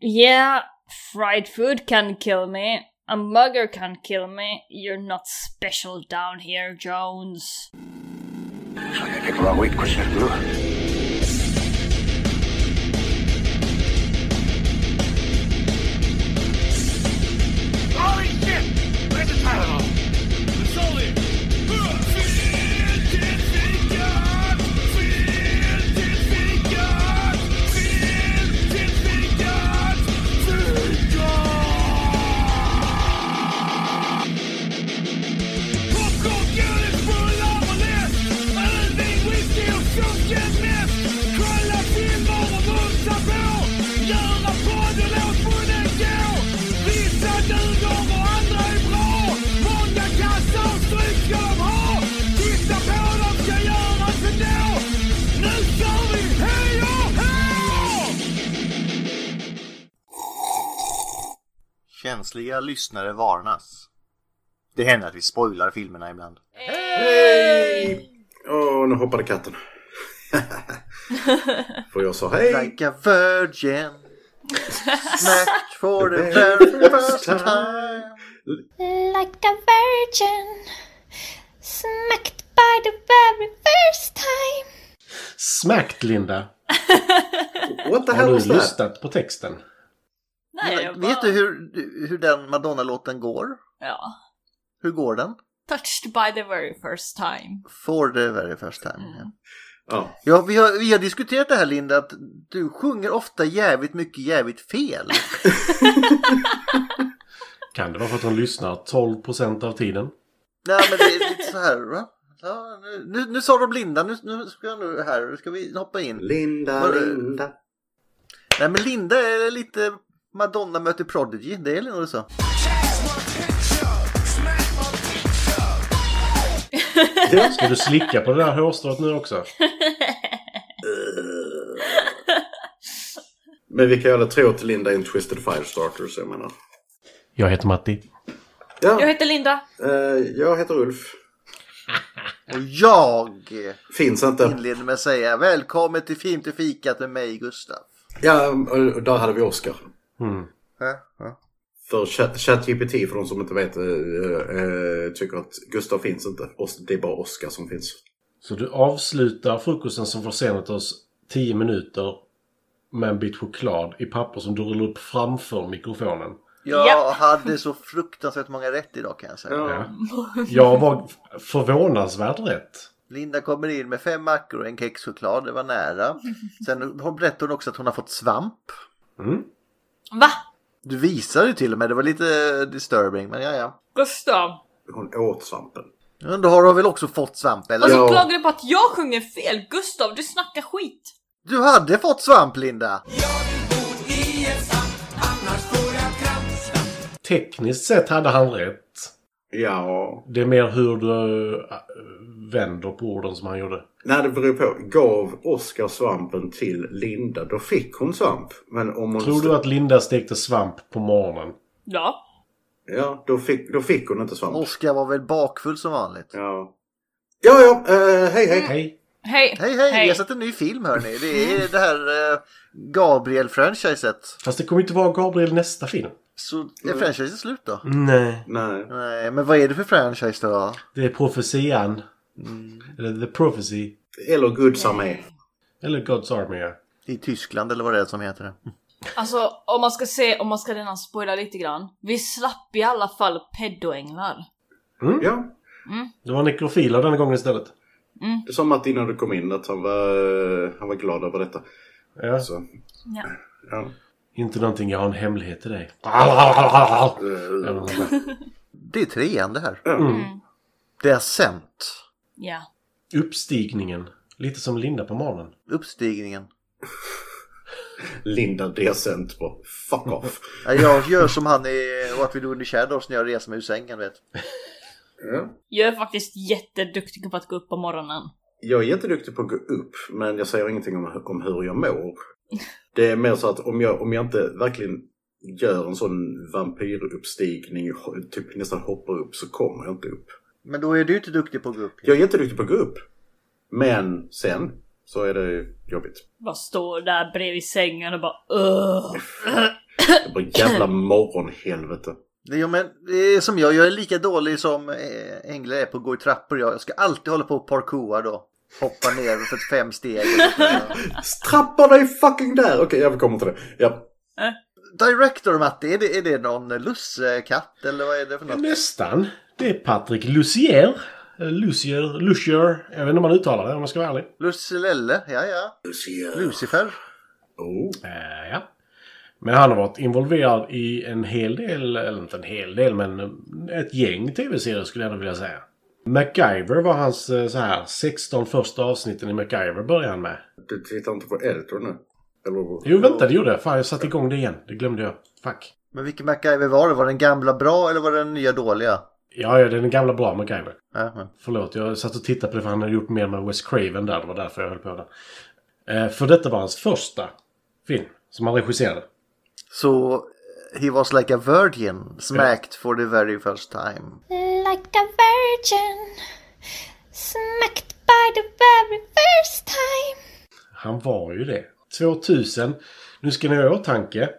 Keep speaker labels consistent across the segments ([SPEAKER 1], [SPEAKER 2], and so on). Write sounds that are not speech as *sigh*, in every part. [SPEAKER 1] Yeah, fried food can kill me. A mugger can kill me. You're not special down here, Jones.
[SPEAKER 2] Holy shit! Where's the Tylenol? It's all here. Göra podden åt bonden gå Vissa duger och andra är bra Många kassar stryk ska de ha Titta på dem ska göras ändå Nu kör vi! Hej och hå!
[SPEAKER 3] Känsliga lyssnare varnas. Det händer att vi spoilar filmerna ibland.
[SPEAKER 4] Åh, nu hoppade katten. För jag sa hej.
[SPEAKER 3] Like a
[SPEAKER 1] *laughs*
[SPEAKER 3] virgin. Smash for the very first time.
[SPEAKER 5] Like a virgin smacked by the very first time.
[SPEAKER 6] Smäckt Linda!
[SPEAKER 4] What the
[SPEAKER 6] Har
[SPEAKER 4] hell
[SPEAKER 6] du
[SPEAKER 4] was that?
[SPEAKER 6] lyssnat på texten?
[SPEAKER 1] Nej, jag bara...
[SPEAKER 3] Vet du hur, hur den Madonna-låten går?
[SPEAKER 7] Ja.
[SPEAKER 3] Hur går den?
[SPEAKER 7] Touched by the very first time.
[SPEAKER 3] For the very first time.
[SPEAKER 1] Mm.
[SPEAKER 3] ja.
[SPEAKER 4] Ja.
[SPEAKER 3] Ja, vi har, vi har diskuterat det här Linda, att du sjunger ofta jävligt mycket jävligt fel. *laughs*
[SPEAKER 6] Kan det vara för att hon lyssnar 12% av tiden? *laughs*
[SPEAKER 3] Nej, men det är lite så här va? Ja, nu, nu, nu sa de Linda, nu, nu ska jag nu här, nu ska vi hoppa in.
[SPEAKER 4] Linda,
[SPEAKER 3] Var-
[SPEAKER 4] Linda.
[SPEAKER 3] Nej, men Linda är lite Madonna möter Prodigy, det är nog det så.
[SPEAKER 6] Ska du slicka på det där hårstrået nu också?
[SPEAKER 4] Men vi kan ju alla tro att Linda är en Twisted Firestarter, så jag menar.
[SPEAKER 6] Jag heter Matti.
[SPEAKER 4] Ja,
[SPEAKER 7] Jag heter Linda.
[SPEAKER 4] eh, jag heter Ulf.
[SPEAKER 3] Och jag
[SPEAKER 4] Finns inte.
[SPEAKER 3] inleder med att säga välkommen till Fint till fikat med mig Gustav.
[SPEAKER 4] Ja, och och där hade vi Oscar.
[SPEAKER 6] Mm.
[SPEAKER 3] Ja, ja.
[SPEAKER 4] För Chat- ChatGPT, för de som inte vet, eh, eh, tycker att Gustav finns inte. Os- Det är bara Oscar som finns.
[SPEAKER 6] Så du avslutar frukosten som försenat oss 10 minuter med en bit choklad i papper som du rullar upp framför mikrofonen.
[SPEAKER 3] Jag
[SPEAKER 7] Japp.
[SPEAKER 3] hade så fruktansvärt många rätt idag kan jag säga.
[SPEAKER 6] Ja. Jag var förvånansvärt rätt.
[SPEAKER 3] Linda kommer in med fem mackor och en kexchoklad, det var nära. Sen hon berättade hon också att hon har fått svamp.
[SPEAKER 7] Va?
[SPEAKER 3] Du visade ju till och med, det var lite disturbing, men ja ja.
[SPEAKER 7] Gustav.
[SPEAKER 4] Hon åt svampen.
[SPEAKER 3] Men då har du väl också fått svamp eller?
[SPEAKER 7] Och så
[SPEAKER 4] Ja.
[SPEAKER 7] klagar du på att jag sjunger fel. Gustav, du snackar skit.
[SPEAKER 3] Du hade fått svamp Linda!
[SPEAKER 6] Tekniskt sett hade han rätt.
[SPEAKER 4] Ja.
[SPEAKER 6] Det är mer hur du äh, vänder på orden som han gjorde.
[SPEAKER 4] Nej, det beror på. Gav Oscar svampen till Linda, då fick hon svamp. Men om hon...
[SPEAKER 6] Tror du att Linda stekte svamp på morgonen?
[SPEAKER 7] Ja.
[SPEAKER 4] Ja, då fick, då fick hon inte svamp.
[SPEAKER 3] Oskar var väl bakfull som vanligt.
[SPEAKER 4] Ja. Ja, ja. eh, hej, hej.
[SPEAKER 6] Hej!
[SPEAKER 7] Hej.
[SPEAKER 3] Hej hej, jag har sett en ny film hörni. Det är det här eh, Gabriel-franchiset.
[SPEAKER 6] Fast det kommer inte vara Gabriel i nästa film.
[SPEAKER 3] Så är franchiset slut då?
[SPEAKER 6] Nej.
[SPEAKER 4] Nej.
[SPEAKER 3] Nej, men vad är det för franchise då?
[SPEAKER 6] Det är profetian. Eller The Prophecy.
[SPEAKER 4] Eller Guds armé.
[SPEAKER 6] Eller God's Army. ja.
[SPEAKER 3] I Tyskland eller vad det är som heter det.
[SPEAKER 7] Alltså om man ska se, om man ska redan spoila lite grann. Vi slapp i alla fall peddoänglar.
[SPEAKER 4] Ja.
[SPEAKER 6] Det var nekrofiler den gången istället.
[SPEAKER 4] Det sa Matti innan du kom in att han var, han var glad över detta.
[SPEAKER 6] Ja.
[SPEAKER 4] Så,
[SPEAKER 7] Ja.
[SPEAKER 4] ja.
[SPEAKER 6] Inte någonting jag har en hemlighet till dig.
[SPEAKER 4] Eh,
[SPEAKER 3] Det är trean det här.
[SPEAKER 4] Ja.
[SPEAKER 7] Mm.
[SPEAKER 3] Det är sent.
[SPEAKER 7] Ja.
[SPEAKER 6] Uppstigningen. Lite som Linda på morgonen.
[SPEAKER 3] Uppstigningen.
[SPEAKER 4] Linda Decent på Fuck off.
[SPEAKER 3] Ja, Jag gör som han i What We Do In The Shadows när jag reser mig ur sängen vet.
[SPEAKER 4] ja.
[SPEAKER 7] Jag är faktiskt jätteduktig på att gå upp på morgonen.
[SPEAKER 4] Jag är jätteduktig på att gå upp men jag säger ingenting om, om hur jag mår. Det är mer så att om jag, om jag inte verkligen gör en sån vampyruppstigning, ho- typ nästan hoppar upp så kommer jag inte upp.
[SPEAKER 3] Men då är du inte duktig på att gå upp.
[SPEAKER 4] Jag är jätteduktig på att gå upp. Men sen så är det jobbigt.
[SPEAKER 7] Bara står där bredvid sängen och bara Ugh.
[SPEAKER 4] Det blir jävla morgonhelvete.
[SPEAKER 3] Jo, men det är som jag, jag är lika dålig som eh, Engla är på att gå i trappor. Jag, jag ska alltid hålla på och parkoura då. Hoppa ner för fem steg.
[SPEAKER 4] Strapparna är fucking där! Okej, jag kommer till det. Ja.
[SPEAKER 3] Director Matti, är det, är det någon lussekatt eller vad är det för något?
[SPEAKER 6] Nästan. Det är Patrick Lucier. Eh, Lucier, Lucier. Jag vet inte om man uttalar det om man ska vara ärlig.
[SPEAKER 3] Lusselelle, ja ja. Lucifer.
[SPEAKER 4] Oh.
[SPEAKER 6] Eh, ja. Men han har varit involverad i en hel del, eller inte en hel del, men ett gäng tv-serier skulle jag ändå vilja säga. MacGyver var hans eh, så här 16 första avsnitten i MacGyver började han med.
[SPEAKER 4] Du tittar inte på Editor nu? Eller?
[SPEAKER 6] Jo, vänta, det gjorde jag. Fan, jag satte igång det igen. Det glömde jag. Fuck.
[SPEAKER 3] Men vilken MacGyver var det? Var den gamla bra eller var den nya dåliga?
[SPEAKER 6] Ja, ja, det är den gamla bra MacGyver.
[SPEAKER 3] Ja, ja.
[SPEAKER 6] Förlåt, jag satt och tittade på det för han hade gjort mer med Wes Craven där. Det var därför jag höll på där. Eh, för detta var hans första film som han regisserade.
[SPEAKER 3] Så eh, he was like a virgin smacked for the very first time.
[SPEAKER 5] Like a virgin, smacked by the very first time.
[SPEAKER 6] Han var ju det. 2000. Nu ska ni ha i åtanke.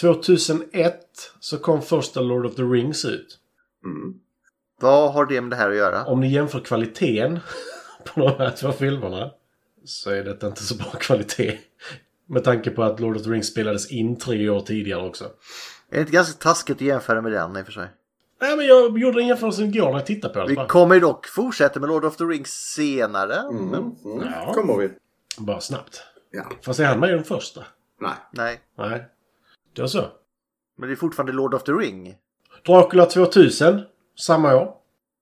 [SPEAKER 6] 2001 så kom första Lord of the Rings ut.
[SPEAKER 3] Vad har det med det här att göra?
[SPEAKER 6] Om ni jämför kvaliteten *laughs* på de här två filmerna så är detta inte så bra kvalitet. Med tanke på att Lord of the Rings spelades in tre år tidigare också.
[SPEAKER 3] Är det inte ganska taskigt att jämföra med den i och för sig?
[SPEAKER 6] Nej men jag gjorde en jämförelse igår när jag tittade på det.
[SPEAKER 3] Vi
[SPEAKER 6] Bara-
[SPEAKER 3] kommer ju dock fortsätta med Lord of the Rings senare. Men
[SPEAKER 4] Mm.
[SPEAKER 6] Ja.
[SPEAKER 4] Kommer vi?
[SPEAKER 6] Bara snabbt.
[SPEAKER 4] Ja.
[SPEAKER 6] Fast är han med i den första?
[SPEAKER 4] Nej.
[SPEAKER 3] nej,
[SPEAKER 6] Nej. Då så.
[SPEAKER 3] men det är fortfarande Lord of the Ring.
[SPEAKER 6] Dracula 2000. Samma år.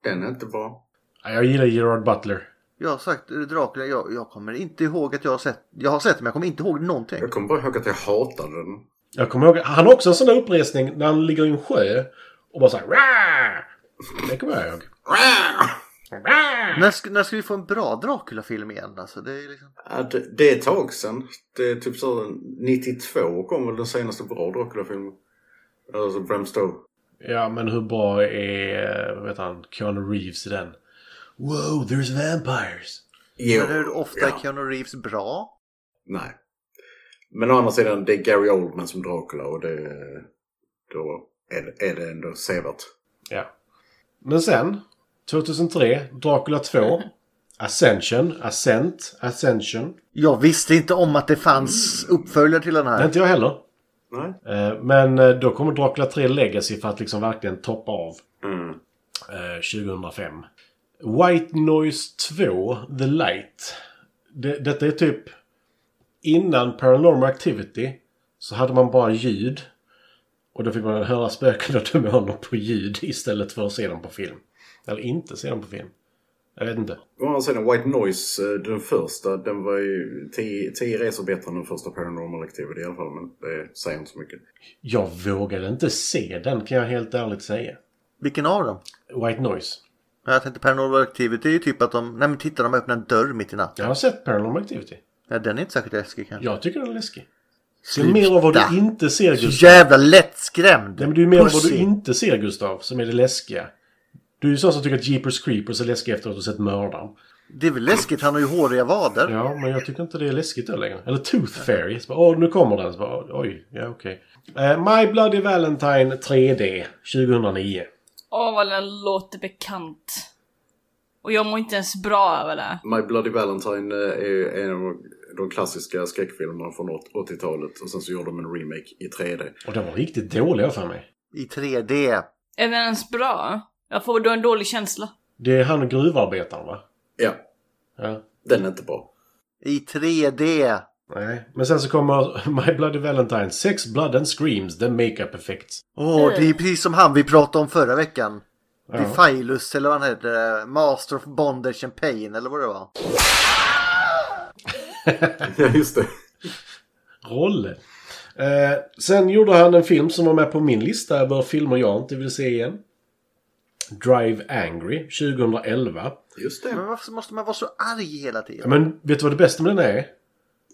[SPEAKER 4] Den är inte bra.
[SPEAKER 6] Ja, Jag gillar Gerard Butler.
[SPEAKER 3] Jag har sagt eh, Dracula, jag, jag kommer inte ihåg att jag har sett, jag har sett det men jag kommer inte ihåg någonting.
[SPEAKER 4] Jag kommer bara ihåg att jag hatade den.
[SPEAKER 6] Jag kommer ihåg, han har också en sån där uppresning när han ligger i en sjö och bara såhär "Rah!" Det kommer jag ihåg.
[SPEAKER 3] När, ska, när ska vi få en bra Dracula-film igen? Alltså, det är liksom...
[SPEAKER 4] Ja, det, det är ett tag sedan. Det är typ så 92 kom väl den senaste bra Dracula-filmen. Alltså Bram Stoker.
[SPEAKER 6] Ja, men hur bra är, vad heter han, Keanu Reeves i den? Wow, there's vampires!
[SPEAKER 4] Jo,
[SPEAKER 3] Men hur ofta
[SPEAKER 4] ja.
[SPEAKER 3] är Keanu Reeves bra?
[SPEAKER 4] Nej. Men å andra sidan, det är Gary Oldman som Dracula och det... Då är det, är det ändå sevärt.
[SPEAKER 6] Ja. Men sen, 2003, Dracula 2, Ascension, Ascent, Ascension.
[SPEAKER 3] Jag visste inte om att det fanns
[SPEAKER 6] Mm.
[SPEAKER 3] uppföljare till den
[SPEAKER 6] Nej,
[SPEAKER 3] här.
[SPEAKER 6] inte jag heller.
[SPEAKER 4] Nej.
[SPEAKER 6] Eh, Men eh, då kommer Dracula 3 Legacy för att liksom verkligen toppa av
[SPEAKER 4] Mm.
[SPEAKER 6] eh, 2005. White Noise 2, The Light. Det, detta är typ... Innan Paranormal Activity så hade man bara ljud. Och då fick man höra spöken och demoner på ljud istället för att se dem på film. Eller inte se dem på film. Jag vet inte.
[SPEAKER 4] Å andra sidan, White Noise, eh, den första, den var ju tio, tio resor bättre än den första Paranormal Activity i alla fall. Men det säger inte så mycket.
[SPEAKER 6] Jag vågade inte se den kan jag helt ärligt säga.
[SPEAKER 3] Vilken av dem?
[SPEAKER 6] White Noise.
[SPEAKER 3] Jag tänkte Paranormal Activity är ju typ att de, nej men titta de öppnar en dörr mitt i natten.
[SPEAKER 6] Jag har sett Paranormal Activity.
[SPEAKER 3] Ja, den är inte särskilt läskig kanske.
[SPEAKER 6] Jag tycker den är läskig. Det är mer av vad
[SPEAKER 3] Sluta.
[SPEAKER 6] du inte ser
[SPEAKER 3] Så
[SPEAKER 6] Gustav.
[SPEAKER 3] jävla lättskrämd!
[SPEAKER 6] Nej, men det är ju mer av vad
[SPEAKER 3] Pussy.
[SPEAKER 6] du inte ser Gustav som är det läskiga. Du är ju sån som tycker att Jeepers Creepers är läskig efter att du sett mördaren.
[SPEAKER 3] Det är väl läskigt, han har ju håriga vader.
[SPEAKER 6] Ja, men jag tycker inte det är läskigt då längre. Eller Tooth Fairy. Så bara, Åh, nu kommer den. Så bara, Oj, ja okej. Eh, My Bloody Valentine 3D 2009.
[SPEAKER 7] Åh, vad den låter bekant. Och jag mår inte ens bra över det.
[SPEAKER 4] My Bloody Valentine eh, är ju en av de klassiska skräckfilmerna från åt- 80-talet. Och sen så gjorde de en remake i 3D.
[SPEAKER 6] Och den var riktigt dålig för mig.
[SPEAKER 3] I 3D.
[SPEAKER 7] Är den ens bra? Jag får då en dålig känsla.
[SPEAKER 6] Det är han gruvarbetaren va?
[SPEAKER 4] Ja,
[SPEAKER 6] Ja.
[SPEAKER 4] den är inte bra.
[SPEAKER 3] I 3D.
[SPEAKER 6] Nej. Men sen så kommer *laughs* My Bloody Valentine 6 Blood and Screams The Makeup Effects.
[SPEAKER 3] Åh, det är precis som han vi pratade om förra veckan.
[SPEAKER 6] Ja.
[SPEAKER 3] Defilus eller vad han heter. Master of Bondage and Pain eller vad det var.
[SPEAKER 4] *laughs* Ja, just det.
[SPEAKER 6] roll. Eh, sen gjorde han en film som var med på min lista över filmer jag inte vill se igen. Drive Angry 2011.
[SPEAKER 4] Just det.
[SPEAKER 3] Men varför måste man vara så arg hela
[SPEAKER 6] Ja,
[SPEAKER 3] tiden?
[SPEAKER 6] Men vet du vad det bästa med den är?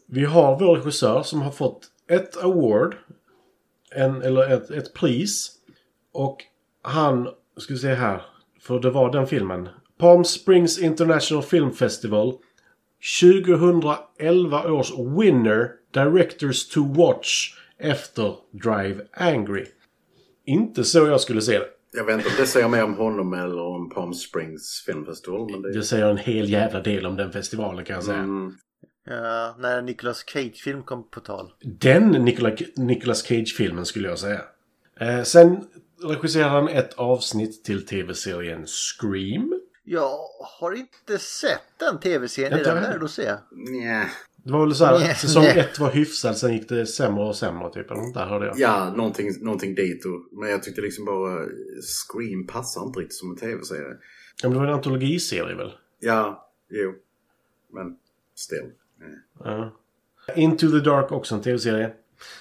[SPEAKER 6] Vi har vår regissör som har fått ett award, en, eller ett, ett pris. Och han, ska vi se här, för det var den filmen. Palm Springs International Film Festival. 2011 års winner, Directors to Watch efter Drive Angry. Inte så jag skulle se det.
[SPEAKER 4] Jag vet inte om det säger mer om honom eller om Palm Springs filmfestival. Men det
[SPEAKER 6] Det
[SPEAKER 4] är...
[SPEAKER 6] säger en hel jävla del om den festivalen kan jag säga.
[SPEAKER 4] Mm.
[SPEAKER 3] Ja, när en Nicolas Cage-film kom på tal.
[SPEAKER 6] Den Nicola- Nicolas Cage-filmen skulle jag säga. Eh, sen regisserade han ett avsnitt till tv-serien Scream.
[SPEAKER 3] Jag har inte sett den tv-serien. Är
[SPEAKER 6] Inte
[SPEAKER 3] den
[SPEAKER 6] jag.
[SPEAKER 3] värd att se?
[SPEAKER 4] Nja.
[SPEAKER 6] Det var väl så här,
[SPEAKER 3] Nej,
[SPEAKER 6] säsong
[SPEAKER 3] nej.
[SPEAKER 6] ett var hyfsad, sen gick det sämre och sämre typ. Eller något där hörde jag.
[SPEAKER 4] Ja, någonting, någonting dit. Och, men jag tyckte liksom bara Scream passar inte riktigt som en tv-serie.
[SPEAKER 6] Ja, men det var en antologiserie väl?
[SPEAKER 4] Ja, jo. Men still. Eh.
[SPEAKER 6] Ja. Into the Dark, också en tv-serie.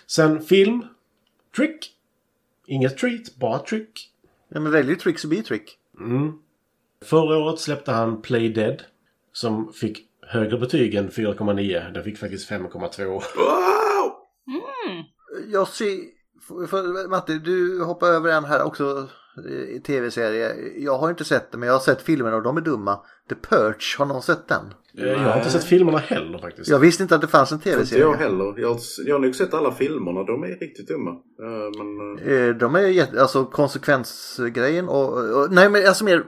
[SPEAKER 6] Sen film. Trick. Inget treat, bara trick.
[SPEAKER 3] Ja, men väljer trick så blir det trick.
[SPEAKER 6] Mm. Förra året släppte han Play Dead. Som fick högre betyg än 4,9. Den fick faktiskt 5,2.
[SPEAKER 4] Wow!
[SPEAKER 3] Jag ser... för- för- Matte, du hoppar över en här också. eh, Tv-serie. Jag har inte sett den men jag har sett filmerna och de är dumma. The Purge, har någon sett den?
[SPEAKER 6] Eh, Jag har inte sett filmerna heller faktiskt.
[SPEAKER 3] Jag visste inte att det fanns en
[SPEAKER 4] Inte jag
[SPEAKER 3] tv-serie.
[SPEAKER 4] heller. Jag har, jag har nog sett alla filmerna. De är riktigt dumma. Eh, men, eh,
[SPEAKER 3] Eh, De är jätte, alltså konsekvensgrejen och, och nej men alltså mer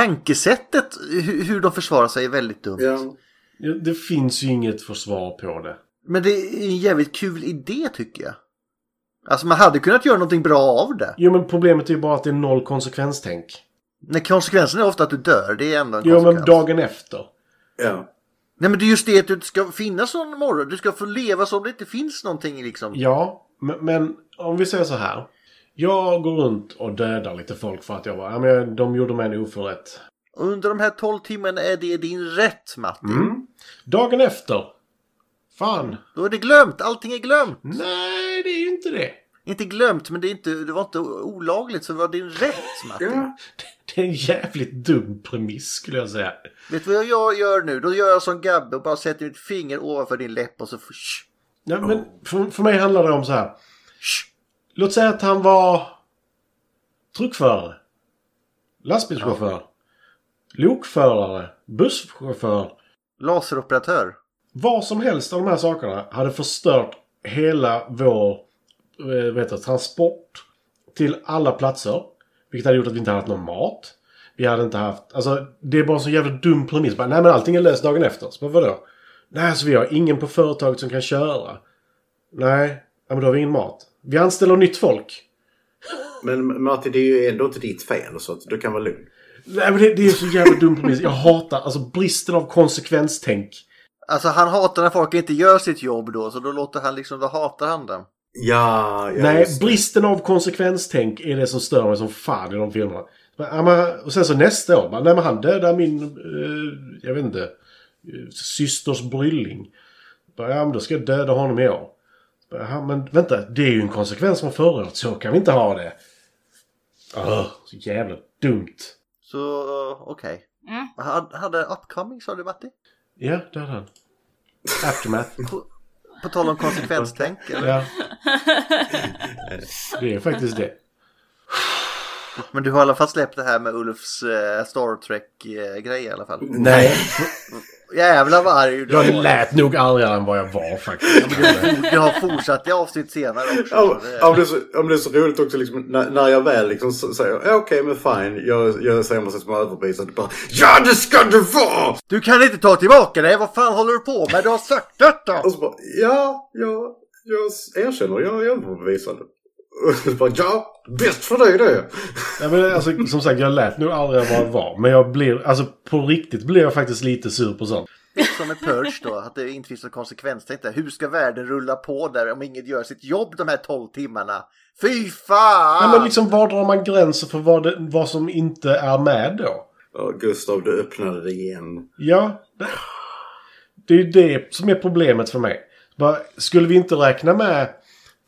[SPEAKER 3] tankesättet hur, hur de försvarar sig är väldigt dumt.
[SPEAKER 4] ja.
[SPEAKER 6] Ja, Det finns ju inget försvar på det.
[SPEAKER 3] Men det är en jävligt kul idé tycker jag. Alltså man hade kunnat göra någonting bra av det.
[SPEAKER 6] Jo, men problemet är ju bara att det är noll konsekvenstänk.
[SPEAKER 3] Nej, konsekvensen är ofta att du dör, det är ändå en
[SPEAKER 6] Jo,
[SPEAKER 3] konsekvens.
[SPEAKER 6] men dagen efter.
[SPEAKER 4] ja.
[SPEAKER 3] Nej men det är just det att du inte ska finnas någon morgon. Du ska få leva som om det inte finns någonting liksom.
[SPEAKER 6] Ja, men, men om vi säger så här. Jag går runt och dödar lite folk för att jag bara, ja, men de gjorde mig en oförrätt.
[SPEAKER 3] Och Under de här 12 timmarna är det din rätt Matti.
[SPEAKER 6] Mm. Dagen efter. Fan.
[SPEAKER 3] Då är det glömt, allting är glömt.
[SPEAKER 6] Nej, det är ju inte det.
[SPEAKER 3] Inte glömt men det, är inte, det var inte olagligt så det var din rätt Matti.
[SPEAKER 4] ja.
[SPEAKER 6] Det är en jävligt dum premiss skulle jag säga.
[SPEAKER 3] Vet du vad jag gör nu? Då gör jag som Gabbe och bara sätter mitt finger ovanför din läpp och så... Shh,
[SPEAKER 6] Nej, men för, för mig handlar det om så här.
[SPEAKER 3] shh.
[SPEAKER 6] Låt säga att han var truckförare, lastbilschaufför, lokförare, busschaufför.
[SPEAKER 3] Laseroperatör.
[SPEAKER 6] Vad som helst av de här sakerna hade förstört hela vår eh, vet du, transport till alla platser. Vilket hade gjort att vi inte hade haft någon mat. Vi hade inte haft... Alltså, det är bara en så jävla dum premiss. Bara, Nej, men allting är löst dagen efter. Så bara, vadå? Nej, så vi har ingen på företaget som kan köra. Nej, ja, men då har vi ingen mat. Vi anställer nytt folk.
[SPEAKER 4] Men Martin, det är ju ändå inte ditt fel. Så att du kan vara lugn.
[SPEAKER 6] Nej, men det, det är så jävla dum premiss. Jag hatar alltså bristen av konsekvenstänk.
[SPEAKER 3] Alltså han hatar när folk inte gör sitt jobb då så då låter han liksom, då hatar han dem.
[SPEAKER 4] Ja, ja
[SPEAKER 6] Nej,
[SPEAKER 4] just det.
[SPEAKER 6] bristen av konsekvenstänk är det som stör mig som fan i de filmerna. Men, ja, men, Och sen så nästa år, bara, nej men han dödar min, eh, jag vet inte, eh, systers brylling. Bara, ja men då ska jag döda honom i år. Bara, ja, men vänta, det är ju en konsekvens från förra året, så kan vi inte ha det. Öh, så jävla dumt.
[SPEAKER 3] Så eh, okej.
[SPEAKER 7] Mm.
[SPEAKER 3] Han Hade upcoming sa du Matti?
[SPEAKER 6] Ja, där är han. Aftermath.
[SPEAKER 3] På, på tal om konsekvenstänk. eller?
[SPEAKER 6] *laughs*
[SPEAKER 4] *laughs*
[SPEAKER 6] Ja. Det är faktiskt det.
[SPEAKER 3] Men du har i alla fall släppt det här med Ulfs eh, Star Trek-grej i alla fall.
[SPEAKER 4] *laughs*
[SPEAKER 6] Nej.
[SPEAKER 3] Jävlar vad arg du
[SPEAKER 6] Jag
[SPEAKER 3] har varit.
[SPEAKER 6] lät nog argare än vad jag var faktiskt.
[SPEAKER 3] Du har fortsatt i avsnitt senare också.
[SPEAKER 4] Ja,
[SPEAKER 3] så det-
[SPEAKER 4] ja, men det, är så, ja, men det är så roligt också liksom, när, när jag väl liksom s- säger ja, okej men fine, jag, jag säger massa små överbevisande bara JA DET SKA DET VARA!
[SPEAKER 3] Du kan inte ta tillbaka det! Vad fan håller du på med? Du har sagt detta!
[SPEAKER 4] Och så bara ja, ja, jag s- erkänner, jag är överbevisande. Och så bara ja, bäst för dig det!
[SPEAKER 6] Ja, men alltså, som sagt, jag lät nog aldrig vad jag var. Men jag blir, alltså på riktigt blir jag faktiskt lite sur på sånt.
[SPEAKER 3] Som med Purge då, att det inte finns någon konsekvens. Tänk dig, hur ska världen rulla på där om ingen gör sitt jobb de här 12 timmarna? Fy fan!
[SPEAKER 6] Nej, men liksom var drar man gränser för vad, det, vad som inte är med då?
[SPEAKER 4] Ja, Gustav du öppnade det igen.
[SPEAKER 6] Ja, det, det är ju det som är problemet för mig. Bara, skulle vi inte räkna med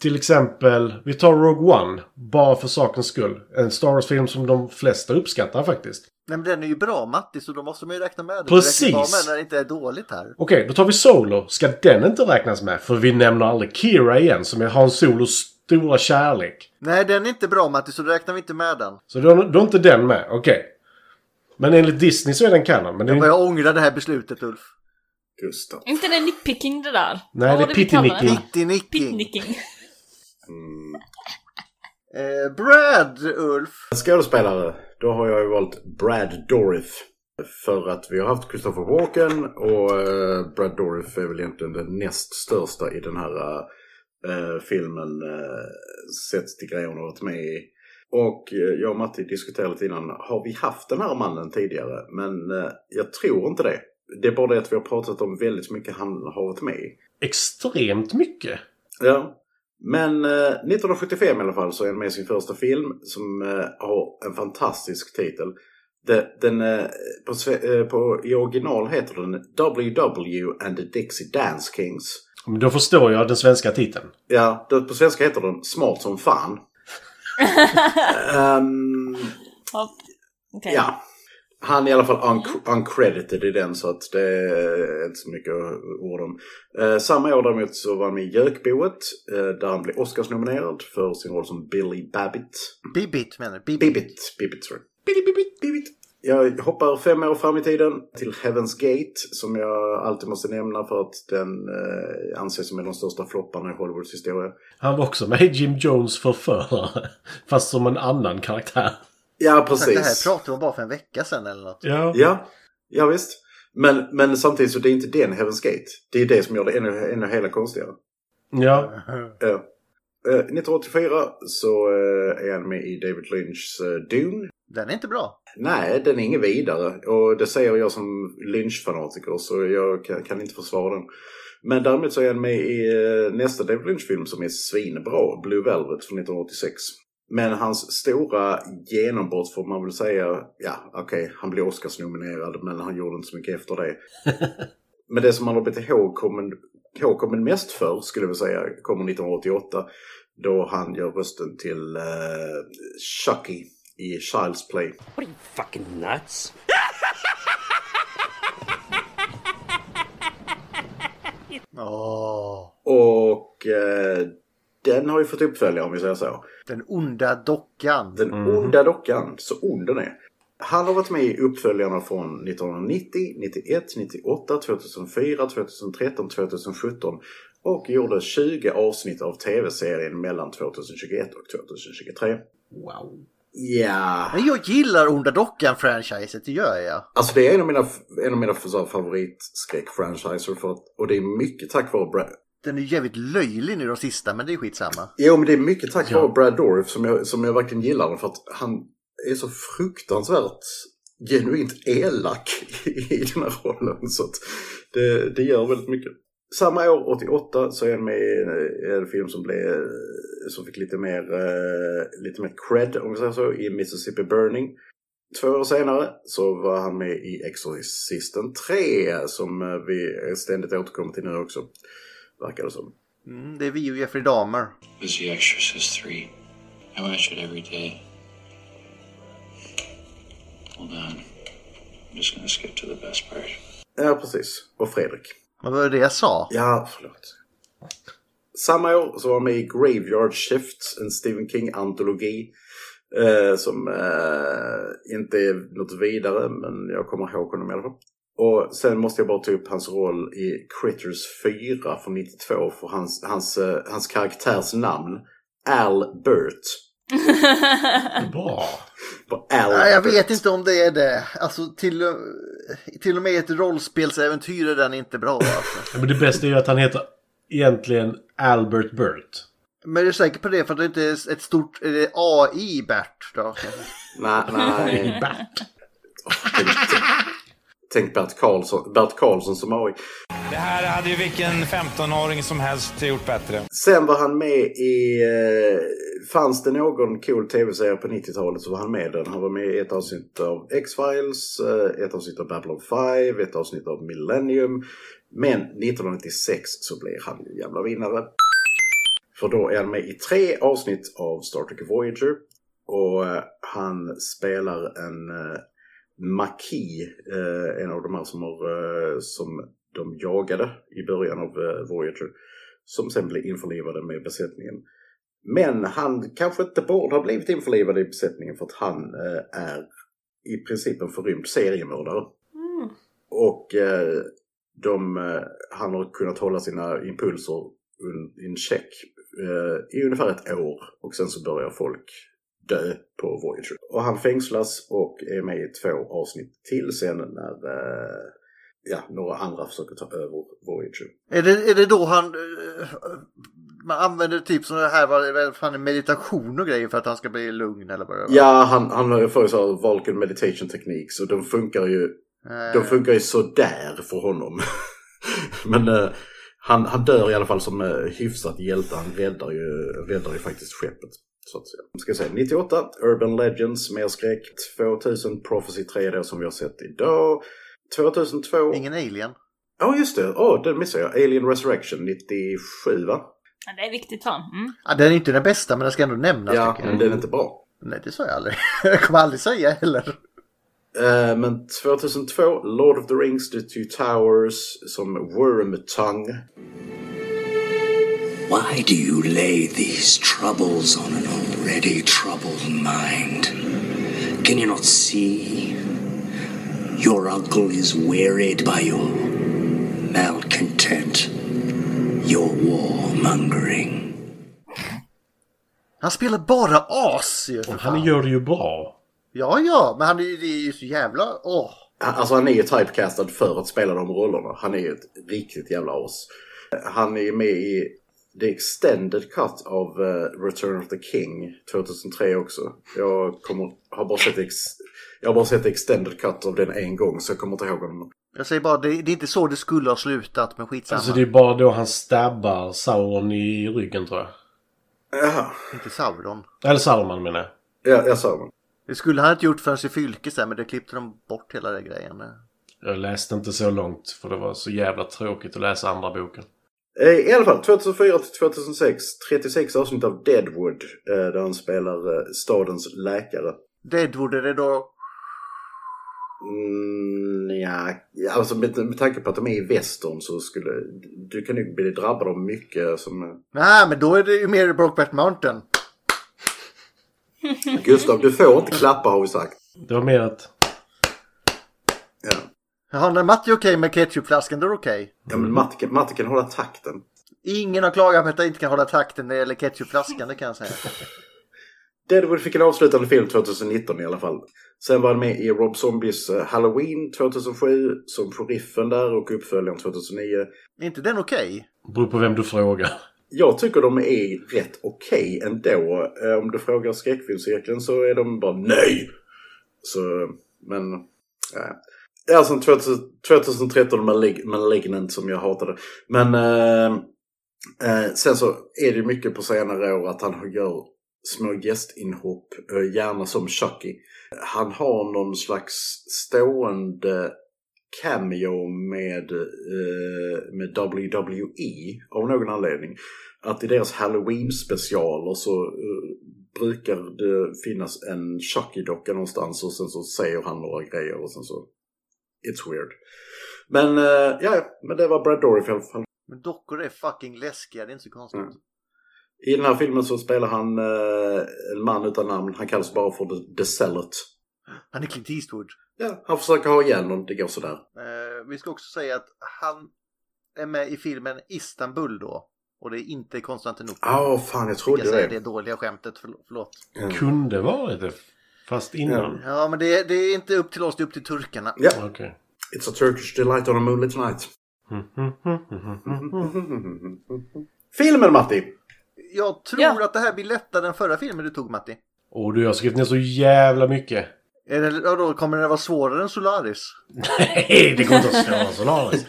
[SPEAKER 6] till exempel, vi tar Rogue One, bara för sakens skull. En Star Wars-film som de flesta uppskattar faktiskt.
[SPEAKER 3] Nej, men den är ju bra Matti, så då måste man ju räkna med det.
[SPEAKER 6] Precis.
[SPEAKER 3] Det räcker bara med när det inte är dåligt här.
[SPEAKER 6] Okej, då tar vi Solo. Ska den inte räknas med? För vi nämner aldrig Kira igen, som är Hans Solos stora kärlek.
[SPEAKER 3] Nej, den är inte bra Matti, så då räknar vi inte med den.
[SPEAKER 6] Så då, då är inte den med, okej. Men enligt Disney så är den kanon. Men det är,
[SPEAKER 3] Men jag ångrar det här beslutet Ulf.
[SPEAKER 4] Gustav.
[SPEAKER 7] Inte det nickpicking det där?
[SPEAKER 6] nej,
[SPEAKER 7] Vad
[SPEAKER 6] det
[SPEAKER 7] var
[SPEAKER 6] är
[SPEAKER 7] vi kallade
[SPEAKER 6] pittinicking.
[SPEAKER 7] *laughs*
[SPEAKER 3] Pitti-nicking.
[SPEAKER 7] Pitnicking.
[SPEAKER 4] Mm.
[SPEAKER 3] Eh, Brad, Ulf.
[SPEAKER 4] Skådespelare, då har jag ju valt Brad Dourif. För att vi har haft Christopher Walken och eh, Brad Dourif är väl egentligen den näst största i den här eh, filmen eh, sett till grejer han har varit med i. Och eh, jag och Matti diskuterade lite innan, har vi haft den här mannen tidigare? Men eh, jag tror inte det. Det är bara det att vi har pratat om väldigt mycket han har varit med i.
[SPEAKER 6] Extremt mycket.
[SPEAKER 4] Ja. Men eh, 1975 i alla fall så är han med i sin första film som eh, har en fantastisk titel. De, den, eh, på, sve- eh, på, I original heter den WW and the Dixie Dance Kings.
[SPEAKER 6] Men då förstår jag den svenska titeln.
[SPEAKER 4] Ja, det- på svenska heter den Smart som fan. Ehm,
[SPEAKER 1] Hopp. Okej.
[SPEAKER 4] ja. Han är i alla fall unc- uncredited i den så att det är inte så mycket att orda om. Eh, samma år däremot så var han med i Jökboet eh, där han blev Oscarsnominerad för sin roll som Billy Babbitt.
[SPEAKER 3] Bibit menar du? Bibit.
[SPEAKER 4] Bibbit, Bibbit sorry. Bibbit, Bibbit, Bibbit. Jag hoppar fem år fram i tiden till Heaven's Gate som jag alltid måste nämna för att den eh, anses som en av de största flopparna i Hollywoods historia.
[SPEAKER 6] Han var också med i Jim Jones förförare. *laughs* Fast som en annan karaktär.
[SPEAKER 4] Ja,
[SPEAKER 3] Det här
[SPEAKER 4] precis.
[SPEAKER 3] pratade man bara för en vecka sedan eller något.
[SPEAKER 6] Ja.
[SPEAKER 4] Ja, ja visst. Men, men samtidigt så det är inte den Heaven's Gate. Det är det som gör det ännu, ännu hela konstigare.
[SPEAKER 6] Ja.
[SPEAKER 4] Ja. Eh, 1984 så eh, är han med i David Lynchs eh, Dune.
[SPEAKER 3] Den är inte bra.
[SPEAKER 4] Nej, den är ingen vidare. Och det säger jag som Lynch-fanatiker så jag kan, kan inte försvara den. Men däremot så är han med i eh, nästa David Lynch-film som är svinbra, Blue Velvet från 1986. Men hans stora genombrott får man väl säga, ja okej, han blev Oscarsnominerad men han gjorde inte så mycket efter det. men det som han har blivit ihågkommen, ihågkommen mest för skulle jag vilja säga kommer 1988. Då han gör rösten till eh, Chucky i Child's Play.
[SPEAKER 8] Fucking nuts.
[SPEAKER 3] Åh.
[SPEAKER 4] Och eh, den har ju fått uppföljare om vi säger så.
[SPEAKER 3] Den onda dockan.
[SPEAKER 4] Den onda dockan, så ond den är. Han har varit med i uppföljarna från 1990, 91, 98, 2004, 2013, 2017 och gjorde 20 avsnitt av tv-serien mellan 2021 och 2023.
[SPEAKER 6] Wow.
[SPEAKER 4] Ja,
[SPEAKER 3] Men jag gillar onda dockan-franchiset, det gör jag.
[SPEAKER 4] alltså det är en av mina, en av mina så här favoritskräckfranchiser för att, och det är mycket tack vare Brad,
[SPEAKER 3] Den är jävligt löjlig nu de sista, men det är skitsamma.
[SPEAKER 4] Jo, men det är mycket tack
[SPEAKER 6] Ja.
[SPEAKER 4] vare Brad Dourif som jag, som jag verkligen gillar honom, för att han är så fruktansvärt genuint elak i den här rollen. Så att det, det gör väldigt mycket. Samma år, 88, så är han med i en- en film som, blev, som fick lite mer, eh, lite mer cred, om vi säger så, i Mississippi Burning. Två år senare så var han med i Exorcisten 3, som eh, vi ständigt återkommer till nu också, verkar det som.
[SPEAKER 3] Mm, det är vi och Jeffrey Dahmer.
[SPEAKER 9] was The Exorcist 3. I watch it every day. Hold on. I'm just gonna skip to the best part.
[SPEAKER 4] Ja, precis. Och Fredrik.
[SPEAKER 3] Vad var det jag sa?
[SPEAKER 4] Ja, förlåt. Samma år så var han med i Graveyard Shift, en Stephen King-antologi. Eh, som eh, inte är något vidare, men jag kommer ihåg honom i alla fall. Och sen måste jag bara ta upp hans roll i Critters 4 från 92, för hans, hans, eh, hans karaktärs namn, Albert.
[SPEAKER 6] Bra.
[SPEAKER 4] På Albert.
[SPEAKER 3] Nej, jag vet inte om det är det. Alltså till, och- till och med i ett rollspelsäventyr är den inte bra. Alltså.
[SPEAKER 6] Ja, Men det bästa är ju att han heter egentligen Albert Burt.
[SPEAKER 3] Men är du säker på det för att det inte är ett stort är det AI Bert då?
[SPEAKER 4] Nej, nej.
[SPEAKER 6] Bert.
[SPEAKER 4] tänk, tänk Bert Karlsson, Bert Karlsson som AI.
[SPEAKER 2] Det här hade ju vilken 15-åring som helst gjort bättre.
[SPEAKER 4] Sen var han med i... Eh, fanns det någon cool tv-serie på 90-talet så var han med i den. Han var med i ett avsnitt av X-Files, eh, ett avsnitt av Babylon 5, ett avsnitt av Millennium. Men 1996 så blev han ju jävla vinnare. För då är han med i tre avsnitt av Star Trek Voyager. Och eh, han spelar en eh, Maquis, eh, en av de här som, har, eh, som de jagade i början av eh, Voyager som sen blev införlivade med besättningen. Men han kanske inte borde ha blivit införlivad i besättningen för att han eh, är i princip en förrymd seriemördare. Och eh, de, eh, han har kunnat hålla sina impulser un- in check eh, i ungefär ett år och sen så börjar folk dö på Voyager. Och han fängslas och är med i två avsnitt till sen när eh, ja, några andra försöker ta över Voyager.
[SPEAKER 3] Är det, är det då han... eh, Man använder typ sådana här vad- vad fan, är meditation och grejer för att han ska bli lugn eller vad det var.
[SPEAKER 4] Ja, han, han får ju så här Vulcan meditation teknik så den funkar ju,
[SPEAKER 3] Eh,
[SPEAKER 4] den funkar ju sådär för honom. *laughs* Men eh, han, han dör i alla fall som eh, hyfsat hjälte. Han räddar ju, räddar ju faktiskt skeppet. Så att säga. Ska jag säga 98, Urban Legends, mer skräck. 2000, Prophecy 3 då som vi har sett idag. 2002,
[SPEAKER 3] Ingen alien.
[SPEAKER 4] ja just det, oh, den missade jag. Alien Resurrection 97 va?
[SPEAKER 7] *laughs* Ja, det är viktigt fan. Mm.
[SPEAKER 3] Ja, den är inte den bästa men den ska ändå nämnas.
[SPEAKER 4] Ja,
[SPEAKER 3] tycker jag.
[SPEAKER 4] men den är inte bra.
[SPEAKER 3] Nej, det sa jag aldrig. *laughs* jag kommer aldrig säga heller.
[SPEAKER 4] Eh, Men 2002, Lord of the Rings, The Two Towers, som Wormtongue.
[SPEAKER 8] Why do you lay these troubles on an already troubled mind? Can you not see? Your uncle is wearied by your malcontent, your warmongering.
[SPEAKER 3] Han spelar bara as ju. för fan.
[SPEAKER 6] Han gör det ju bra.
[SPEAKER 3] Ja, ja, men han är ju, det är ju så jävla... Åh.
[SPEAKER 4] Han- Alltså han är ju typecastad för att spela de rollerna. Han är ju ett riktigt jävla as. Eh, Han är med i The Extended Cut av eh, Return of the King 2003 också. Jag kommer, har, bara sett ex, jag har bara sett Extended Cut av den en gång så jag kommer inte ihåg honom.
[SPEAKER 3] Jag säger bara, det, det är inte så det skulle ha slutat, men skitsamma.
[SPEAKER 6] Alltså det är bara då han stabbar Sauron i ryggen tror jag.
[SPEAKER 4] Jaha,
[SPEAKER 3] Inte Sauron.
[SPEAKER 6] Eller Saruman menar jag.
[SPEAKER 4] ja, jag sa honom.
[SPEAKER 3] Det skulle han inte gjort förrän i fylke sen, men det klippte de bort hela den grejen.
[SPEAKER 6] Jag läste inte så långt för det var så jävla tråkigt att läsa andra boken.
[SPEAKER 4] Eh, I alla fall, 2004 till 2006, 36 avsnitt av Deadwood, eh, där han spelar eh, stadens läkare.
[SPEAKER 3] Deadwood är det då...
[SPEAKER 4] Mm, ja, alltså med, med tanke på att de är i västern så skulle du kan ju bli drabbad av mycket som... eh,
[SPEAKER 3] Nej, men då är det ju mer Brokeback Mountain.
[SPEAKER 4] Gustav, du får inte klappa har vi sagt.
[SPEAKER 6] Det var mer att
[SPEAKER 4] Ja,
[SPEAKER 3] Jaha, när Matti är okej med ketchupflaskan, då är det okej.
[SPEAKER 4] ja men Matte kan, Matte kan hålla takten.
[SPEAKER 3] Ingen har klagat på att jag inte kan hålla takten när det gäller ketchupflaskan, det kan jag säga.
[SPEAKER 4] Deadwood fick en avslutande film 2019 i alla fall. Sen var han med i Rob Zombies eh, Halloween 2007 som sheriffen där och uppföljaren 2009.
[SPEAKER 3] Är inte den okej?
[SPEAKER 6] beror på vem du frågar.
[SPEAKER 4] Jag tycker de är rätt okej ändå. Eh, Om du frågar skräckfilmscirkeln så är de bara NEJ! Så, men... Äh. Det är alltså en 2000 2013 Malig Malignant som jag hatade. Men eh, eh, sen så är det mycket på senare år att han gör små gästinhopp, eh, gärna som Chucky. Han har någon slags stående cameo med, eh, med WWE av någon anledning. Att i deras halloween-specialer så eh, brukar det finnas en Chucky-docka någonstans och sen så säger han några grejer och sen så... It's weird. Men eh, ja, men det var Brad Dourif i alla fall.
[SPEAKER 3] Men dockor är fucking läskiga, det är inte så konstigt.
[SPEAKER 4] Mm. I den här filmen så spelar han eh, en man utan namn. Han kallas bara för The, The Zealot.
[SPEAKER 3] Han är Clint Eastwood.
[SPEAKER 4] Ja, han försöker ha igenom, det går sådär.
[SPEAKER 3] Eh, vi ska också säga att han är med i filmen Istanbul då. Och det är inte Konstantinopel.
[SPEAKER 4] Ja, fan jag trodde
[SPEAKER 3] jag säger
[SPEAKER 4] det.
[SPEAKER 3] det dåliga skämtet, förl- förlåt.
[SPEAKER 6] Kunde varit det. Fast innan.
[SPEAKER 3] Ja, men det, det är inte upp till oss, det är upp till turkarna.
[SPEAKER 4] Ja,
[SPEAKER 6] Okej.
[SPEAKER 4] It's a Turkish delight on a moonlit night.
[SPEAKER 6] Mhm, mhm, mhm, mhm.
[SPEAKER 4] Filmen Matti!
[SPEAKER 3] Jag tror
[SPEAKER 7] Ja.
[SPEAKER 3] att det här blir lättare än förra filmen du tog, Matti.
[SPEAKER 6] Och du, jag har skrivit ner så jävla mycket. *laughs*
[SPEAKER 3] Är det, ja, då kommer det vara svårare än Solaris?
[SPEAKER 6] Nej, det går inte att svara Solaris.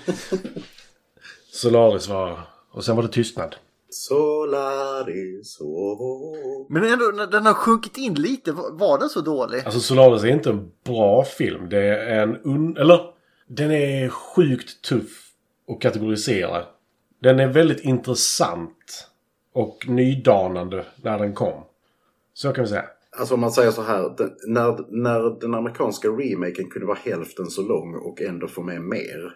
[SPEAKER 6] Solaris var... Och sen var det tystnad.
[SPEAKER 4] Solaris, oh, oh.
[SPEAKER 3] Men ändå, när den har sjunkit in lite. Var var den så dålig?
[SPEAKER 6] Alltså Solaris är inte en bra film. Det är en... Un... Eller? Den är sjukt tuff att kategorisera. Den är väldigt intressant och nydanande när den kom. Så kan vi säga.
[SPEAKER 4] Alltså om man säger så här, den, när, när den amerikanska remaken kunde vara hälften så lång och ändå få med mer.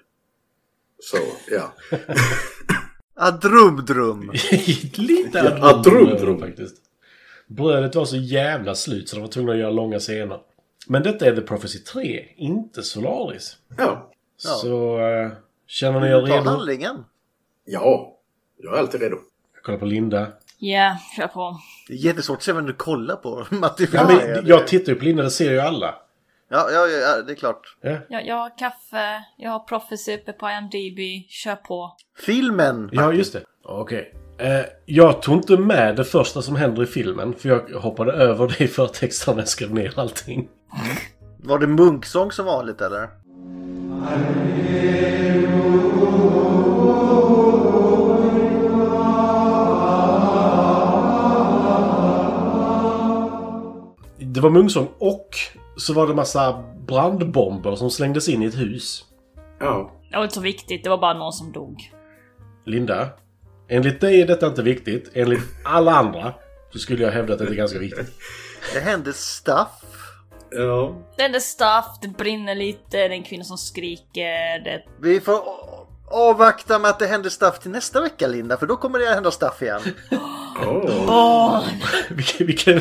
[SPEAKER 4] Så, *laughs* ja.
[SPEAKER 3] Ah, drum, drum.
[SPEAKER 6] *laughs* Lite
[SPEAKER 4] Ja, drum, drum.
[SPEAKER 6] faktiskt. Brödet var så jävla slut så de var tvungna att göra långa scener. Men detta är The Prophecy 3, inte Solaris.
[SPEAKER 4] Ja.
[SPEAKER 3] Ja.
[SPEAKER 6] Så eh, känner ni er
[SPEAKER 3] Ta
[SPEAKER 6] redo?
[SPEAKER 3] handlingen.
[SPEAKER 4] Ja. Jag är alltid redo.
[SPEAKER 6] Jag kollar på Linda.
[SPEAKER 7] Ja, kör på.
[SPEAKER 3] Det är jättesvårt att se vem du kollar på. *laughs* Matti
[SPEAKER 6] Ja,
[SPEAKER 3] Frye,
[SPEAKER 6] men
[SPEAKER 3] det-
[SPEAKER 6] jag tittar ju på Linda, det ser ju alla.
[SPEAKER 3] ja, ja, ja, det är klart.
[SPEAKER 6] Ja.
[SPEAKER 7] Jag, jag har kaffe, jag har Prophecy uppe på IMDB, kör på.
[SPEAKER 3] Filmen!
[SPEAKER 6] Ja, just det. Okej. Eh, jag tog inte med det första som händer i filmen, för jag hoppade över det i förtexterna när jag skrev ner allting.
[SPEAKER 3] Var det munksång som vanligt eller?
[SPEAKER 6] Det var mungsång och så var det massa brandbomber som slängdes in i ett hus.
[SPEAKER 4] Ja.
[SPEAKER 7] Det var inte så viktigt, det var bara någon som dog.
[SPEAKER 6] Linda, enligt dig är detta inte viktigt. Enligt alla andra så skulle jag hävda att det är ganska viktigt.
[SPEAKER 3] Det hände stuff.
[SPEAKER 4] Ja.
[SPEAKER 7] Det händer stuff, det brinner lite, det är en kvinna som skriker, det...
[SPEAKER 3] Vi får a- avvakta med att det händer stuff till nästa vecka Linda, för då kommer det att hända stuff igen.
[SPEAKER 4] Oh.
[SPEAKER 6] Vilken, vilken...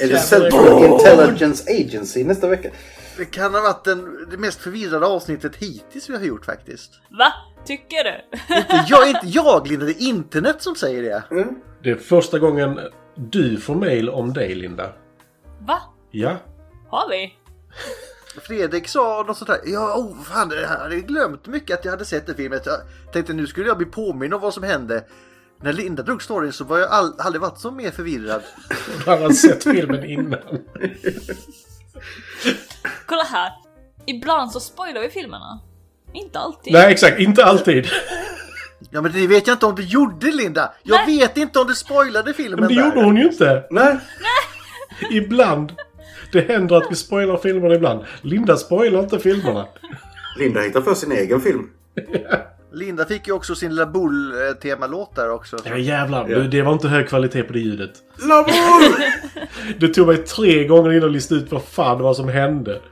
[SPEAKER 4] Är det Central Intelligence Agency nästa vecka?
[SPEAKER 3] Det kan ha varit den, det mest förvirrade avsnittet hittills vi har gjort faktiskt.
[SPEAKER 7] Va? Tycker du? *laughs*
[SPEAKER 3] Inte jag, inte jag Linda, det är internet som säger det.
[SPEAKER 6] Det är första gången du får mail om dig, Linda.
[SPEAKER 7] Va?
[SPEAKER 6] Ja.
[SPEAKER 7] Har vi?
[SPEAKER 3] Fredrik sa något sånt här. Ja, oh, fan, jag hade glömt mycket att jag hade sett den filmen. Jag tänkte nu skulle jag bli påminn om vad som hände. När Linda drog storyn så var jag all, aldrig varit så mer förvirrad.
[SPEAKER 6] Du har sett filmen innan.
[SPEAKER 7] Kolla här! Ibland så spoilar vi filmerna. Inte alltid.
[SPEAKER 6] Nej, exakt. Inte alltid.
[SPEAKER 3] Ja men det vet jag inte om du gjorde Linda! Jag vet inte om du spoilade filmen
[SPEAKER 6] Men det
[SPEAKER 3] där.
[SPEAKER 6] gjorde hon ju inte.
[SPEAKER 4] Nej.
[SPEAKER 6] Ibland. Det händer att vi spoilar filmerna ibland. Linda spoilar inte filmerna.
[SPEAKER 4] Linda hittar för sin egen film.
[SPEAKER 3] Linda fick ju också sin lilla bull-temalåt där också.
[SPEAKER 6] Ja, jävlar. Du, det var inte hög kvalitet på det ljudet.
[SPEAKER 4] Labour!
[SPEAKER 6] *laughs* Det tog mig tre gånger innan jag listade ut vad fan det var som hände.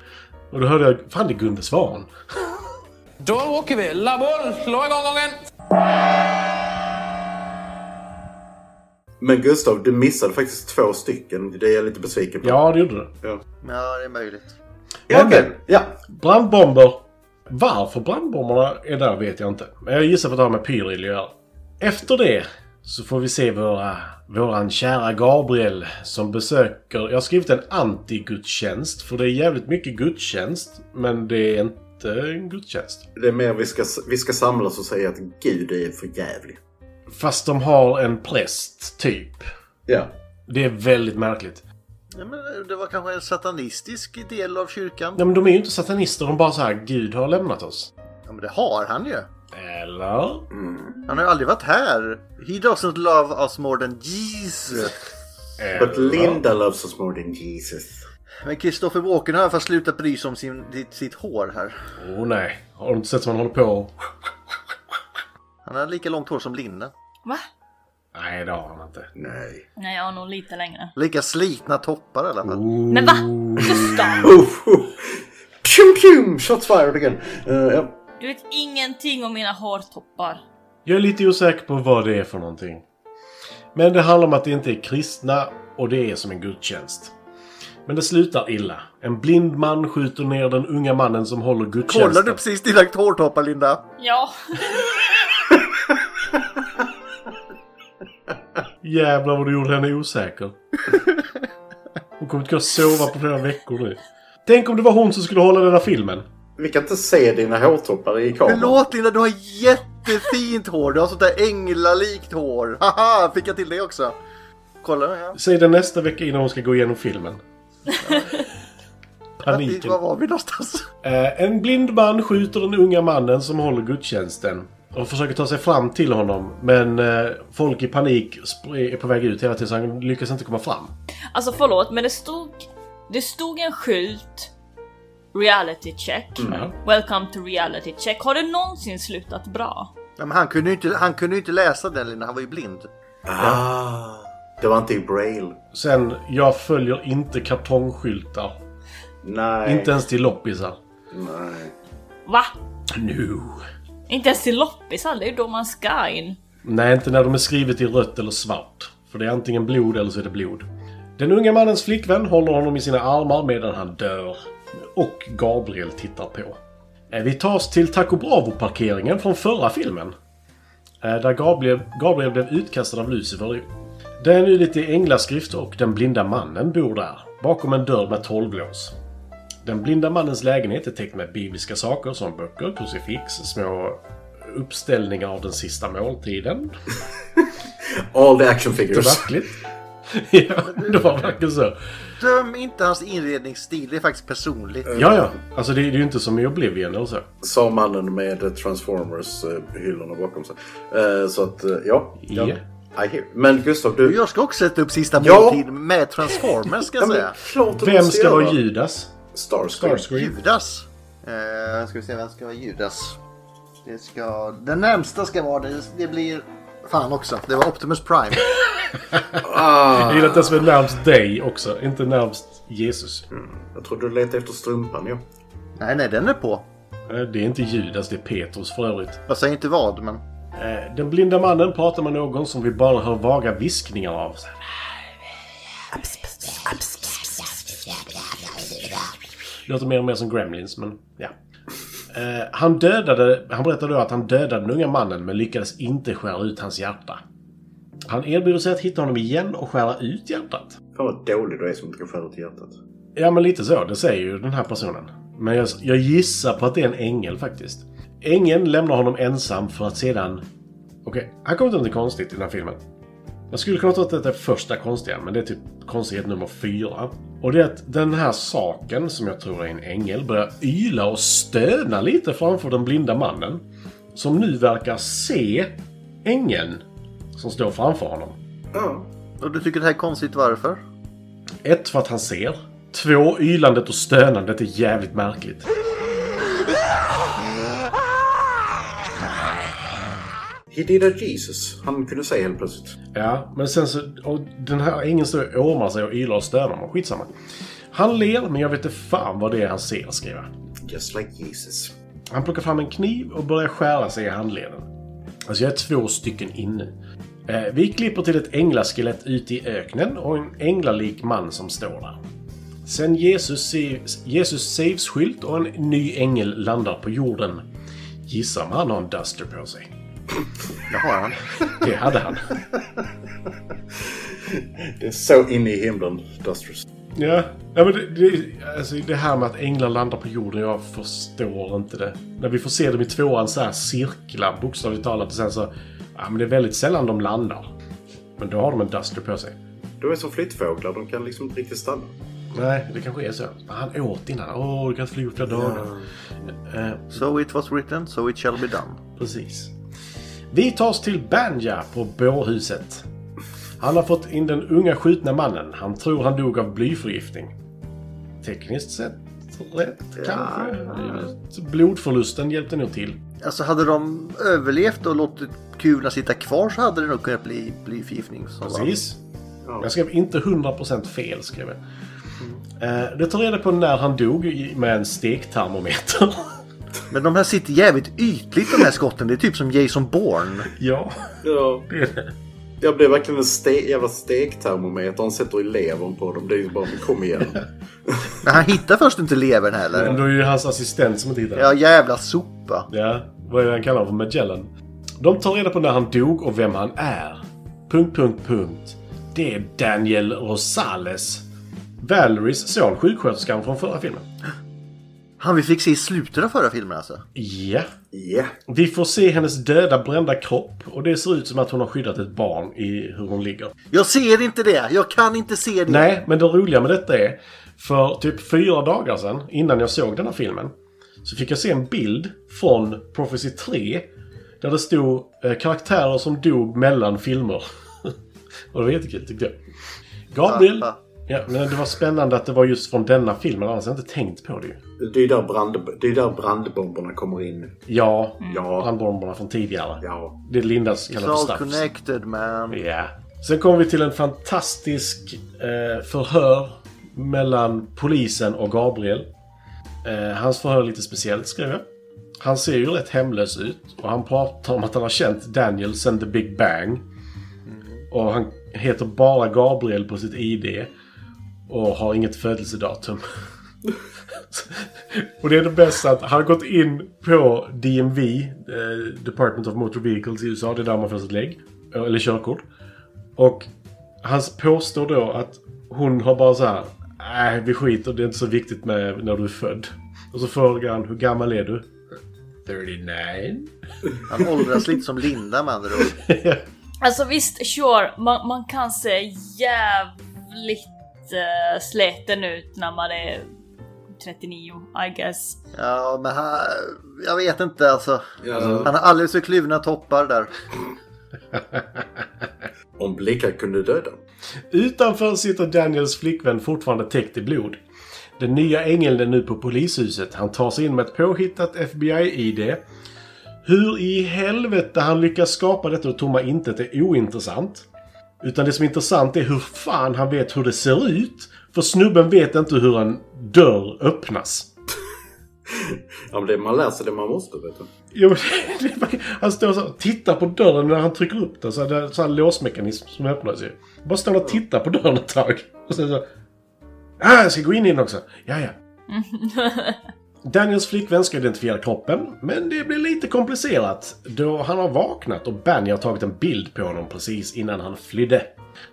[SPEAKER 6] Och då hörde jag, fan det är Gunde Svan.
[SPEAKER 2] Då åker vi! La boll! Slå igång gången!
[SPEAKER 4] Men Gustav, du missade faktiskt två stycken. Det är jag lite besviken på.
[SPEAKER 6] Ja, det gjorde det.
[SPEAKER 3] Ja, det är möjligt.
[SPEAKER 4] ja okej. Ja.
[SPEAKER 6] Brandbomber. Varför brandbomberna är där vet jag inte. Men jag gissar på att det har med Pyril att göra. Efter det så får vi se våra, våran kära Gabriel som besöker... Jag har skrivit en anti-gudstjänst för det är jävligt mycket gudstjänst. Men det är inte en gudstjänst.
[SPEAKER 4] Det är mer vi ska, vi ska samlas och säga att Gud är för jävlig.
[SPEAKER 6] Fast de har en präst, typ.
[SPEAKER 4] Ja.
[SPEAKER 6] Det är väldigt märkligt.
[SPEAKER 3] Ja, men det var kanske en satanistisk del av kyrkan.
[SPEAKER 6] Nej men de är ju inte satanister, de bara så här Gud har lämnat oss.
[SPEAKER 3] Ja, men det har han ju.
[SPEAKER 6] Eller?
[SPEAKER 3] Han har ju aldrig varit här. He doesn't love us more than Jesus.
[SPEAKER 4] But Linda loves us more than Jesus.
[SPEAKER 3] Men Kristoffer Walken har i alla fall slutat bry sig om sin, sitt, sitt hår här.
[SPEAKER 6] Åh oh, nej. Har du inte sett som han håller på och...
[SPEAKER 3] Han har lika långt hår som Linda.
[SPEAKER 7] Va?
[SPEAKER 6] Nej, det har han inte.
[SPEAKER 4] Nej.
[SPEAKER 7] Nej, jag har nog lite längre.
[SPEAKER 3] Lika slitna toppar i alla fall.
[SPEAKER 7] Men va? Gustav!
[SPEAKER 4] Uff, uff. Pjum, pjum! Shots fired again. Eh, ja.
[SPEAKER 7] Du vet ingenting om mina hårtoppar.
[SPEAKER 6] Jag är lite osäker på vad det är för någonting. Men det handlar om att det inte är kristna och det är som en gudstjänst. Men det slutar illa. En blind man skjuter ner den unga mannen som håller gudstjänsten.
[SPEAKER 3] Kollar du precis dina hårtoppar Linda?
[SPEAKER 7] Ja.
[SPEAKER 6] Jävlar vad du gjorde henne osäker. Hon kommer inte kunna sova på flera veckor nu. Tänk om det var hon som skulle hålla denna filmen.
[SPEAKER 4] Vi kan inte se dina hårtoppar i kameran.
[SPEAKER 3] Förlåt Linda, du har jättefint hår. Du har sånt där änglalikt hår. Haha, fick jag till det också? Kolla här.
[SPEAKER 6] Säg det nästa vecka innan hon ska gå igenom filmen.
[SPEAKER 3] Paniken.
[SPEAKER 6] Paniken.
[SPEAKER 3] Var var vi någonstans?
[SPEAKER 6] Eh, En blind man skjuter den unga mannen som håller gudstjänsten och försöker ta sig fram till honom. Men eh, folk i panik sp- är på väg ut hela tiden så han lyckas inte komma fram.
[SPEAKER 7] Alltså förlåt, men det stod... Det stod en skylt. Reality check. Welcome to reality check. Har det någonsin slutat bra?
[SPEAKER 3] Nej, men han kunde ju inte, han kunde ju inte läsa den Linda, han var ju blind.
[SPEAKER 4] Ah, det var inte i braille.
[SPEAKER 6] Sen, jag följer inte kartongskyltar.
[SPEAKER 4] Nej.
[SPEAKER 6] Inte ens till loppisar.
[SPEAKER 4] Nej.
[SPEAKER 7] Va?
[SPEAKER 6] No.
[SPEAKER 7] Inte ens till loppisar, det är ju då man ska in.
[SPEAKER 6] Nej, inte när de är skrivet i rött eller svart. För det är antingen blod eller så är det blod. Den unga mannens flickvän håller honom i sina armar medan han dör. Och Gabriel tittar på. Eh, Vi tas till Taco Bravo-parkeringen från förra filmen. Eh, Där Gabriel, Gabriel blev utkastad av Lucifer. Det är nu lite änglaskrift och den blinda mannen bor där, bakom en dörr med tolvlås. Den blinda mannens lägenhet är täckt med bibliska saker som böcker, krucifix, små uppställningar av den sista måltiden.
[SPEAKER 4] All the action
[SPEAKER 6] Det
[SPEAKER 4] figures.
[SPEAKER 6] var verkligt. *laughs* ja, det var verkligen så.
[SPEAKER 3] Döm inte hans inredningsstil, det är faktiskt personligt.
[SPEAKER 6] Ja, ja. Alltså det är ju inte som i Oblivion eller så.
[SPEAKER 4] Sa mannen med Transformers-hyllorna bakom sig. Eh, Så att, eh, ja.
[SPEAKER 6] Ja.
[SPEAKER 4] I hear. Men Gustav, du...
[SPEAKER 3] Jag ska också sätta upp sista
[SPEAKER 4] Ja.
[SPEAKER 3] måltid med Transformers ska
[SPEAKER 4] Ja,
[SPEAKER 3] jag
[SPEAKER 4] men
[SPEAKER 3] säga.
[SPEAKER 4] klart du
[SPEAKER 6] Vem
[SPEAKER 4] måste
[SPEAKER 6] ska
[SPEAKER 4] göra.
[SPEAKER 6] vara Judas?
[SPEAKER 4] Starscream.
[SPEAKER 6] Starscream.
[SPEAKER 3] Judas. Eh, ska vi se, vem ska vara Judas? Det ska... Den närmsta ska vara det. Det blir... Fan också, det var Optimus Prime.
[SPEAKER 6] Jag gillar att den som är närmst dig också, inte närmst Jesus.
[SPEAKER 4] Jag trodde du letade efter strumpan, ja.
[SPEAKER 3] nej, nej, den är på.
[SPEAKER 6] Eh, Det är inte Judas, det är Petrus för övrigt.
[SPEAKER 3] Jag säger inte vad, men...
[SPEAKER 6] Eh, Den blinda mannen pratar med någon som vi bara hör vaga viskningar av. Så här. Låter mer och mer som Gremlins, men ja. Eh, Han dödade... Han berättade då att han dödade den unga mannen men lyckades inte skära ut hans hjärta. Han erbjuder sig att hitta honom igen och skära ut hjärtat.
[SPEAKER 4] Fan vad dålig du är som inte kan skära ut hjärtat.
[SPEAKER 6] Ja, men lite så. Det säger ju den här personen. Men jag, jag gissar på att det är en ängel faktiskt. Ängeln lämnar honom ensam för att sedan... Okej, här kommer inte något konstigt i den här filmen. Jag skulle kunna tro att detta är första konstiga, men det är typ konstighet nummer fyra. Och det är att den här saken, som jag tror är en ängel, börjar yla och stöna lite framför den blinda mannen. Som nu verkar se ängeln som står framför honom.
[SPEAKER 4] Ja.
[SPEAKER 3] Och du tycker det här är konstigt, varför?
[SPEAKER 6] Ett, för att han ser. Två, ylandet och stönandet är jävligt märkligt.
[SPEAKER 4] He did a Jesus. Han kunde säga helt plötsligt.
[SPEAKER 6] Ja, men sen så... Och den här ängeln står och åmar sig och ylar och stönar. Men skitsamma. Han ler, men jag vet inte fan vad det är han ser, skriver han.
[SPEAKER 4] Just like Jesus.
[SPEAKER 6] Han plockar fram en kniv och börjar skära sig i handleden. Alltså jag är två stycken in nu. Eh, vi klipper till ett änglaskelett ute i öknen och en änglalik man som står där. Sen Jesus, saves, Jesus saves skylt och en ny ängel landar på jorden. Gissa om han har en duster på sig.
[SPEAKER 3] Det
[SPEAKER 4] *laughs*
[SPEAKER 3] har han.
[SPEAKER 6] Det hade han.
[SPEAKER 4] Det är så inne i himlen, Dusters.
[SPEAKER 6] Ja, ja men det, det, alltså det här med att änglar landar på jorden, jag förstår inte det. När vi får se dem i tvåan så här cirklar, bokstavligt talat, och sen så... Ja, men det är väldigt sällan de landar. Men då har de en duster på sig.
[SPEAKER 4] De är som flyttfåglar. De kan liksom inte riktigt stanna.
[SPEAKER 6] Nej, det kanske är så. Han åt innan. Åh, du kan inte flyga på flera dagar. Eh,
[SPEAKER 3] So it was written, so it shall be done.
[SPEAKER 6] Precis. Vi tar oss till Banja på bårhuset. Han har fått in den unga skjutna mannen. Han tror han dog av blyförgiftning. Tekniskt sett rätt kanske. Blodförlusten hjälpte nog till.
[SPEAKER 3] Alltså hade de överlevt och låtit kulorna sitta kvar så hade det nog kunnat bli blyförgiftning. som var-
[SPEAKER 6] Precis.
[SPEAKER 4] Ja.
[SPEAKER 6] Jag skrev inte 100% fel. Skrev jag. Eh, Det tar reda på när han dog i- med en stektermometer. *laughs*
[SPEAKER 3] Men de här sitter jävligt ytligt de här skotten. Det är typ som Jason Bourne.
[SPEAKER 6] ja.
[SPEAKER 4] Ja. Jag blev verkligen en ste- jävla stektermometer. Han sätter i levern på dem. Det är ju bara, kom igen.
[SPEAKER 3] Men han hittar först inte levern heller.
[SPEAKER 6] Men då är det ju hans assistent som inte hittar
[SPEAKER 3] Ja, jävla sopa.
[SPEAKER 6] Ja, vad är det han kallar honom för? Magellan? De tar reda på när han dog och vem han är. Punkt, punkt, punkt. Det är Daniel Rosales. Valeries son, sjuksköterskan från förra filmen.
[SPEAKER 3] Han vi fick se i slutet av förra filmen alltså.
[SPEAKER 6] Ja.
[SPEAKER 4] Ja.
[SPEAKER 6] Vi får se hennes döda, brända kropp och det ser ut som att hon har skyddat ett barn i hur hon ligger.
[SPEAKER 3] Jag ser inte det! Jag kan inte se det!
[SPEAKER 6] Nej, men det roliga med detta är för typ fyra dagar sedan, innan jag såg den här filmen, så fick jag se en bild från Prophecy 3 där det stod eh, karaktärer som dog mellan filmer. *laughs* och det var jättekul tyckte jag. Gabriel...
[SPEAKER 3] Pappa.
[SPEAKER 6] Ja, men det var spännande att det var just från denna filmen, annars har jag inte tänkt på det ju.
[SPEAKER 4] Det är där, brand, det är där brandbomberna kommer in.
[SPEAKER 6] Ja,
[SPEAKER 4] Mm. Ja.
[SPEAKER 6] brandbomberna från tidigare.
[SPEAKER 4] Ja.
[SPEAKER 6] Det Lindas kallar
[SPEAKER 3] It's
[SPEAKER 6] för
[SPEAKER 3] all
[SPEAKER 6] staffs.
[SPEAKER 3] connected man.
[SPEAKER 6] Ja. Sen kommer vi till en fantastisk eh, förhör mellan polisen och Gabriel. Eh, hans förhör är lite speciellt, skrev jag. Han ser ju rätt hemlös ut och han pratar om att han har känt Daniel sen the Big Bang. Och han heter bara Gabriel på sitt ID och har inget födelsedatum. *laughs* och det är det bästa att han har gått in på DMV, eh, Department of Motor Vehicles i USA, det är där man får sitt lägg. Eller körkort. eh, Och Han påstår då att hon har bara så här. Nej, vi skiter. Det är inte så viktigt med när du är född. Och så frågar han, hur gammal är du? 39.
[SPEAKER 3] Han åldras lite som Linda med andra ord.
[SPEAKER 7] Alltså visst, sure, man, man kan se jävligt eh, släten ut när man är 39, I guess.
[SPEAKER 3] Ja, men han, jag vet inte alltså.
[SPEAKER 4] Ja.
[SPEAKER 3] Han har alldeles för kluvna toppar där.
[SPEAKER 4] Om blickar kunde döda.
[SPEAKER 6] Utanför sitter Daniels flickvän fortfarande täckt i blod. Den nya ängeln är nu på polishuset. Han tar sig in med ett påhittat FBI-ID. Hur i helvete han lyckas skapa detta ur tomma intet är ointressant. Utan det som är intressant är hur fan han vet hur det ser ut. För snubben vet inte hur en dörr öppnas.
[SPEAKER 4] Ja, men det man läser det man måste, vet du.
[SPEAKER 6] Jo, men *laughs* det är bara- han står så och tittar på dörren när han trycker upp den. Så här, det är så här låsmekanism som öppnas ju. Bara står och tittar på dörren ett tag. Och sen så... Ah, jag ska gå in i den också. Ja, ja. Daniels flickvän ska identifiera kroppen, men det blir lite komplicerat då han har vaknat och Banny har tagit en bild på honom precis innan han flydde.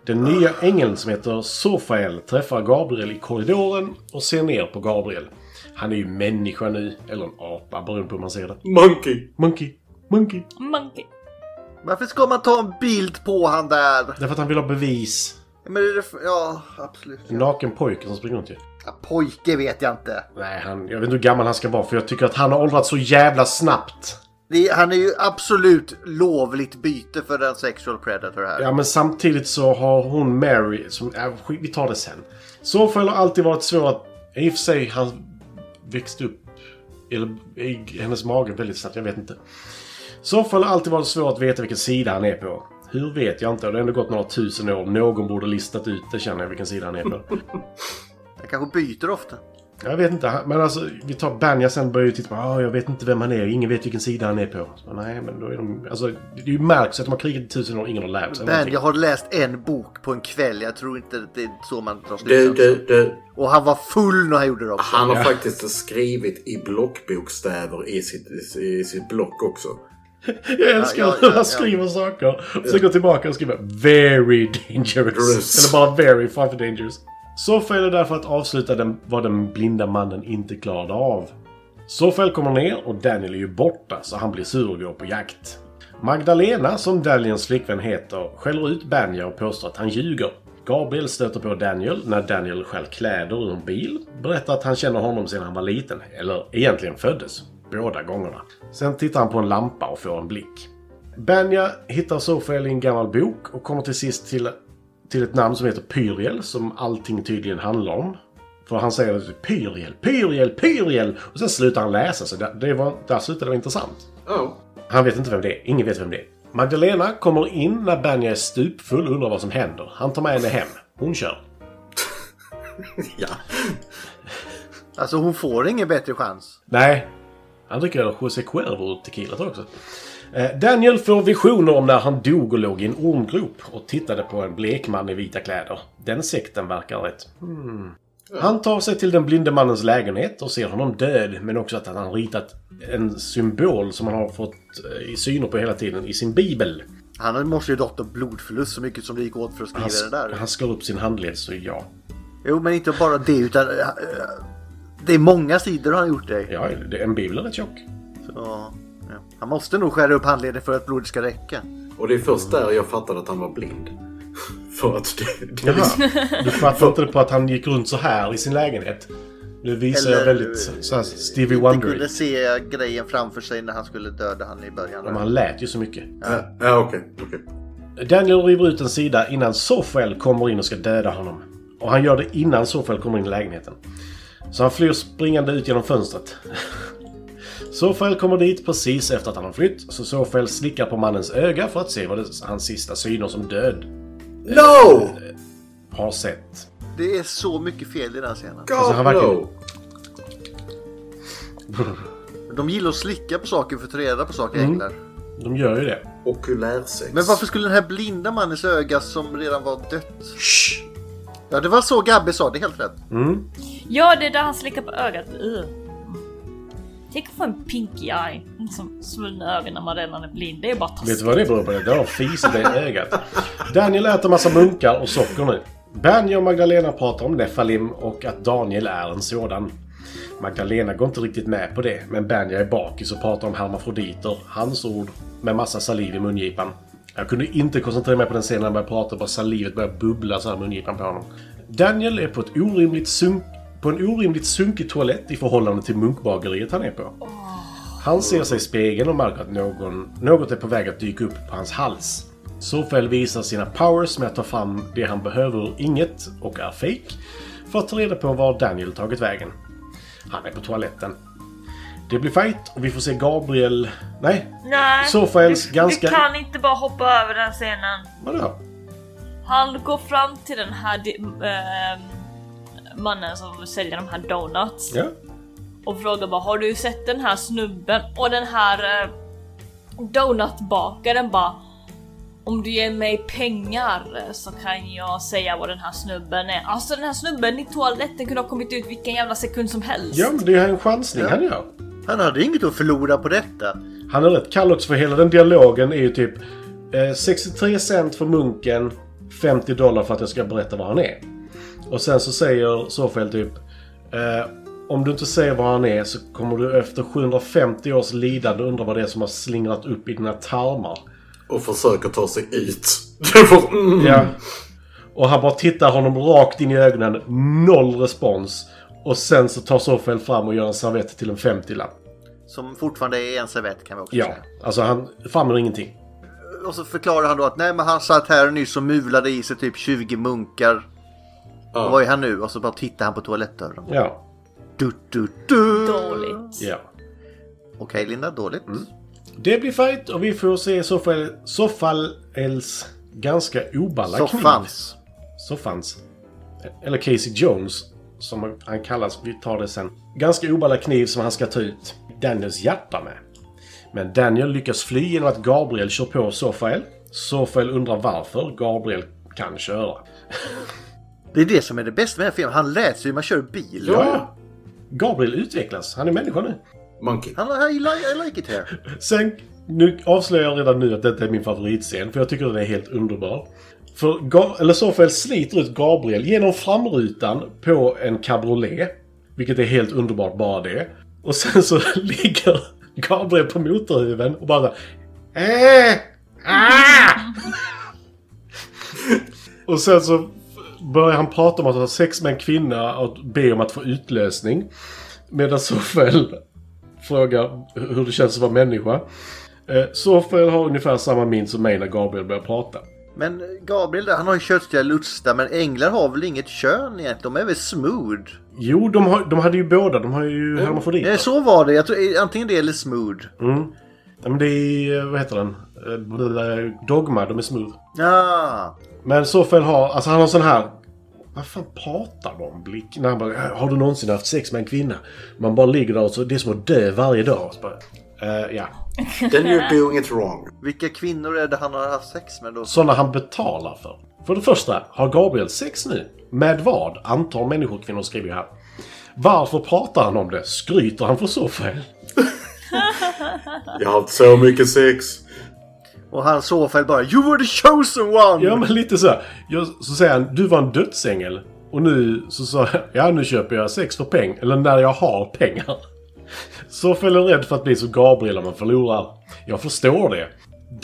[SPEAKER 6] Den nya ängeln som heter Sofael träffar Gabriel i korridoren och ser ner på Gabriel. Han är ju människa nu, eller en apa beroende på hur man ser det.
[SPEAKER 4] Monkey!
[SPEAKER 6] Monkey, monkey.
[SPEAKER 7] Monkey.
[SPEAKER 3] Varför ska man ta en bild på han där?
[SPEAKER 6] Därför att han vill ha bevis.
[SPEAKER 3] Men är det för... Ja, absolut.
[SPEAKER 6] En naken pojke som springer runt ju.
[SPEAKER 3] Ja, pojke vet jag inte.
[SPEAKER 6] Nej, han, jag vet inte hur gammal han ska vara för jag tycker att han har åldrats så jävla snabbt.
[SPEAKER 3] Det, han är ju absolut lovligt byte för den sexual predator här.
[SPEAKER 6] Ja, men samtidigt så har hon Mary som... Äh, skit, vi tar det sen. Sofael har alltid varit svår att... I och för sig, han växte upp... Eller i hennes mage väldigt snabbt, jag vet inte. Sofael har alltid varit svår att veta vilken sida han är på. Hur vet jag inte? Det har ändå gått några tusen år. Någon borde listat ut det känner jag, vilken sida han är på.
[SPEAKER 3] Han kanske byter ofta.
[SPEAKER 6] Jag vet inte, men alltså vi tar Banja sen börjar ju titta på, ah, jag vet inte vem han är, ingen vet vilken sida han är på. Så, nej, men då är de, alltså det är ju märks att de har krigat i tusen år, ingen har lärt sig
[SPEAKER 3] Men
[SPEAKER 6] någonting.
[SPEAKER 3] jag har läst en bok på en kväll. Jag tror inte det är så man drar
[SPEAKER 4] Du,
[SPEAKER 3] slutsatser.
[SPEAKER 4] du, du.
[SPEAKER 3] Och han var full när han gjorde det också.
[SPEAKER 4] Han har faktiskt skrivit i blockbokstäver i sitt, i sitt block också.
[SPEAKER 6] Jag älskar
[SPEAKER 3] Ja, ja,
[SPEAKER 6] hur han
[SPEAKER 3] ja, ja.
[SPEAKER 6] skriver saker. Sen går tillbaka och skriver “Very dangerous”.
[SPEAKER 4] Gross.
[SPEAKER 6] Eller bara “Very framför dangerous”. Sofael är där för att avsluta den, vad den blinda mannen inte klarade av. Sofael kommer ner och Daniel är ju borta så han blir sur och går på jakt. Magdalena, som Daniels flickvän heter, skäller ut Banja och påstår att han ljuger. Gabriel stöter på Daniel när Daniel stjäl kläder ur en bil. Berättar att han känner honom sedan han var liten, eller egentligen föddes. Båda gångerna. Sen tittar han på en lampa och får en blick. Banja hittar Sofael i en gammal bok och kommer till sist till, till ett namn som heter Pyriel, som allting tydligen handlar om. För han säger Pyriel, Pyriel, Pyriel! Och sen slutar han läsa, så det, det var, där slutade det vara intressant.
[SPEAKER 4] Ja.
[SPEAKER 6] Han vet inte vem det är. Ingen vet vem det är. Magdalena kommer in när Banja är stupfull och undrar vad som händer. Han tar med henne hem. Hon kör.
[SPEAKER 4] Ja.
[SPEAKER 3] Alltså hon får ingen bättre chans.
[SPEAKER 6] Nej. Han dricker José Cuervo och tequila tror jag också. Eh, Daniel får visioner om när han dog och låg i en ormgrop och tittade på en blek man i vita kläder. Den sekten verkar rätt... Hmm. Han tar sig till den blinde mannens lägenhet och ser honom död, men också att han har ritat en symbol som han har fått eh, i syner på hela tiden i sin bibel.
[SPEAKER 3] Han måste ju dotter blodförlust så mycket som det gick åt för att skriva
[SPEAKER 6] Han,
[SPEAKER 3] det där.
[SPEAKER 6] han skar upp sin handled, så ja.
[SPEAKER 3] Jo, men inte bara det utan... eh, eh, Det är många sidor han har gjort det.
[SPEAKER 6] Ja, det- en bibel är rätt tjock.
[SPEAKER 3] Ja. ja. Han måste nog skära upp handleden för att blodet ska räcka.
[SPEAKER 4] Och det är först där jag fattade att han var blind. *laughs* För att det... det är liksom,
[SPEAKER 6] Du fattar inte på att han gick runt så här i sin lägenhet. Nu visar jag
[SPEAKER 3] Eller-
[SPEAKER 6] väldigt så här Stevie
[SPEAKER 3] Inte
[SPEAKER 6] wonder
[SPEAKER 3] kunde se grejen framför sig när han skulle döda han i början.
[SPEAKER 6] Men han lät ju så mycket.
[SPEAKER 4] ja, ja, okej. okej.
[SPEAKER 6] Daniel river ut en sida innan Sofael kommer in och ska döda honom. Och han gör det innan Sofael kommer in i lägenheten. Så han flyr springande ut genom fönstret. *laughs* Sofael kommer dit precis efter att han har flytt, så Sofael slickar på mannens öga för att se vad det, hans sista syner som död
[SPEAKER 4] No!
[SPEAKER 6] har sett.
[SPEAKER 3] Det är så mycket fel i den här scenen.
[SPEAKER 4] God
[SPEAKER 6] Alltså, han verkar-
[SPEAKER 4] no!
[SPEAKER 3] De gillar att slicka på saker för att ta reda på
[SPEAKER 6] Mm.
[SPEAKER 3] saker änglar.
[SPEAKER 6] De gör ju det.
[SPEAKER 4] Okulärsex.
[SPEAKER 3] Men varför skulle den här blinda mannens öga som redan var dött... Ja, det var så Gabbe sa, det är helt rätt.
[SPEAKER 7] Ja, det är där han slickar på ögat. Ugh. Tänk att få en pinky eye. Som svullna ögon när man redan är blind. Det är bara taskigt.
[SPEAKER 6] Vet du vad det beror på? Det har fisit i ögat. Daniel äter massa munkar och socker nu. Bernie och Magdalena pratar om Nefalim och att Daniel är en sådan. Magdalena går inte riktigt med på det, men Bernie är bakis och pratar om hermafroditer, hans ord, med massa saliv i mungipan. Jag kunde inte koncentrera mig på den scenen när han började prata, bara salivet började bubbla så här i mungipan på honom. Daniel är på, ett orimligt sunk, på en orimligt sunkig toalett i förhållande till munkbageriet han är på. Han ser sig i spegeln och märker att någon, något är på väg att dyka upp på hans hals. Sofael visar sina powers med att ta fram det han behöver ur inget och är fake för att ta reda på var Daniel tagit vägen. Han är på toaletten. Det blir fight och vi får se Gabriel... Nej,
[SPEAKER 7] Nej,
[SPEAKER 6] Sofaels
[SPEAKER 7] du,
[SPEAKER 6] ganska-
[SPEAKER 7] du kan inte bara hoppa över den scenen.
[SPEAKER 6] vadå?
[SPEAKER 7] Han går fram till den här di- ehm, mannen som säljer de här donuts.
[SPEAKER 6] Ja.
[SPEAKER 7] och frågar bara har du sett den här snubben och den här eh, donutbakaren bara om du ger mig pengar eh, så kan jag säga vad den här snubben är. Alltså den här snubben i toaletten kunde ha kommit ut vilken jävla sekund som helst.
[SPEAKER 6] ja, men det är ju en chansning
[SPEAKER 3] Ja.
[SPEAKER 6] han gör.
[SPEAKER 3] Han hade inget att förlora på detta.
[SPEAKER 6] Han är rätt kall också för hela den dialogen är ju typ eh, 63 cent för munken, 50 dollar för att jag ska berätta vad han är. Och sen så säger Sofiel typ eh, om du inte säger vad han är så kommer du efter 750 års lidande undra vad det är som har slingrat upp i dina tarmar.
[SPEAKER 4] Och försöker ta sig ut. *laughs* Det får- mm.
[SPEAKER 6] Ja. Och han bara tittar honom rakt in i ögonen. Noll respons. Och sen så tar Sofiel fram och gör en servett till en 50-lapp.
[SPEAKER 3] Som fortfarande är en servett kan vi också
[SPEAKER 6] Ja,
[SPEAKER 3] säga.
[SPEAKER 6] alltså han framhåller ingenting.
[SPEAKER 3] Och så förklarar han då att nej men han satt här nyss och mulade i sig typ 20 munkar.
[SPEAKER 4] Ja.
[SPEAKER 3] Och Var är han nu? Och så bara tittar han på toalettdörren.
[SPEAKER 6] Ja,
[SPEAKER 3] Du, du, du.
[SPEAKER 7] Dåligt.
[SPEAKER 6] ja.
[SPEAKER 3] Okej Linda, dåligt.
[SPEAKER 6] Mm, Det blir fight och vi får se Sofael, Sofaels ganska oballa
[SPEAKER 3] Så fanns.
[SPEAKER 6] Soffans. Eller Casey Jones, som han kallas. Vi tar det sen. Ganska oballa kniv som han ska ta ut Daniels hjärta med. Men Daniel lyckas fly genom att Gabriel kör på Sofael. Sofael undrar varför Gabriel kan köra.
[SPEAKER 3] Det är det som är det bästa med den här filmen. Han lät sig hur man kör bil.
[SPEAKER 6] Ja! Gabriel utvecklas. Han är människa nu.
[SPEAKER 4] Monkey.
[SPEAKER 3] Han, I, like, I like it here.
[SPEAKER 6] Sen, nu avslöjar jag redan nu att detta är min favoritscen, för jag tycker den är helt underbar. För Ga- eller Sofael sliter ut Gabriel genom framrutan på en cabriolet. Vilket är helt underbart bara det. Och sen så *laughs* ligger Gabriel på motorhuven och bara äh, ah! *laughs* Och sen så börjar han prata om att ha sex med en kvinna och be om att få utlösning. Medan Sofael frågar hur det känns att vara människa. Eh, Sofael har ungefär samma min som mig när Gabriel börjar prata.
[SPEAKER 3] Men Gabriel där, han har ju köttiga lustar men änglar har väl inget kön egentligen? De är väl smooth?
[SPEAKER 6] Jo, de, har, de hade ju båda. De har ju hermafroditer.
[SPEAKER 3] Nej, så var Mm. det. Jag tror, eh, antingen det eller smooth.
[SPEAKER 6] Ja, men det är, eh, vad heter den? Eh, blablabla, Dogma, de är smooth.
[SPEAKER 3] Ja,
[SPEAKER 6] Men Sofael har, alltså han har sån här... Vad fan pratar de om? Blick? När han bara, "Äh, har du någonsin haft sex med en kvinna? Man bara ligger där och så, det är som att dö varje dag. Så bara, eh, ja.
[SPEAKER 4] Then you're doing it wrong.
[SPEAKER 3] vilka kvinnor är det han har haft sex med då?
[SPEAKER 6] Sådana han betalar för. För det första, har Gabriel sex nu? Med vad? Antal människor kvinnor skriver ju här. Varför pratar han om det? Skryter han för Sofael?
[SPEAKER 4] Jag har haft så mycket sex.
[SPEAKER 3] Och han såfäll bara You were the chosen one!
[SPEAKER 6] Ja, men lite så. här. Jag, så säger han, du var en dödsängel. Och nu så sa jag, ja nu köper jag sex för peng. Eller när jag har pengar. Så föll jag rädd för att bli som Gabriel om man förlorar. Jag förstår det.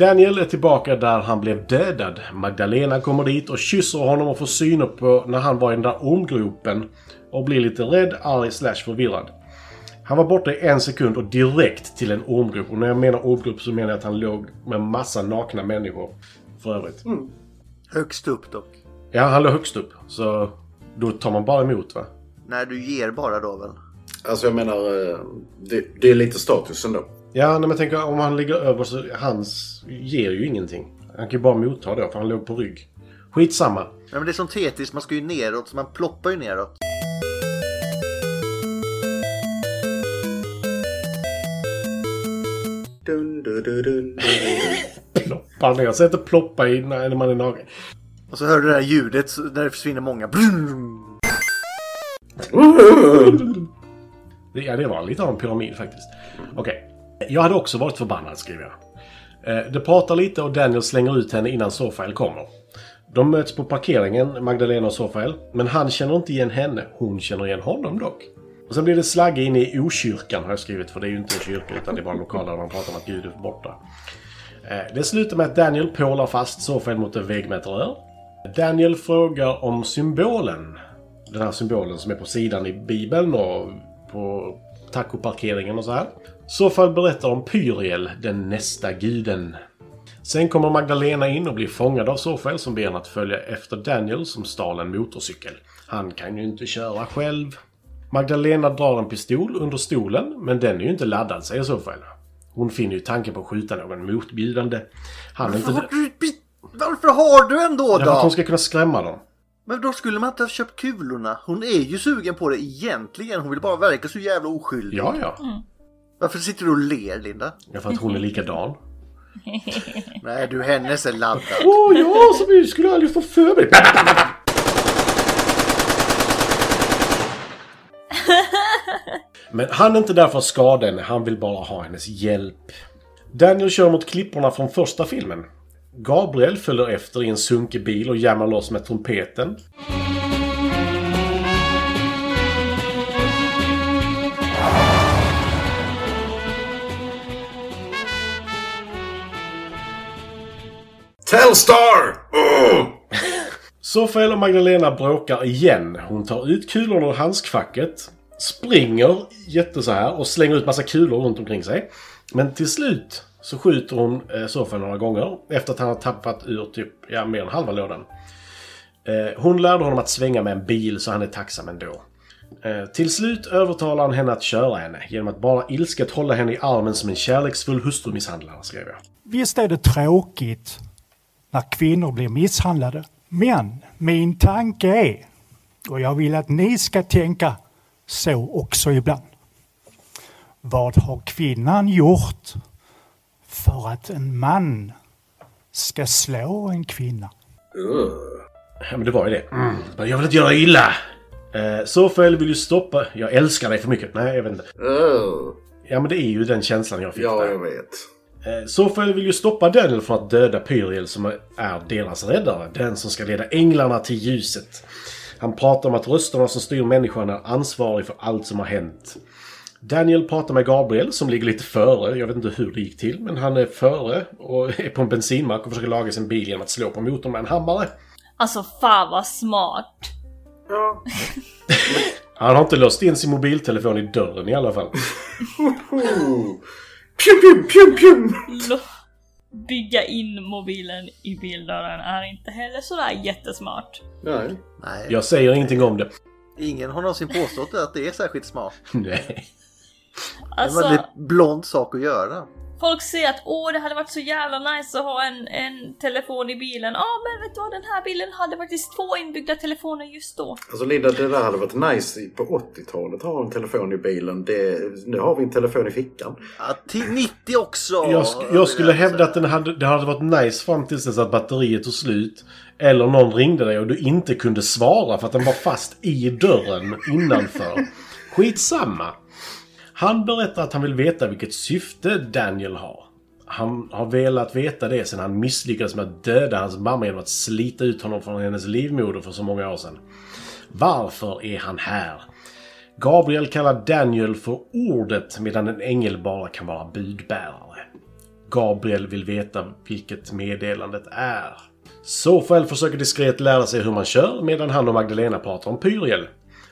[SPEAKER 6] Daniel är tillbaka där han blev dödad. Magdalena kommer dit och kysser honom och får syn på när han var i den där ormgropen. Och blir lite rädd, arg slash förvirrad. Han var borta i en sekund och direkt till en ormgrop. Och när jag menar ormgrop så menar jag att han låg med massa nakna människor. För övrigt.
[SPEAKER 3] Högst upp dock.
[SPEAKER 6] Ja, han låg högst upp. Så då tar man bara emot va?
[SPEAKER 3] Nej, du ger bara då väl?
[SPEAKER 4] Alltså jag menar, eh, det, det är lite status ändå.
[SPEAKER 6] Ja, nej, men tänk om han ligger över så hans ger ju ingenting. Han kan ju bara motta då för han låg på rygg. Skitsamma.
[SPEAKER 3] Nej, men det är som Tetris, man ska ju neråt så man ploppar ju neråt.
[SPEAKER 4] Dun, dun, dun, dun, dun.
[SPEAKER 6] Ploppar ner. Säg inte ploppa i när när man är naken.
[SPEAKER 3] Och så hör du det här ljudet så- när det försvinner många. Brum!
[SPEAKER 6] Det Det, ja, det var lite av en pyramid faktiskt. Okej. Jag hade också varit förbannad, skriver jag. Eh, De pratar lite och Daniel slänger ut henne innan Sofael kommer. De möts på parkeringen, Magdalena och Sofael. Men han känner inte igen henne. Hon känner igen honom dock. Och sen blir det slagge in i okyrkan har jag skrivit, för det är ju inte en kyrka utan det är bara en lokal där man pratar om att Gud är borta. Eh, Det slutar med att Daniel pålar fast Sofael mot en vägg med ett rör. Daniel frågar om symbolen. Den här symbolen som är på sidan i Bibeln och på tacoparkeringen och så här. Sofael berättar om Pyriel, den nästa guden. Sen kommer Magdalena in och blir fångad av Sofael som ber henne att följa efter Daniel som stal en motorcykel. Han kan ju inte köra själv. Magdalena drar en pistol under stolen, men den är ju inte laddad, säger Sofael. Hon finner ju tanken på att skjuta någon motbjudande. Han är inte...
[SPEAKER 3] Varför, har du bit- varför har du en då?
[SPEAKER 6] Därför att hon
[SPEAKER 3] då?
[SPEAKER 6] ska kunna skrämma dem.
[SPEAKER 3] Men då skulle man inte ha köpt kulorna. Hon är ju sugen på det egentligen. Hon vill bara verka så jävla oskyldig.
[SPEAKER 6] Ja, ja.
[SPEAKER 3] Varför sitter du och ler Linda?
[SPEAKER 6] Därför att hon är likadan.
[SPEAKER 3] Nej du, hennes är laddad.
[SPEAKER 6] *laughs* Åh ja, som vi skulle aldrig få för mig! Men han är inte där för att skada henne, han vill bara ha hennes hjälp. Daniel kör mot klipporna från första filmen. Gabriel följer efter i en sunkig bil och jammar loss med trumpeten.
[SPEAKER 4] Telstar! Ugh!
[SPEAKER 6] Sofael och Magdalena bråkar igen. Hon tar ut kulorna ur handskfacket, springer jätte så här och slänger ut massa kulor runt omkring sig. Men till slut så skjuter hon eh, Sofael några gånger efter att han har tappat ur typ, ja, mer än halva lådan. Eh, Hon lärde honom att svänga med en bil så han är tacksam ändå. Eh, Till slut övertalar han henne att köra henne genom att bara ilsket hålla henne i armen som en kärleksfull hustrumisshandlare, skrev jag.
[SPEAKER 10] Visst är det tråkigt när kvinnor blir misshandlade. Men min tanke är, och jag vill att ni ska tänka så också ibland. Vad har kvinnan gjort för att en man ska slå en kvinna?
[SPEAKER 4] Oh.
[SPEAKER 6] Ja, men det var ju det. Mm. Men Jag vill inte göra dig illa! Eh, Sofael vill ju stoppa... Jag älskar dig för mycket. Nej, jag vet inte.
[SPEAKER 4] Ugh.
[SPEAKER 6] Ja, men det är ju den känslan jag fick
[SPEAKER 4] Ja,
[SPEAKER 6] där.
[SPEAKER 4] jag vet.
[SPEAKER 6] Eh, Sofael vill ju stoppa Daniel från att döda Pyriel som är deras räddare. Den som ska leda änglarna till ljuset. Han pratar om att rösterna som styr människan är ansvarig för allt som har hänt. Daniel pratar med Gabriel som ligger lite före. Jag vet inte hur det gick till, men han är före och är på en bensinmack och försöker laga sin bil genom att slå på motorn med en hammare.
[SPEAKER 7] Alltså fan vad smart.
[SPEAKER 6] Han har inte låst in sin mobiltelefon i dörren i alla fall.
[SPEAKER 4] Ooh. Pjum, pjum, pjum, pjum!
[SPEAKER 7] Lo- Bygga in mobilen i bildörren är inte heller sådär jättesmart.
[SPEAKER 4] Nej.
[SPEAKER 3] Nej,
[SPEAKER 6] Jag säger ingenting om det.
[SPEAKER 3] ingen har någonsin påstått att det är särskilt smart.
[SPEAKER 6] Nej.
[SPEAKER 3] Det är en
[SPEAKER 7] Alltså,
[SPEAKER 3] väldigt blond sak att göra.
[SPEAKER 7] folk säger att åh det hade varit så jävla nice att ha en, en telefon i bilen. Ja men vet du vad, den här bilen hade faktiskt två inbyggda telefoner just då.
[SPEAKER 4] Alltså Linda, det där hade varit nice i- på 80-talet. Ha en telefon i bilen. Det, nu har vi en telefon i fickan.
[SPEAKER 3] Ja, till 90 också! Alltså,
[SPEAKER 6] Jag, sk- jag skulle hävda att den hade, det hade varit nice fram tills dess att batteriet tog slut. Eller någon ringde dig och du inte kunde svara för att den var fast i dörren innanför. Skitsamma. Han berättar att han vill veta vilket syfte Daniel har. Han har velat veta det sedan han misslyckades med att döda hans mamma genom att slita ut honom från hennes livmoder för så många år sedan. Varför är han här? Gabriel kallar Daniel för ordet medan en ängel bara kan vara budbärare. Gabriel vill veta vilket meddelandet är. Sofael försöker diskret lära sig hur man kör medan han och Magdalena pratar om Pyriel.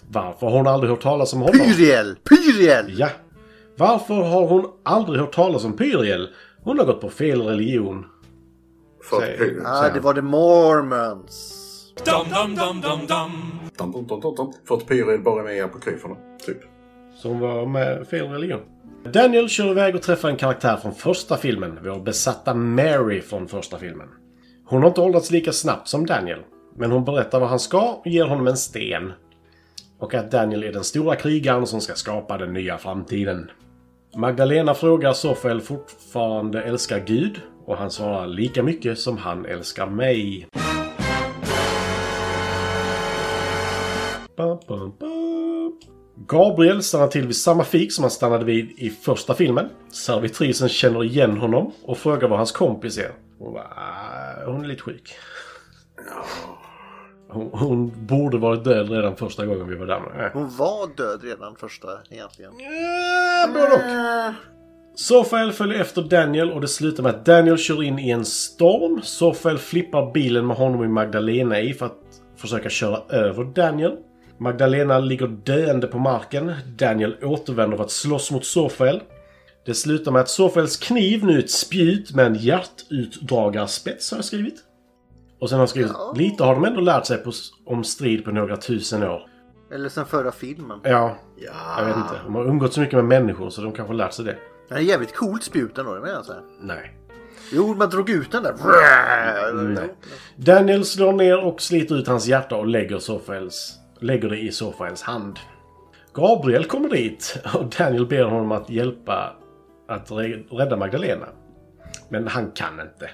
[SPEAKER 6] Varför har hon aldrig hört talas om honom?
[SPEAKER 3] Pyriel! Pyriel!
[SPEAKER 6] Ja. Varför har hon aldrig hört talas om Pyriel? Hon har gått på fel religion.
[SPEAKER 4] För att pjum.
[SPEAKER 3] Ja, det var The Mormons.
[SPEAKER 4] Dum, dum, dum, dum, dum. För att Pyril bara är med i apokryferna. Typ.
[SPEAKER 6] Som var med fel religion. Daniel kör iväg och träffar en karaktär från första filmen. Vår besatta Mary från första filmen. Hon har inte åldrats lika snabbt som Daniel. Men hon berättar vad han ska och ger honom en sten. Och att Daniel är den stora krigaren som ska skapa den nya framtiden. Magdalena frågar Sofael fortfarande älskar Gud. Och han svarar lika mycket som han älskar mig. Ba, ba, ba. Gabriel stannar till vid samma fik som han stannade vid i första filmen. Servitrisen känner igen honom och frågar var hans kompis är. Hon bara, "Ah, hon är lite sjuk. Hon, hon borde varit död redan första gången vi var där. men, eh.
[SPEAKER 3] Hon var död redan första egentligen.
[SPEAKER 6] Både och. Sofael följer efter Daniel och det slutar med att Daniel kör in i en storm. Sofael flippar bilen med honom i Magdalena i för att försöka köra över Daniel. Magdalena ligger döende på marken. Daniel återvänder för att slåss mot Sofael. Det slutar med att Sofaels kniv nu är ett spjut med en hjärtutdragarspets har jag skrivit. Och sen har jag skrivit lite har de ändå lärt sig på, om strid på några tusen år.
[SPEAKER 3] Eller sen förra filmen.
[SPEAKER 6] Ja, jag vet inte. De har umgått så mycket med människor så de kanske har lärt sig det.
[SPEAKER 3] Det är jävligt coolt spjut ändå, det menar jag så här.
[SPEAKER 6] Nej.
[SPEAKER 3] Jo, man drog ut den där.
[SPEAKER 6] Nej. Daniel slår ner och sliter ut hans hjärta och lägger, Sofaels, lägger det i Sofaels hand. Gabriel kommer dit och Daniel ber honom att hjälpa att re- rädda Magdalena. Men han kan inte.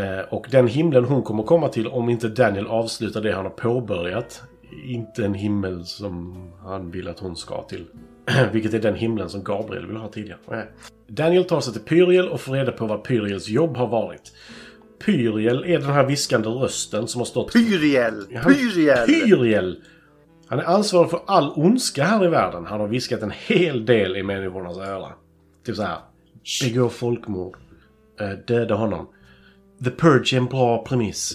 [SPEAKER 6] Eh, Och den himlen hon kommer komma till om inte Daniel avslutar det han har påbörjat. Inte en himmel som han vill att hon ska till. *clears throat* Vilket är den himlen som Gabriel vill ha tidigare. Nej. Daniel tar sig till Pyriel och får reda på vad Pyriels jobb har varit. Pyriel är den här viskande rösten som har stått...
[SPEAKER 3] Pyriel!
[SPEAKER 6] Han-
[SPEAKER 3] Pyriel!
[SPEAKER 6] Pyriel! Han är ansvarig för all ondska här i världen. Han har viskat en hel del i människornas öra. Typ så här. Begå folkmord. Eh, Döda honom. The Purge är en bra premiss.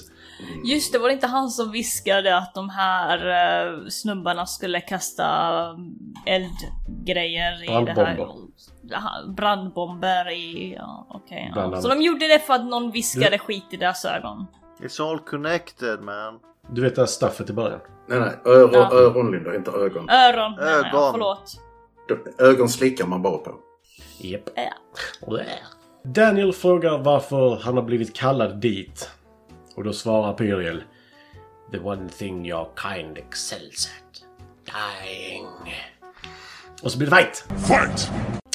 [SPEAKER 6] Mm.
[SPEAKER 7] Just det, var det inte han som viskade att de här eh, snubbarna skulle kasta mm, eldgrejer i det här?
[SPEAKER 6] Brandbomber.
[SPEAKER 7] Jaha, Brandbomber i... Ja, okej.
[SPEAKER 6] Bland
[SPEAKER 7] ja.
[SPEAKER 6] annat.
[SPEAKER 7] Så de gjorde det för att någon viskade
[SPEAKER 6] Du-
[SPEAKER 7] skit i deras ögon.
[SPEAKER 3] It's all connected man.
[SPEAKER 6] Du vet det här staffet i början?
[SPEAKER 4] Nej, nej. Öron,
[SPEAKER 7] Ja.
[SPEAKER 4] öron Linda, inte ögon.
[SPEAKER 7] Öron menar jag,
[SPEAKER 3] Ögon.
[SPEAKER 7] förlåt.
[SPEAKER 4] De- Ögon slickar man bara på.
[SPEAKER 6] Japp.
[SPEAKER 7] Ja.
[SPEAKER 6] Daniel frågar varför han har blivit kallad dit. Och då svarar Pyriel. The one thing your kind excels at. Dying. Och så blir det fight!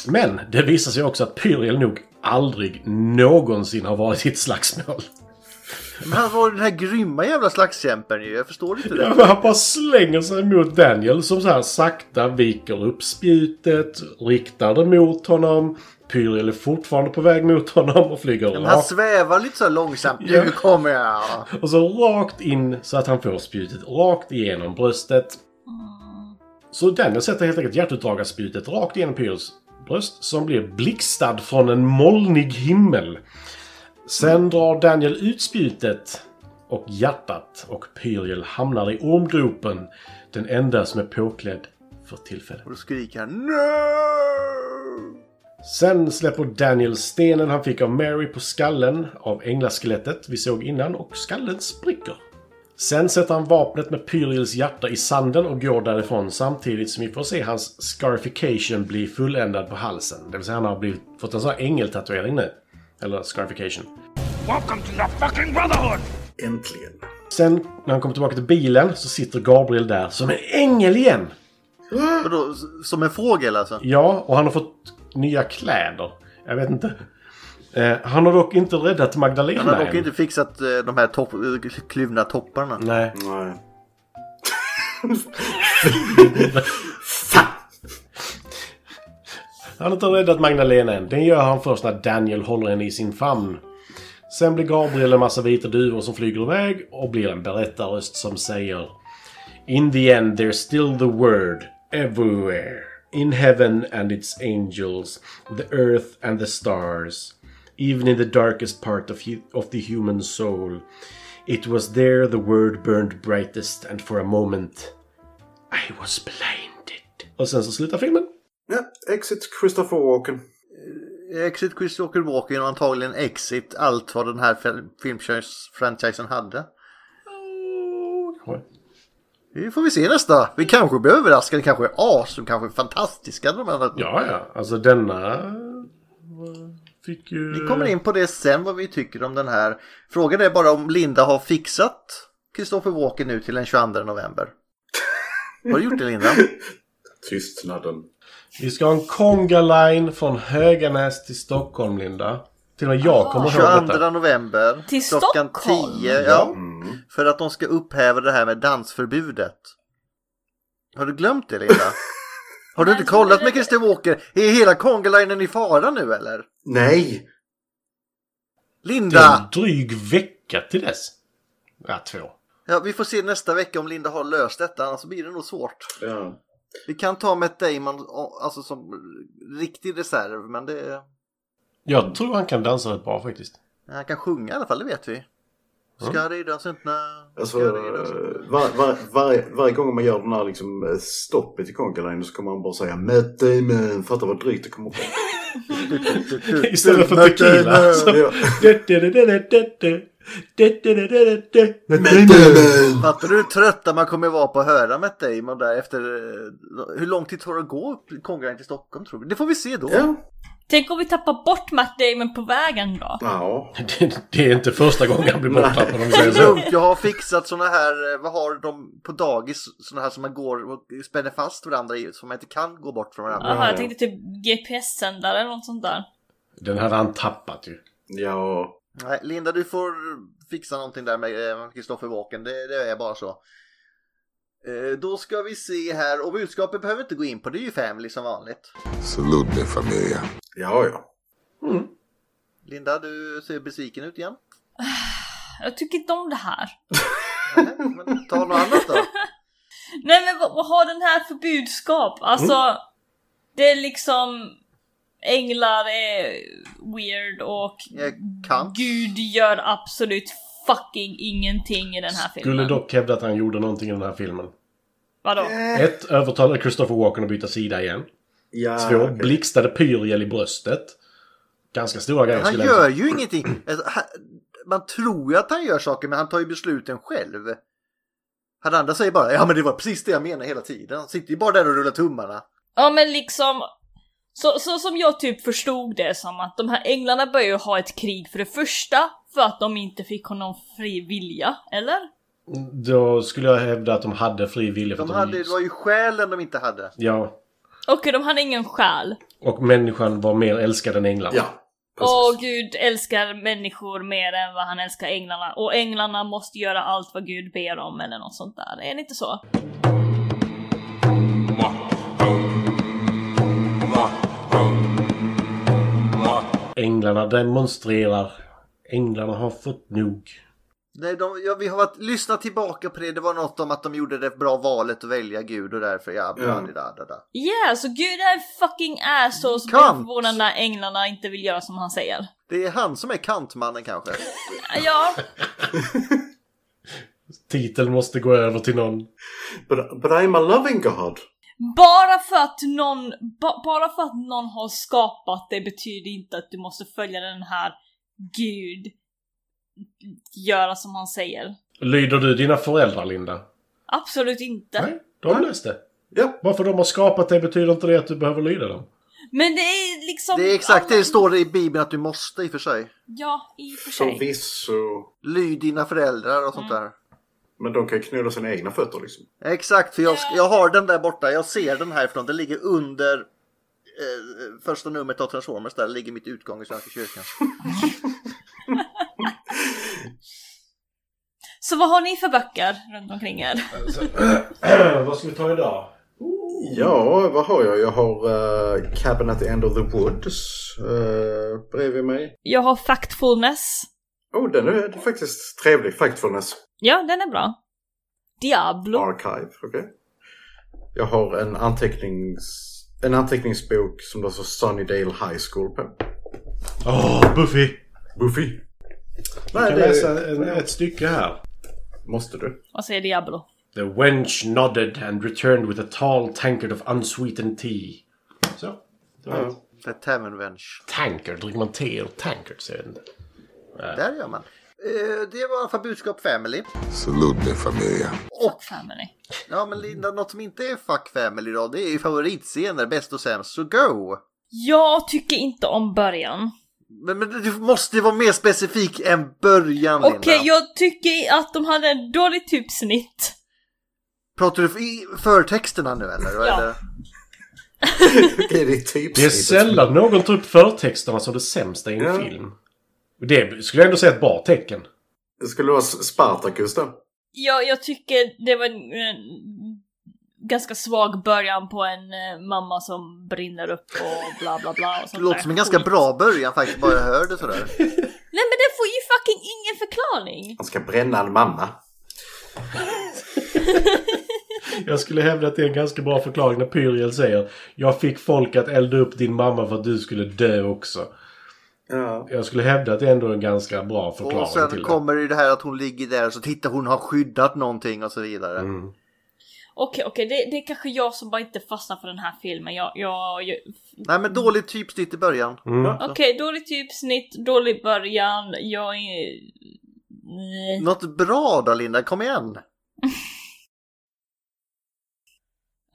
[SPEAKER 6] Men det visar sig också att Pyriel nog aldrig någonsin har varit i ett slagsmål. *laughs*
[SPEAKER 3] Men han var den här grymma jävla slagskämpen ju. Jag förstår inte det.
[SPEAKER 6] Han bara slänger sig mot Daniel som så här sakta viker upp spjutet, riktar det mot honom. Pyriel är fortfarande på väg mot honom och flyger
[SPEAKER 3] Men han
[SPEAKER 6] rakt
[SPEAKER 3] svävar lite så här långsamt.
[SPEAKER 6] Ja.
[SPEAKER 3] Nu kommer jag!
[SPEAKER 6] Och så rakt in så att han får spjutet rakt igenom bröstet. Så Daniel sätter helt enkelt hjärtutdragarspjutet rakt igenom Pyrrhus bröst som blir blixtad från en molnig himmel. Sen drar Daniel ut spjutet och hjärtat och Pyriel hamnar i ormgropen. Den enda som är påklädd för tillfället.
[SPEAKER 3] Och då skriker han NO!
[SPEAKER 6] Sen släpper Daniel stenen han fick av Mary på skallen av änglaskelettet vi såg innan och skallen spricker. Sen sätter han vapnet med Pyrils hjärta i sanden och går därifrån samtidigt som vi får se hans scarification bli fulländad på halsen. Det vill säga han har blivit, fått en sån här ängeltatuering nu. Eller scarification.
[SPEAKER 2] Welcome to the fucking Brotherhood!
[SPEAKER 4] Äntligen.
[SPEAKER 6] Sen när han kommer tillbaka till bilen så sitter Gabriel där som en ängel igen!
[SPEAKER 3] Vadå, s- som en fågel alltså?
[SPEAKER 6] Ja, och han har fått nya kläder. Jag vet inte. Eh, han har dock inte räddat Magdalena
[SPEAKER 3] Han har dock
[SPEAKER 6] än.
[SPEAKER 3] inte fixat eh, de här topp, eh, kluvna topparna.
[SPEAKER 6] Nej.
[SPEAKER 4] Nej.
[SPEAKER 6] Han har inte räddat Magdalena än. Den gör han först när Daniel håller henne i sin famn. Sen blir Gabriel en massa vita duvor som flyger iväg och blir en berättarröst som säger In the end there's still the word everywhere. In heaven and its angels, the earth and the stars. Even in the darkest part of, hu- of the human soul. It was there the word burned brightest and for a moment I was blinded. Och sen så slutar filmen.
[SPEAKER 4] Ja, exit Christopher Walken.
[SPEAKER 3] Exit Chris Walker Walker och antagligen Exit. Allt vad den här fel- filmfranchisen hade.
[SPEAKER 6] Oj.
[SPEAKER 3] Nu får vi se nästa. Vi kanske blir överraskade. Kanske är as. De kanske är fantastiska. De här.
[SPEAKER 6] Ja, ja. Alltså denna... Fick ju...
[SPEAKER 3] Vi kommer in på det sen vad vi tycker om den här. Frågan är bara om Linda har fixat Christopher Walker nu till den 22 november. Har du gjort det *laughs* Linda?
[SPEAKER 4] Tystnaden.
[SPEAKER 6] Vi ska ha en Konga-line från Höganäs till Stockholm, Linda. Till och med
[SPEAKER 3] Ah,
[SPEAKER 6] jag kommer ihåg
[SPEAKER 3] 22
[SPEAKER 6] detta.
[SPEAKER 3] november
[SPEAKER 7] Till
[SPEAKER 3] klockan
[SPEAKER 7] Stockholm?
[SPEAKER 3] 10. Ja,
[SPEAKER 4] Mm.
[SPEAKER 3] för att de ska upphäva det här med dansförbudet. Har du glömt det Linda? Har du inte kollat med Christer Walker? Är hela Kongalinen i fara nu eller?
[SPEAKER 4] Nej!
[SPEAKER 6] Det är en
[SPEAKER 3] Linda!
[SPEAKER 6] dryg vecka till dess. Ja, två.
[SPEAKER 3] Ja, vi får se nästa vecka om Linda har löst detta, annars blir det nog svårt.
[SPEAKER 4] Ja.
[SPEAKER 3] Vi kan ta Matt Damon o- alltså, som riktig reserv, men det...
[SPEAKER 6] Jag tror han kan dansa rätt bra
[SPEAKER 3] *laughs*
[SPEAKER 6] faktiskt.
[SPEAKER 3] Han kan sjunga i alla fall, det vet vi. Ska rida syntarna,
[SPEAKER 4] Alltså,
[SPEAKER 3] ska rida syntarna.
[SPEAKER 4] var, var, var, varje gång man gör den här liksom, eh, stoppet i Conquerline så kommer han bara säga Matt Damon. Fatta vad drygt det kommer bli. eh,
[SPEAKER 6] Istället för tequila. så-
[SPEAKER 4] Ja.
[SPEAKER 3] Fattar du hur trötta man kommer vara på att höra Matt Damon där efter... eh, Hur lång tid tar det att gå upp Kongalinen till Stockholm tror du? Det får vi se då.
[SPEAKER 4] Ja.
[SPEAKER 7] Tänk om vi tappar bort Matt Damon på vägen då?
[SPEAKER 4] Ja.
[SPEAKER 6] Det, det är inte första gången han blir borttappad om vi säger
[SPEAKER 3] Det är
[SPEAKER 6] så.
[SPEAKER 3] lugnt, jag har fixat såna här, eh, vad har de på dagis, såna här som man går och spänner fast varandra i, som man inte kan gå bort från varandra.
[SPEAKER 7] Jaha,
[SPEAKER 6] ja.
[SPEAKER 7] jag tänkte typ GPS-sändare eller något sånt där.
[SPEAKER 6] Den hade han tappat ju.
[SPEAKER 4] Ja.
[SPEAKER 3] Nej, Linda, du får fixa någonting där med eh, Kristoffer Walken, det, det är bara så. Eh, Då ska vi se här, och budskapet behöver vi inte gå in på, det är ju Family som vanligt.
[SPEAKER 11] Salute me familia.
[SPEAKER 4] Ja, ja.
[SPEAKER 3] Linda, du ser besviken ut igen.
[SPEAKER 7] Jag tycker inte om det här.
[SPEAKER 3] Nej, men ta något annat då.
[SPEAKER 7] Nej men vad, vad har den här för budskap? Alltså, det är liksom änglar är weird och
[SPEAKER 3] Jag kan.
[SPEAKER 7] Gud gör absolut fucking ingenting i den här filmen.
[SPEAKER 6] Skulle dock hävda att han gjorde någonting i den här filmen.
[SPEAKER 7] Vadå?
[SPEAKER 6] Ett, övertalade Christopher Walken att byta sida igen.
[SPEAKER 4] ja
[SPEAKER 6] Två,
[SPEAKER 4] Ah, okej.
[SPEAKER 6] blixtade Pyriel i bröstet. Ganska stora grejer
[SPEAKER 3] Han
[SPEAKER 6] skulle jag
[SPEAKER 3] gör ju ingenting. Alltså, han- Man tror ju att han gör saker men han tar ju besluten själv. Han andra säger bara ja men det var precis det jag menade hela tiden. Han sitter ju bara där och rullar tummarna.
[SPEAKER 7] Ja men liksom, så, så som jag typ förstod det som att de här änglarna börjar ju ha ett krig för det första, för att de inte fick honom fri vilja, eller?
[SPEAKER 6] Då skulle jag hävda att de hade fri vilja. För
[SPEAKER 3] De
[SPEAKER 6] att
[SPEAKER 3] hade, det var ju skälen de inte hade.
[SPEAKER 6] Ja.
[SPEAKER 7] Okej, de hade ingen själ.
[SPEAKER 6] Och människan var mer älskad än änglarna.
[SPEAKER 4] Ja. Precis.
[SPEAKER 7] Och Gud älskar människor mer än vad han älskar änglarna. Och änglarna måste göra allt vad Gud ber om eller något sånt där. Är det inte så?
[SPEAKER 6] Änglarna demonstrerar. Änglarna har fått nog.
[SPEAKER 3] Nej, de, ja, vi har varit, lyssnat tillbaka på det. Det var något om att de gjorde det bra valet att välja Gud och därför ja. bla,
[SPEAKER 4] Ja.
[SPEAKER 3] Da, da, da.
[SPEAKER 7] Yeah, så Gud är en fucking asshole som blir
[SPEAKER 3] Kant.
[SPEAKER 7] förvånad när änglarna inte vill göra som han säger.
[SPEAKER 3] Det är han som är kantmannen kanske.
[SPEAKER 7] Ja,
[SPEAKER 6] Titeln måste gå över till någon.
[SPEAKER 4] But, but I'm a loving God.
[SPEAKER 7] bara för att någon, ba, bara för att någon har skapat det betyder inte att du måste följa den här Gud göra som han säger.
[SPEAKER 6] Lyder du dina föräldrar, Linda?
[SPEAKER 7] Absolut inte.
[SPEAKER 6] Nej, de har löst det.
[SPEAKER 4] Ja.
[SPEAKER 6] Bara för de har skapat det betyder inte det att du behöver lyda dem.
[SPEAKER 7] Men det är liksom...
[SPEAKER 3] Det är exakt det
[SPEAKER 7] alla-
[SPEAKER 3] står det i Bibeln att du måste i och för sig.
[SPEAKER 7] Ja, i och för sig.
[SPEAKER 4] Förvisso.
[SPEAKER 3] Lyd dina föräldrar
[SPEAKER 7] Mm.
[SPEAKER 3] och sånt där.
[SPEAKER 4] Men de kan ju knulla sina egna fötter liksom.
[SPEAKER 3] Exakt, för jag, jag har den där borta. Jag ser den härifrån. Den ligger under eh, första numret av Transformers. Där ligger mitt utgång i Svenska kyrkan.
[SPEAKER 7] Så vad har ni för böcker runt omkring er?
[SPEAKER 6] Vad ska vi ta idag?
[SPEAKER 4] Mm. Ja, vad har jag? Jag har eh, Cabin at the End of the Woods uh, bredvid mig.
[SPEAKER 7] Jag har Factfulness.
[SPEAKER 4] Oh, den är faktiskt trevlig. Factfulness
[SPEAKER 7] Ja, den är bra. Diablo.
[SPEAKER 4] Archive. Okej. Jag har en, antecknings, en anteckningsbok som det står Sunnydale High School på.
[SPEAKER 6] Åh, Buffy!
[SPEAKER 4] Buffy!
[SPEAKER 6] Jag
[SPEAKER 4] Nej,
[SPEAKER 6] kan
[SPEAKER 4] det
[SPEAKER 6] läsa en, ett stycke här.
[SPEAKER 4] måste du.
[SPEAKER 7] Vad säger Diablo?
[SPEAKER 6] The wench nodded and returned with a tall tankard of unsweetened tea. Så. Det var ett
[SPEAKER 3] The Tavern Wench.
[SPEAKER 6] Tankard? Dricker man te och tankard? Så jag vet inte.
[SPEAKER 3] Där gör man. Eh, det var i alla fall budskap family.
[SPEAKER 11] Salute me familia.
[SPEAKER 7] Fuck family.
[SPEAKER 3] Ja men
[SPEAKER 6] Mm.
[SPEAKER 3] Linda, något som inte är fuck family då, det är ju favoritscener, bäst och sämst, så go!
[SPEAKER 7] Jag tycker inte om början.
[SPEAKER 3] Men, men du måste ju vara mer specifik än början
[SPEAKER 7] Okej,
[SPEAKER 3] Linda.
[SPEAKER 7] jag tycker att de hade en dålig typsnitt.
[SPEAKER 3] Pratar du i förtexterna nu eller? Vad är
[SPEAKER 7] Ja.
[SPEAKER 3] det?
[SPEAKER 4] Okej, det är typ
[SPEAKER 6] Det är sällan någon tar upp förtexterna som det sämsta i en
[SPEAKER 4] Ja.
[SPEAKER 6] film. Det skulle jag ändå säga är ett bra tecken.
[SPEAKER 4] Det skulle vara Spartacus då.
[SPEAKER 7] Jag, jag tycker det var en, en ganska svag början på en eh, mamma som brinner upp och bla bla bla och
[SPEAKER 3] Det
[SPEAKER 7] sånt
[SPEAKER 3] låter
[SPEAKER 7] där
[SPEAKER 3] som en ganska
[SPEAKER 7] skit.
[SPEAKER 3] bra början faktiskt, bara jag hör det sådär.
[SPEAKER 7] Nej men det får ju fucking ingen förklaring!
[SPEAKER 4] Han ska bränna en mamma.
[SPEAKER 6] Jag skulle hävda att det är en ganska bra förklaring när Pyriel säger Jag fick folk att elda upp din mamma för att du skulle dö också.
[SPEAKER 4] Ja.
[SPEAKER 6] Jag skulle hävda att det är ändå är en ganska bra förklaring
[SPEAKER 3] Och
[SPEAKER 6] till
[SPEAKER 3] sen
[SPEAKER 6] det.
[SPEAKER 3] kommer det ju det här att hon ligger där och så tittar hon har skyddat någonting och så vidare.
[SPEAKER 6] Mm.
[SPEAKER 7] Okej okej, det, det är kanske jag som bara inte fastnar för den här filmen. Jag, jag, jag...
[SPEAKER 3] Nej men dåligt typsnitt i början.
[SPEAKER 6] Mm.
[SPEAKER 7] Okej, dåligt typsnitt, typ dålig början, jag är... Nej.
[SPEAKER 3] Något bra då Linda, kom igen!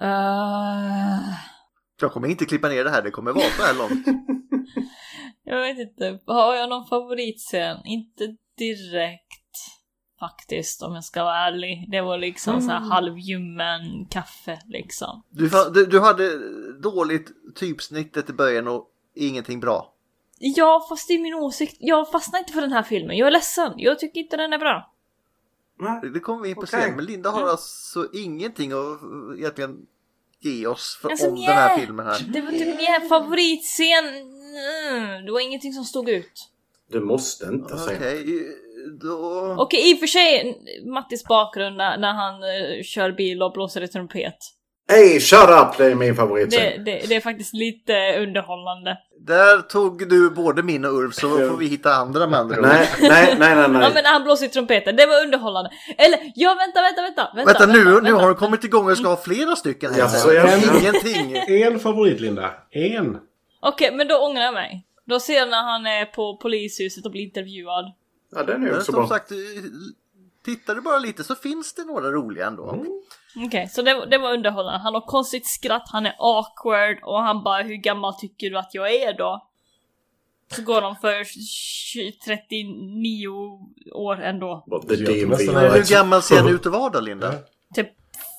[SPEAKER 7] Ah.
[SPEAKER 3] Jag kommer inte klippa ner det här, det kommer vara så här långt.
[SPEAKER 7] Jag vet inte, har jag någon favoritscen? Inte direkt faktiskt om jag ska vara ärlig. Det var liksom så här
[SPEAKER 3] Mm.
[SPEAKER 7] halvljummen kaffe liksom.
[SPEAKER 3] Du, fa- du, du hade dåligt typsnittet i början och ingenting bra.
[SPEAKER 7] Ja, fast det är min åsikt. Jag fastnar inte för den här filmen. Jag är ledsen. Jag tycker inte den är bra.
[SPEAKER 3] Det kommer vi in på
[SPEAKER 7] Okej.
[SPEAKER 3] sen, men Linda har alltså ingenting att eh, egentligen ge oss för,
[SPEAKER 7] Alltså,
[SPEAKER 3] om den här
[SPEAKER 7] mjäk.
[SPEAKER 3] filmen här.
[SPEAKER 7] Det var typ min favoritscen. Mm, det var ingenting som stod ut.
[SPEAKER 4] Du måste inte säga.
[SPEAKER 3] Okej, då...
[SPEAKER 7] Okej, i och för sig Mattis bakgrund när, när han eh, kör bil och blåser i trumpet.
[SPEAKER 4] Hey, shut up! Det är min favorit.
[SPEAKER 7] Det, det, det är faktiskt lite underhållande.
[SPEAKER 3] Där tog du både min och Ulf så då får vi hitta andra med andra ord.
[SPEAKER 4] Nej, nej, nej, nej.
[SPEAKER 7] Ja men han blåser i trumpeten, det var underhållande. Eller, ja vänta, vänta, vänta! Vänta,
[SPEAKER 3] Vänta, nu, nu har de kommit igång och ska ha flera stycken här.
[SPEAKER 6] Jaså, jag-
[SPEAKER 4] *laughs*
[SPEAKER 3] Ingenting!
[SPEAKER 6] En favorit Linda. En.
[SPEAKER 7] Okej, men då ångrar jag mig. Då ser jag när han är på polishuset och blir intervjuad.
[SPEAKER 4] Ja, den är
[SPEAKER 3] Men
[SPEAKER 4] också
[SPEAKER 3] som
[SPEAKER 4] bra.
[SPEAKER 3] sagt, eh, tittar du bara lite så finns det några roliga ändå.
[SPEAKER 4] Mm.
[SPEAKER 7] Okej, så det, var- det var underhållande. Han har konstigt skratt, han är awkward och han bara “Hur gammal tycker du att jag är då?” Så går de för 20 39 år ändå.
[SPEAKER 4] But the
[SPEAKER 6] Jag tror
[SPEAKER 4] DMV
[SPEAKER 6] nästan
[SPEAKER 3] Men
[SPEAKER 6] att-
[SPEAKER 3] hur gammal ser du ut att vara då, Linda?
[SPEAKER 7] Typ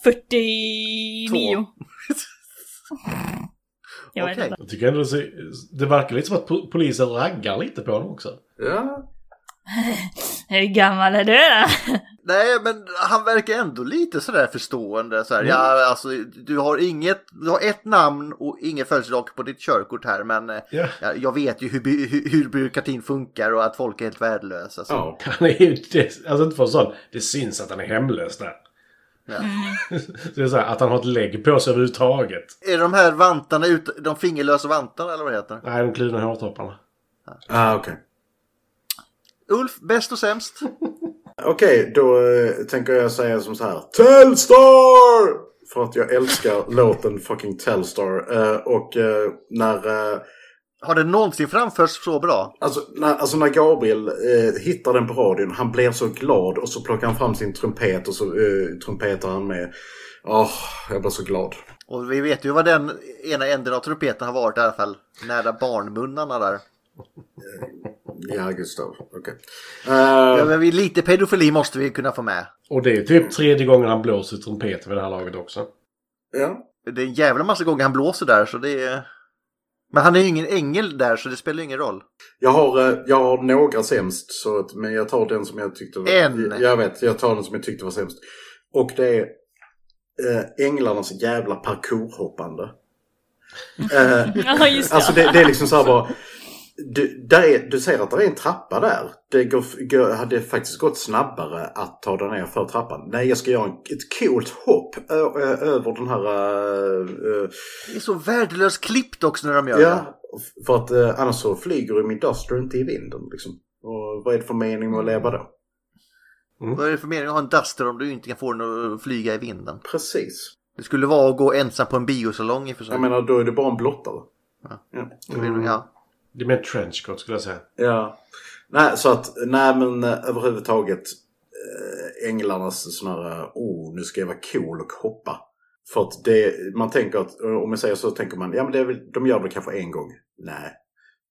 [SPEAKER 7] 49! Jag vet
[SPEAKER 3] Okej.
[SPEAKER 7] inte.
[SPEAKER 6] Jag tycker ändå det ser- det verkar lite som att po- polisen raggar lite på honom också.
[SPEAKER 4] Ja.
[SPEAKER 7] Hur gammal är du då?
[SPEAKER 3] Nej, men han verkar ändå lite sådär förstående. Såhär, ja, alltså, du, har inget, du har ett namn och ingen födelsedag på ditt körkort här, men eh,
[SPEAKER 6] Ja.
[SPEAKER 3] ja, jag vet ju hur, by- hur, hur byråkratin funkar och att folk är helt värdelösa. Så.
[SPEAKER 4] Ja.
[SPEAKER 6] Han är ju... det- Alltså inte för en sån. Det syns att han är hemlös där.
[SPEAKER 3] Ja.
[SPEAKER 6] *laughs* Så det är så här, att han har ett lägg på sig överhuvudtaget.
[SPEAKER 3] Är de här vantarna ute, de fingerlösa vantarna eller vad det heter?
[SPEAKER 6] Nej, de kluvna hårtopparna.
[SPEAKER 4] Ah, okej.
[SPEAKER 3] Ulf, bäst och sämst?
[SPEAKER 4] Okej, då eh, tänker jag säga som så här. Telstar! För att jag älskar låten fucking Telstar. Eh, och eh, när... eh,
[SPEAKER 3] Har det någonsin framförts så bra?
[SPEAKER 4] Alltså när, alltså när Gabriel eh, hittar den på radion, han blir så glad och så plockar han fram sin trumpet och så eh, trumpetar han med. Åh, jag blir så glad.
[SPEAKER 3] Och vi vet ju vad den ena änden av trumpeten har varit i alla fall. Nära barnmunnarna där.
[SPEAKER 4] Ja, Gustav. Okej. Eh,
[SPEAKER 3] Ja, men vi, lite pedofili måste vi kunna få med.
[SPEAKER 6] Och det är typ tredje gången han blåser trumpeten vid det här laget också.
[SPEAKER 4] ja.
[SPEAKER 3] Det är en jävla massa gånger han blåser där så det är... Men han är ju ingen ängel där så det spelar ju ingen roll.
[SPEAKER 4] Jag har, eh, jag har några sämst, så att, men jag tar den som jag tyckte var...
[SPEAKER 3] En.
[SPEAKER 4] Jag, jag vet, jag tar den som jag tyckte var sämst. Och det är eh, änglarnas jävla parkourhoppande. Eh,
[SPEAKER 7] Ja just det.
[SPEAKER 4] Alltså det, det är liksom så här bara. Du, där är, du ser att det är en trappa där. Det går, går, hade faktiskt gått snabbare att ta den ner för trappan. Nej, jag ska göra en, ett coolt hopp ö, ö, över den här... eh, eh,
[SPEAKER 3] Det är så värdelöst klippt också när de gör det.
[SPEAKER 4] ja, för att eh, annars så flyger ju min duster inte i vinden. Liksom. Och vad är det för mening med att leva då?
[SPEAKER 3] Vad är det för mening att ha en duster om du inte kan få den att flyga i vinden?
[SPEAKER 4] Precis.
[SPEAKER 3] Det skulle vara att gå ensam på en biosalong i och för sig.
[SPEAKER 4] Jag menar, då är det bara en blottare. Ja.
[SPEAKER 3] Det blir- ja.
[SPEAKER 6] Det är mer en trenchcoat skulle jag säga.
[SPEAKER 4] Ja. Nej, så att, nej men eh, överhuvudtaget eh, änglarnas sån här, eh, oh nu ska jag vara cool och hoppa. För att det, man tänker att, eh, om jag säger så tänker man, ja men det är väl, de gör det kanske en gång. Nej,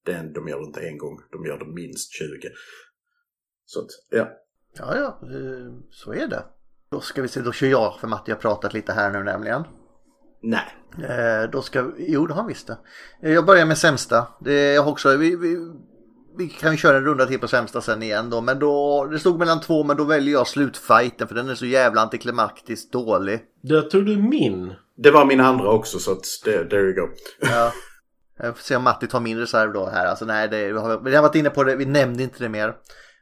[SPEAKER 4] den, de gör det inte en gång, de gör det minst 20. Så att, ja.
[SPEAKER 3] Ja, ja, eh, så är det. Då ska vi se, då kör jag för Matti har pratat lite här nu nämligen.
[SPEAKER 4] Nej.
[SPEAKER 3] Eh, då ska, jo det har han visst det. Eh, jag börjar med sämsta. Det är också, vi, vi, vi kan ju köra en runda till på sämsta sen igen då. Men då, det stod mellan två men då väljer jag slutfighten för den är så jävla antiklimaktiskt dålig.
[SPEAKER 6] Där tog du min.
[SPEAKER 4] Det var min andra också så att det, there you go.
[SPEAKER 3] Ja. Jag får se om Matti tar min reserv då här. Alltså nej, det, vi har vi har varit inne på det, vi nämnde inte det mer.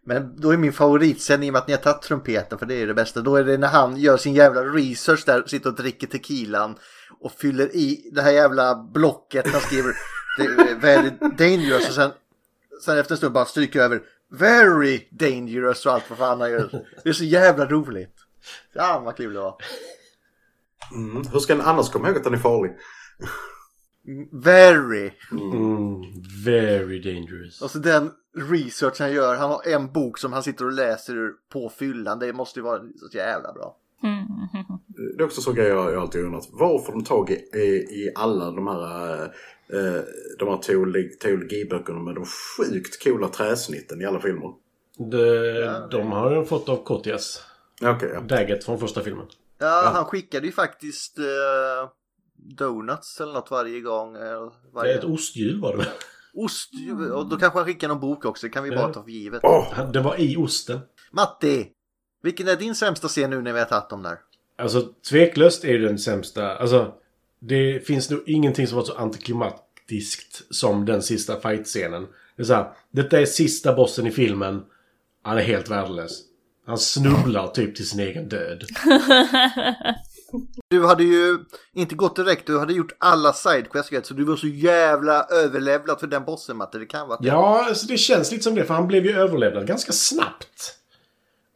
[SPEAKER 3] Men då är min favoritscen i och med att ni har tagit trumpeten för det är det bästa. Då är det när han gör sin jävla research där, sitter och dricker tequilan och fyller i det här jävla blocket han skriver. Det är väldigt dangerous och sen, sen efter en stund bara stryker över very dangerous och allt vad fan han gör. Det är så jävla roligt. Ja, vad kul det var.
[SPEAKER 4] Mm. Hur ska en annars komma ihåg att den är farlig?
[SPEAKER 3] Very.
[SPEAKER 6] Mm, very dangerous.
[SPEAKER 3] Och så Alltså, den research han gör. Han har en bok som han sitter och läser ur på fyllan. Det måste ju vara så jävla bra.
[SPEAKER 4] Det är också så grejer jag, jag alltid undrat. Var får de tag i, i, i alla de här, eh, de här teologi, teologiböckerna med de sjukt coola träsnitten i alla filmer?
[SPEAKER 6] De, de har jag fått av Kotias.
[SPEAKER 4] Ja, Okej, ja.
[SPEAKER 6] Daggett från första filmen.
[SPEAKER 3] Ja, han skickade ju faktiskt eh, donuts eller något varje gång. eh,
[SPEAKER 6] Det är
[SPEAKER 3] Varje...
[SPEAKER 6] ett osthjul var det väl? *laughs*
[SPEAKER 3] Ost. Och då kanske han skickar någon bok också. Det kan vi bara ta för givet.
[SPEAKER 6] Han- Den var i osten.
[SPEAKER 3] Matti! Vilken är din sämsta scen nu när vi har tagit dem där?
[SPEAKER 6] Alltså tveklöst är ju den sämsta. Alltså det finns nog ingenting som var så antiklimatiskt som den sista fight-scenen. Det är så här, detta är sista bossen i filmen. Han är helt värdelös. Han snubblar typ till sin egen död.
[SPEAKER 3] Du hade ju inte gått direkt, du hade gjort alla sidequests rätt, så du var så jävla överlevlad för den bossen Matti. Det kan vara att-
[SPEAKER 6] Ja, alltså det känns lite som det, för han blev ju överlevnad ganska snabbt.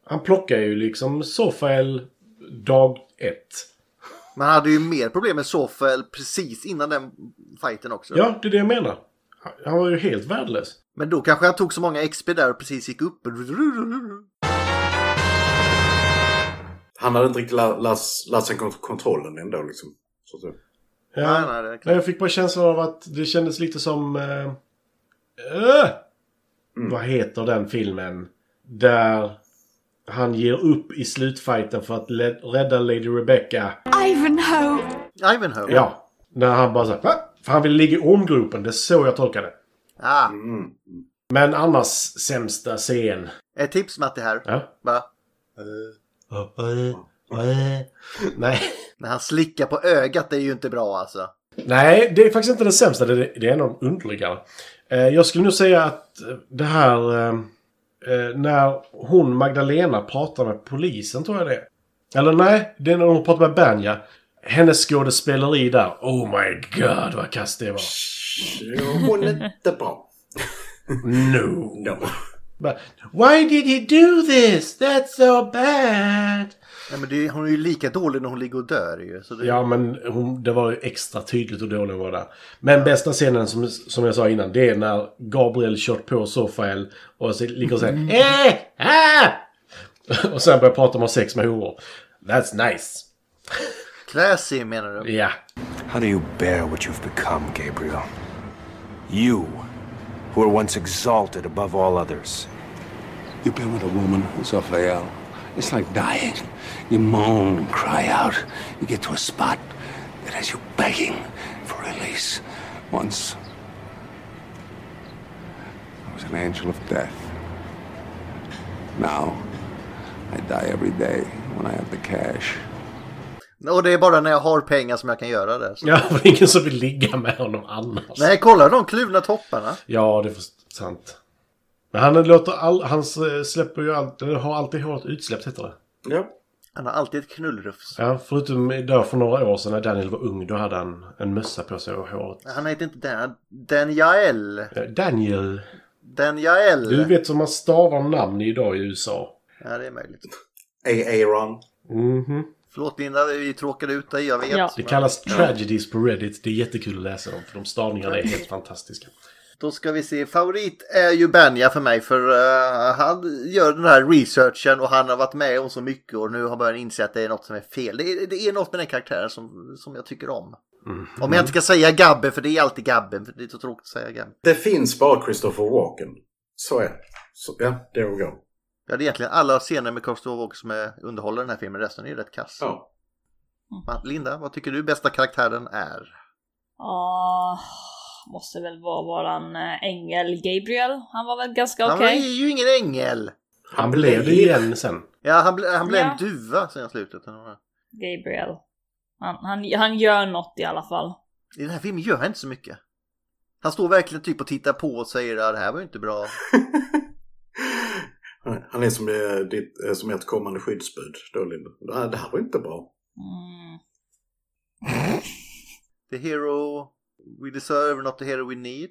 [SPEAKER 6] Han plockar ju liksom Sofael dag ett.
[SPEAKER 3] Man hade ju mer problem med Sofel precis innan den fighten också.
[SPEAKER 6] Ja, det är det jag menar. Han var ju helt värdelös.
[SPEAKER 3] Men då kanske han tog så många XP där och precis gick upp.
[SPEAKER 4] Han hade inte riktigt lä- läst läst sig kont- kontrollen ändå liksom. Så, så.
[SPEAKER 6] Ja.
[SPEAKER 3] Nej, nej, det kan-
[SPEAKER 6] Nej, jag fick bara känslan av att det kändes lite som... Eh, eh, Vad heter den filmen? Där han ger upp i slutfighten för att le- rädda Lady Rebecca.
[SPEAKER 12] Ivanhoe!
[SPEAKER 3] Ivanhoe.
[SPEAKER 6] Ja. När han bara såhär... Va? För han vill ligga i ormgropen. Det är så jag tolkar det.
[SPEAKER 3] Ah,
[SPEAKER 4] Mm.
[SPEAKER 6] Men annars sämsta scen.
[SPEAKER 3] ett tips Matti här.
[SPEAKER 6] Ja.
[SPEAKER 3] Va?
[SPEAKER 6] Nej.
[SPEAKER 3] När han slickar på ögat, det är ju inte bra alltså.
[SPEAKER 6] Nej, det är faktiskt inte den sämsta. Det det är en av de underligare. Eh, Jag skulle nog säga att eh, det här... eh, eh, När hon, Magdalena, pratar med polisen, tror jag det är. Eller nej, det är när hon pratar med Banja. Hennes skådespeleri där. Oh my god, vad kass det var.
[SPEAKER 4] Hon är inte bra.
[SPEAKER 6] No. Bara, Why did he do this? That's so bad.
[SPEAKER 3] Nej, men det är, hon är ju lika dålig när hon ligger och dör ju. Så det,
[SPEAKER 6] Ja, men hon, det var ju extra tydligt hur dålig hon var där. Men bästa scenen, som, som jag sa innan, det är när Gabriel kört på Sofael och så ligger och säger eh, ah! *laughs* Och sen börjar prata om att ha sex med horor. That's nice.
[SPEAKER 3] Classy menar du?
[SPEAKER 6] Ja.
[SPEAKER 13] How do you bear what you've become, Gabriel? You, who were once exalted above all others.
[SPEAKER 11] You've been with a woman, Raphael. It's like dying. You moan and cry out. You get to a spot that has you begging for release. Once, I was an angel of death. Now, I die every day when I have the cash.
[SPEAKER 3] Och det är bara när jag har pengar som jag kan göra det. Så.
[SPEAKER 6] Ja, *laughs* för ingen som vill ligga med honom annars.
[SPEAKER 3] Nej, kolla de kluvna topparna.
[SPEAKER 6] Ja, det är först- sant. Men han låter all, han eh, släpper ju allt, eller har alltid håret utsläppt heter det.
[SPEAKER 4] Ja.
[SPEAKER 3] Han har alltid ett knullrufs.
[SPEAKER 6] Ja, förutom där för några år sedan när Daniel var ung, då hade han en mössa på sig och håret.
[SPEAKER 3] Han heter inte Dan. Daniel.
[SPEAKER 6] Eh, Daniel.
[SPEAKER 3] Daniel.
[SPEAKER 6] Du vet hur man stavar namn idag i USA.
[SPEAKER 3] Ja, det är möjligt.
[SPEAKER 4] Aaron.
[SPEAKER 6] Mhm.
[SPEAKER 3] Förlåt Linda, vi tråkade ut dig, jag vet.
[SPEAKER 6] Det
[SPEAKER 3] Men
[SPEAKER 6] kallas tragedies på Reddit. Det är jättekul att läsa dem, för de stavningarna är helt fantastiska.
[SPEAKER 3] Då ska vi se. Favorit är ju Benja för mig, för eh, han gör den här researchen och han har varit med om så mycket och nu har börjat inse att det är något som är fel. Det är, det är något med den karaktären som, som jag tycker om. Om jag inte ska säga Gabbe, för det är alltid Gabben, för det är så tråkigt att säga Gabbe.
[SPEAKER 4] Det finns bara Christopher Walken. Så är det. Så, ja, there we go.
[SPEAKER 3] Ja, det är egentligen alla scener med Christopher Walken som är, underhåller den här filmen, resten är ju rätt kass.
[SPEAKER 4] Ja.
[SPEAKER 3] Ma- Linda, vad tycker du bästa karaktären är?
[SPEAKER 7] Ah, måste väl vara våran eh, ängel Gabriel. Han var väl ganska
[SPEAKER 3] Han
[SPEAKER 7] okej.
[SPEAKER 3] är ju ingen ängel!
[SPEAKER 6] Han blev det igen sen.
[SPEAKER 3] Ja, han, ble, han blev
[SPEAKER 7] Ja.
[SPEAKER 3] en duva sen i slutet. Han var-
[SPEAKER 7] Gabriel. Han, han, han gör något i alla fall.
[SPEAKER 3] I den här filmen gör han inte så mycket. Han står verkligen typ och tittar på och säger att det här var ju inte bra.
[SPEAKER 4] Han är som, eh, ditt, eh, som ert kommande skyddsbud då, Linda. Det här- Det här var inte bra.
[SPEAKER 3] The hero we deserve, not the hero we need.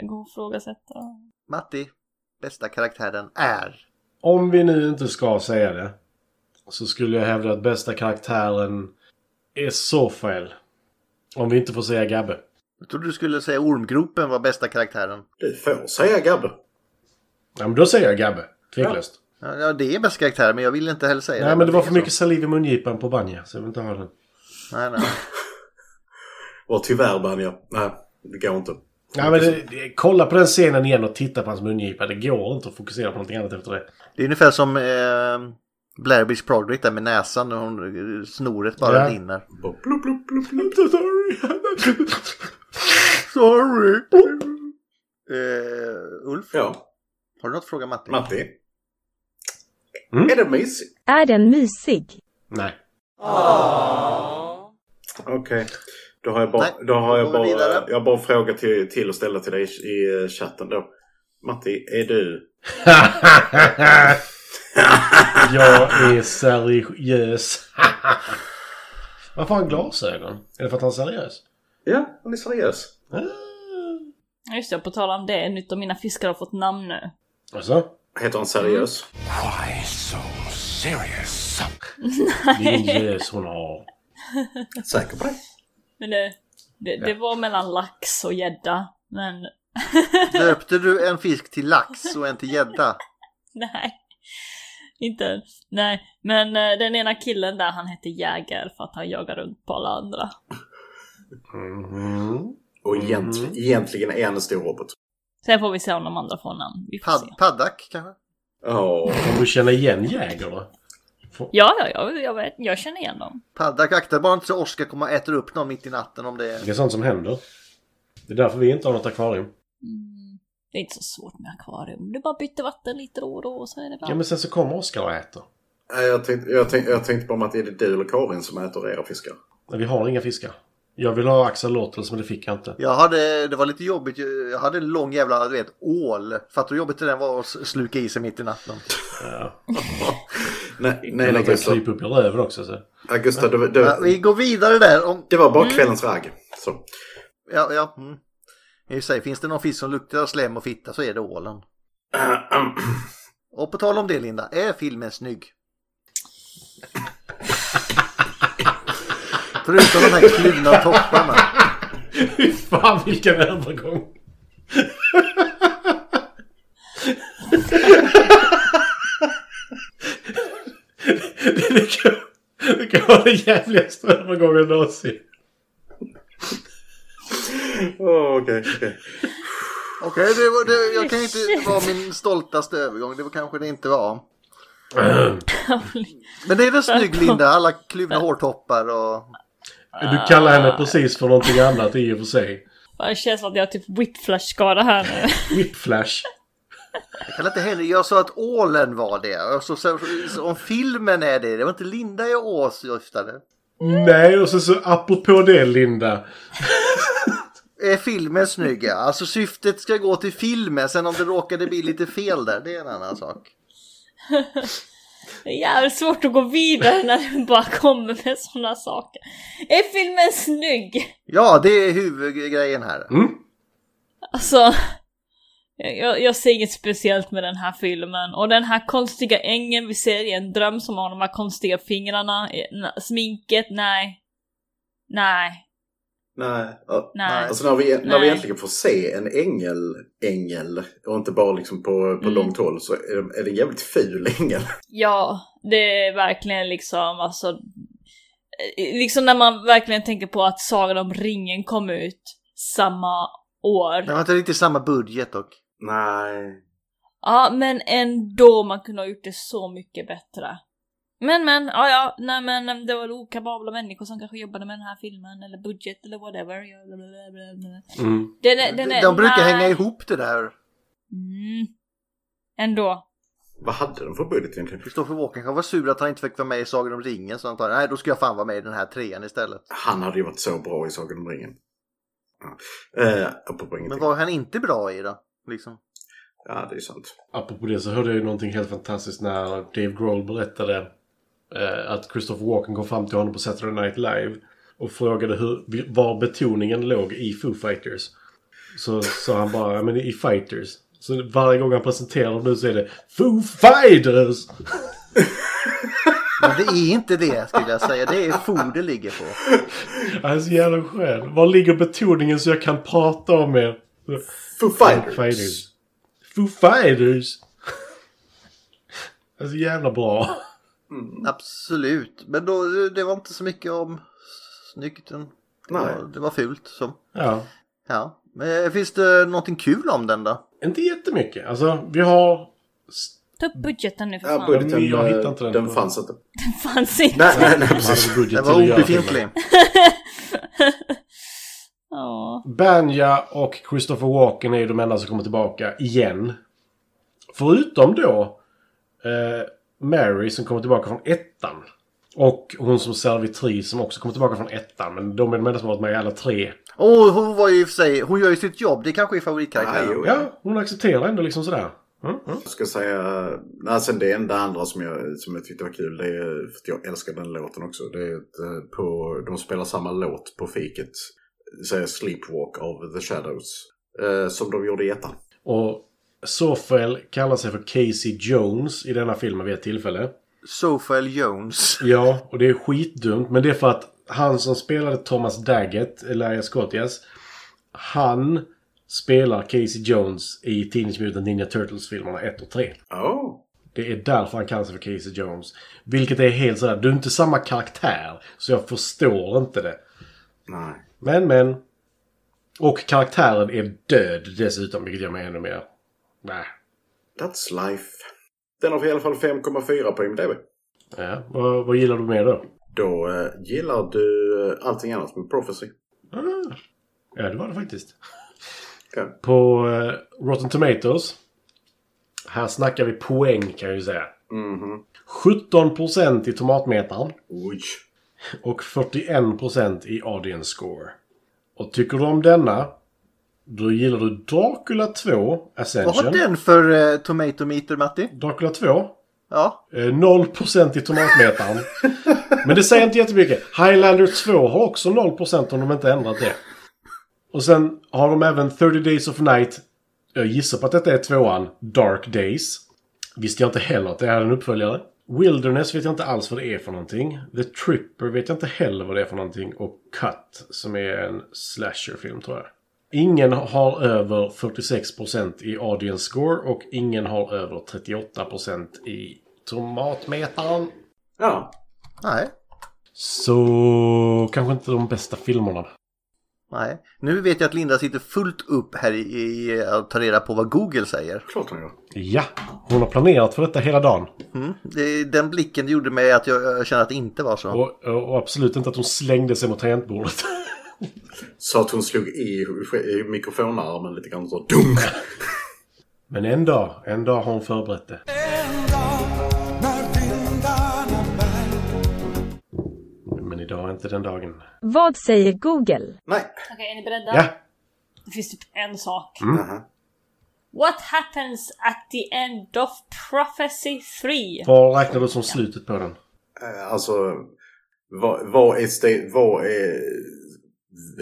[SPEAKER 7] Det går att ifrågasätta.
[SPEAKER 3] Matti, bästa karaktären är...
[SPEAKER 6] Om vi nu inte ska säga det. Så skulle jag hävda att bästa karaktären är Sofael. Om vi inte får säga Gabbe.
[SPEAKER 3] Jag trodde du skulle säga Ormgropen var bästa karaktären.
[SPEAKER 4] Du får säga Gabbe.
[SPEAKER 6] Ja men då säger jag Gabbe. Tveklöst.
[SPEAKER 3] Ja, ja, det är bästa karaktären men jag vill inte heller säga
[SPEAKER 6] Nej men det var för mycket saliv i mungipan på Banja. Så jag vill inte ha den.
[SPEAKER 3] Nej, nej.
[SPEAKER 4] Och tyvärr Banja, nej det går inte.
[SPEAKER 6] Nej men det, det, kolla på den scenen igen och titta på hans mungipa. Det går inte att fokusera på någonting annat efter det.
[SPEAKER 3] Det är ungefär som eh, Blair Witch Project där med näsan. när Hon, eh, snoret bara
[SPEAKER 6] Ja.
[SPEAKER 3] rinner.
[SPEAKER 6] I'm so sorry.
[SPEAKER 3] Sorry. Eh, Ulf?
[SPEAKER 4] Ja.
[SPEAKER 3] Har du något att fråga Matti?
[SPEAKER 4] Matti? Är den mysig?
[SPEAKER 2] Är den mysig?
[SPEAKER 6] Nej. *laughs*
[SPEAKER 4] Okej. Då har jag bara, då har jag bara, jag har bara en fråga till, till att ställa till dig i, i eh, chatten då. Matti, är du...
[SPEAKER 6] jag är seriös. *laughs* Varför har han glasögon? Är det för att han är seriös? Eh,
[SPEAKER 4] Ja, han är seriös.
[SPEAKER 7] Ja, Just det, på tal om det, en utav mina fiskar har fått namn nu.
[SPEAKER 6] Alltså?
[SPEAKER 4] Heter han seriös?
[SPEAKER 6] Why so serious? Det är en
[SPEAKER 7] Nej.
[SPEAKER 6] gös hon har.
[SPEAKER 4] Säker på det?
[SPEAKER 7] Men det, det, det
[SPEAKER 6] Ja.
[SPEAKER 7] var mellan lax och gädda. Men
[SPEAKER 3] Döpte du en fisk till lax och en till gädda?
[SPEAKER 7] *laughs* nej. Inte än. Nej, men eh, den ena killen där han hette Jäger för att han jagar runt på alla andra.
[SPEAKER 6] Mm-hmm.
[SPEAKER 4] Och egent, egentligen är han en stor robot.
[SPEAKER 7] Sen får vi se om de andra får namn. Vi får se.
[SPEAKER 3] Paddak kanske?
[SPEAKER 6] Om du känner igen Jäger då?
[SPEAKER 7] Ja, ja, ja, jag vet. Jag känner igen dem.
[SPEAKER 3] Paddak, akta dig bara inte så Oskar kommer och äter upp någon mitt i natten om det är...
[SPEAKER 6] Det är sånt som händer. Det är därför vi inte har något akvarium.
[SPEAKER 7] Det är inte så svårt med akvarium. Du bara byter vatten lite då och då och så är det bra.
[SPEAKER 6] Ja men sen så kommer Oskar och äter.
[SPEAKER 4] Nej, Jag tänkte, jag, tänkte, jag tänkte bara om att är det du eller Karin som äter era fiskar?
[SPEAKER 6] Nej, Vi har inga fiskar. Jag vill ha axolotls men det fick jag inte.
[SPEAKER 3] Jag hade, det var lite jobbigt, jag hade en lång jävla, du vet, ål. Fattar du hur jobbigt det där var att sluka i sig mitt i natten?
[SPEAKER 4] Nej,
[SPEAKER 6] Men
[SPEAKER 4] nej,
[SPEAKER 6] att jag
[SPEAKER 4] Augusta.
[SPEAKER 6] kryper upp i röven också. Så.
[SPEAKER 4] Augusta, du, du,
[SPEAKER 3] Ja, vi går vidare där. Om...
[SPEAKER 4] Det var bara
[SPEAKER 3] Mm.
[SPEAKER 4] kvällens ragg. Så.
[SPEAKER 3] Ja, ja. Mm. I och för sig, finns det någon fisk som luktar slem och fitta så är det ålen. Och på tal om det Linda, är filmen snygg? Förutom de här kluvna topparna.
[SPEAKER 6] Fy fan vilken övergång! det, det, kan, det kan vara den jävligaste övergången någonsin.
[SPEAKER 4] Åh, Okej, okej.
[SPEAKER 3] Okej, det var, det, jag kan inte det var min stoltaste övergång. Det var kanske det inte var. Men är det snygg Linda? Alla kluvna hårtoppar och...
[SPEAKER 6] Du kallar henne precis för någonting annat i och för sig.
[SPEAKER 7] Fan, Det känns som att jag har typ whiplash-skada här nu. *laughs*
[SPEAKER 6] Whipflash.
[SPEAKER 3] Jag kallar inte heller... Jag sa att ålen var det. Och Så, så, så, om filmen är det. Det var inte Linda jag åsyftade.
[SPEAKER 6] Nej, och sen så apropå det Linda.
[SPEAKER 3] Är filmen snygg? ja. Alltså syftet ska gå till filmen. Sen om det råkade bli lite fel där, det är en annan sak.
[SPEAKER 7] Det är jävligt svårt att gå vidare när du bara kommer med såna saker. Är filmen snygg?
[SPEAKER 3] Ja, det är huvudgrejen här.
[SPEAKER 7] Alltså, jag, jag ser inget speciellt med den här filmen. Och den här konstiga ängen vi ser i en dröm som har de här konstiga fingrarna, eh, na- sminket, nej. Nej.
[SPEAKER 4] Nej. ja.
[SPEAKER 7] Nej.
[SPEAKER 4] Alltså när vi, när vi
[SPEAKER 7] Nej.
[SPEAKER 4] äntligen får se en ängel, ängel och inte bara liksom på, på
[SPEAKER 7] Mm.
[SPEAKER 4] långt håll så är det, är det en jävligt ful ängel.
[SPEAKER 7] Ja, det är verkligen liksom alltså... eh, Liksom när man verkligen tänker på att Sagan om ringen kom ut samma år.
[SPEAKER 3] Det var inte riktigt samma budget dock.
[SPEAKER 4] Nej.
[SPEAKER 7] Ja, men ändå man kunde ha gjort det så mycket bättre.
[SPEAKER 1] Men men, ja ja, nej men det var okapabla människor som kanske jobbade med den här filmen eller budget eller whatever.
[SPEAKER 3] Mm. Den, den, den, de, de brukar nej. hänga ihop det där.
[SPEAKER 1] Mm. Ändå.
[SPEAKER 4] Vad hade de för budget egentligen?
[SPEAKER 3] Kristoffer Walken kan vara sur att han inte fick vara med i Sagan om ringen så han tar, nej då ska jag fan vara med i den här trean istället.
[SPEAKER 4] Han hade ju varit så bra i Sagan om ringen. Ja. Eh, apropå ingenting.
[SPEAKER 3] Men var han inte bra i då? Liksom?
[SPEAKER 4] Ja, det är sant.
[SPEAKER 6] Apropå det så hörde jag ju någonting helt fantastiskt när Dave Grohl berättade eh, att Christopher Walken kom fram till honom på Saturday Night Live och frågade hur, var betoningen låg i Foo Fighters. Så sa han bara, men i Fighters. Så varje gång han presenterar dem nu så är det Foo Fighters!
[SPEAKER 3] Men det är inte det skulle jag säga. Det är Foo det ligger på.
[SPEAKER 6] Han är så jävla skön. Var ligger betoningen så jag kan prata om er?
[SPEAKER 4] Foo Fighters. Foo Fighters.
[SPEAKER 6] Foo Fighters! alltså jävla bra.
[SPEAKER 3] Mm. Absolut, men då, det var inte så mycket om snyggt. Det, var, det var fult. Så.
[SPEAKER 6] Ja.
[SPEAKER 3] ja. Men, eh, finns det någonting kul om den då?
[SPEAKER 6] Inte jättemycket. Alltså, vi har...
[SPEAKER 1] Ta upp budgeten nu för
[SPEAKER 4] ja, fan. Budgeten, eh,
[SPEAKER 6] jag hittar inte den.
[SPEAKER 4] Den fanns inte.
[SPEAKER 1] Den fanns inte.
[SPEAKER 4] Nej, *laughs* nej, nej precis.
[SPEAKER 3] den var obefintlig.
[SPEAKER 1] Oh.
[SPEAKER 6] Banja och Christopher Walken är ju de enda som kommer tillbaka igen. Förutom då eh, Mary som kommer tillbaka från ettan. Och hon som servitris som också kommer tillbaka från ettan. Men de är de enda som varit med i alla tre.
[SPEAKER 3] Och hon var ju för sig, hon gör ju sitt jobb. Det kanske är favoritkaraktären.
[SPEAKER 6] Ja, hon accepterar ändå liksom sådär. Mm, mm.
[SPEAKER 4] Jag ska säga, nej, sen det enda andra som jag, som jag tyckte var kul, det är, för att jag älskar den låten också, det är att på, de spelar samma låt på fiket säga Sleepwalk av The Shadows. Eh, som de gjorde i ettan.
[SPEAKER 6] Och Sofel kallar sig för Casey Jones i denna filmen vid ett tillfälle.
[SPEAKER 3] Sofel Jones.
[SPEAKER 6] Ja, och det är skitdumt. Men det är för att han som spelade Thomas Daggett, Elias Scottias, han spelar Casey Jones i Teenage Mutant Ninja Turtles-filmerna 1 och 3.
[SPEAKER 4] Oh.
[SPEAKER 6] Det är därför han kallar sig för Casey Jones. Vilket är helt sådär, du är inte samma karaktär. Så jag förstår inte det.
[SPEAKER 4] Nej.
[SPEAKER 6] Men, men. Och karaktären är död dessutom, vilket gör mig ännu mer... Nej.
[SPEAKER 4] That's life. Den har i alla fall 5,4 på IMDB.
[SPEAKER 6] Ja, vad, vad, gillar du mer då?
[SPEAKER 4] Då eh, gillar du eh, allting annat med Prophecy.
[SPEAKER 6] Ah. Ja, det var det faktiskt.
[SPEAKER 4] Okay.
[SPEAKER 6] På eh, Rotten Tomatoes. Här snackar vi poäng kan jag ju säga.
[SPEAKER 3] Mhm.
[SPEAKER 4] Mm-hmm.
[SPEAKER 6] 17% i tomatmetaren.
[SPEAKER 4] Oj.
[SPEAKER 6] Och 41% i audience score. Och tycker du om denna, då gillar du Dracula 2 Ascension.
[SPEAKER 3] Vad har den för eh, tomato meter, Matti?
[SPEAKER 6] Dracula 2?
[SPEAKER 3] Ja.
[SPEAKER 6] Eh, 0% i tomatmetaren. Men det säger inte jättemycket. Highlander 2 har också 0% om de inte ändrat det. Och sen har de även 30 Days of Night. Jag gissar på att detta är tvåan. Dark Days. Visste jag inte heller att det är en uppföljare. Wilderness vet jag inte alls vad det är för någonting. The Tripper vet jag inte heller vad det är för någonting. Och Cut, som är en slasherfilm tror jag. Ingen har över 46% i audience score och ingen har över 38% i tomatmetaren.
[SPEAKER 4] Ja.
[SPEAKER 3] Nej.
[SPEAKER 6] Så kanske inte de bästa filmerna.
[SPEAKER 3] Nej. Nu vet jag att Linda sitter fullt upp här i, i att ta reda på vad Google säger.
[SPEAKER 4] Klart hon gör.
[SPEAKER 6] Ja, hon har planerat för detta hela dagen.
[SPEAKER 3] Mm, det, den blicken gjorde mig att jag, jag kände att det inte var så.
[SPEAKER 6] Och, och, absolut inte att hon slängde sig mot tangentbordet. *laughs*
[SPEAKER 4] så att hon slog i, i mikrofonarmen lite grann så dunk.
[SPEAKER 6] Mm. Men en dag, en dag har hon förberett det. Men idag är inte den dagen.
[SPEAKER 12] Vad säger Google?
[SPEAKER 4] Nej.
[SPEAKER 1] Okej, okay, är ni beredda?
[SPEAKER 6] Ja.
[SPEAKER 1] Det finns typ en sak.
[SPEAKER 6] Mm.
[SPEAKER 4] Uh-huh.
[SPEAKER 1] What happens at the end of Prophecy 3?
[SPEAKER 6] Vad räknar du som slutet på den?
[SPEAKER 4] Eh, alltså, vad, vad är, st- vad är...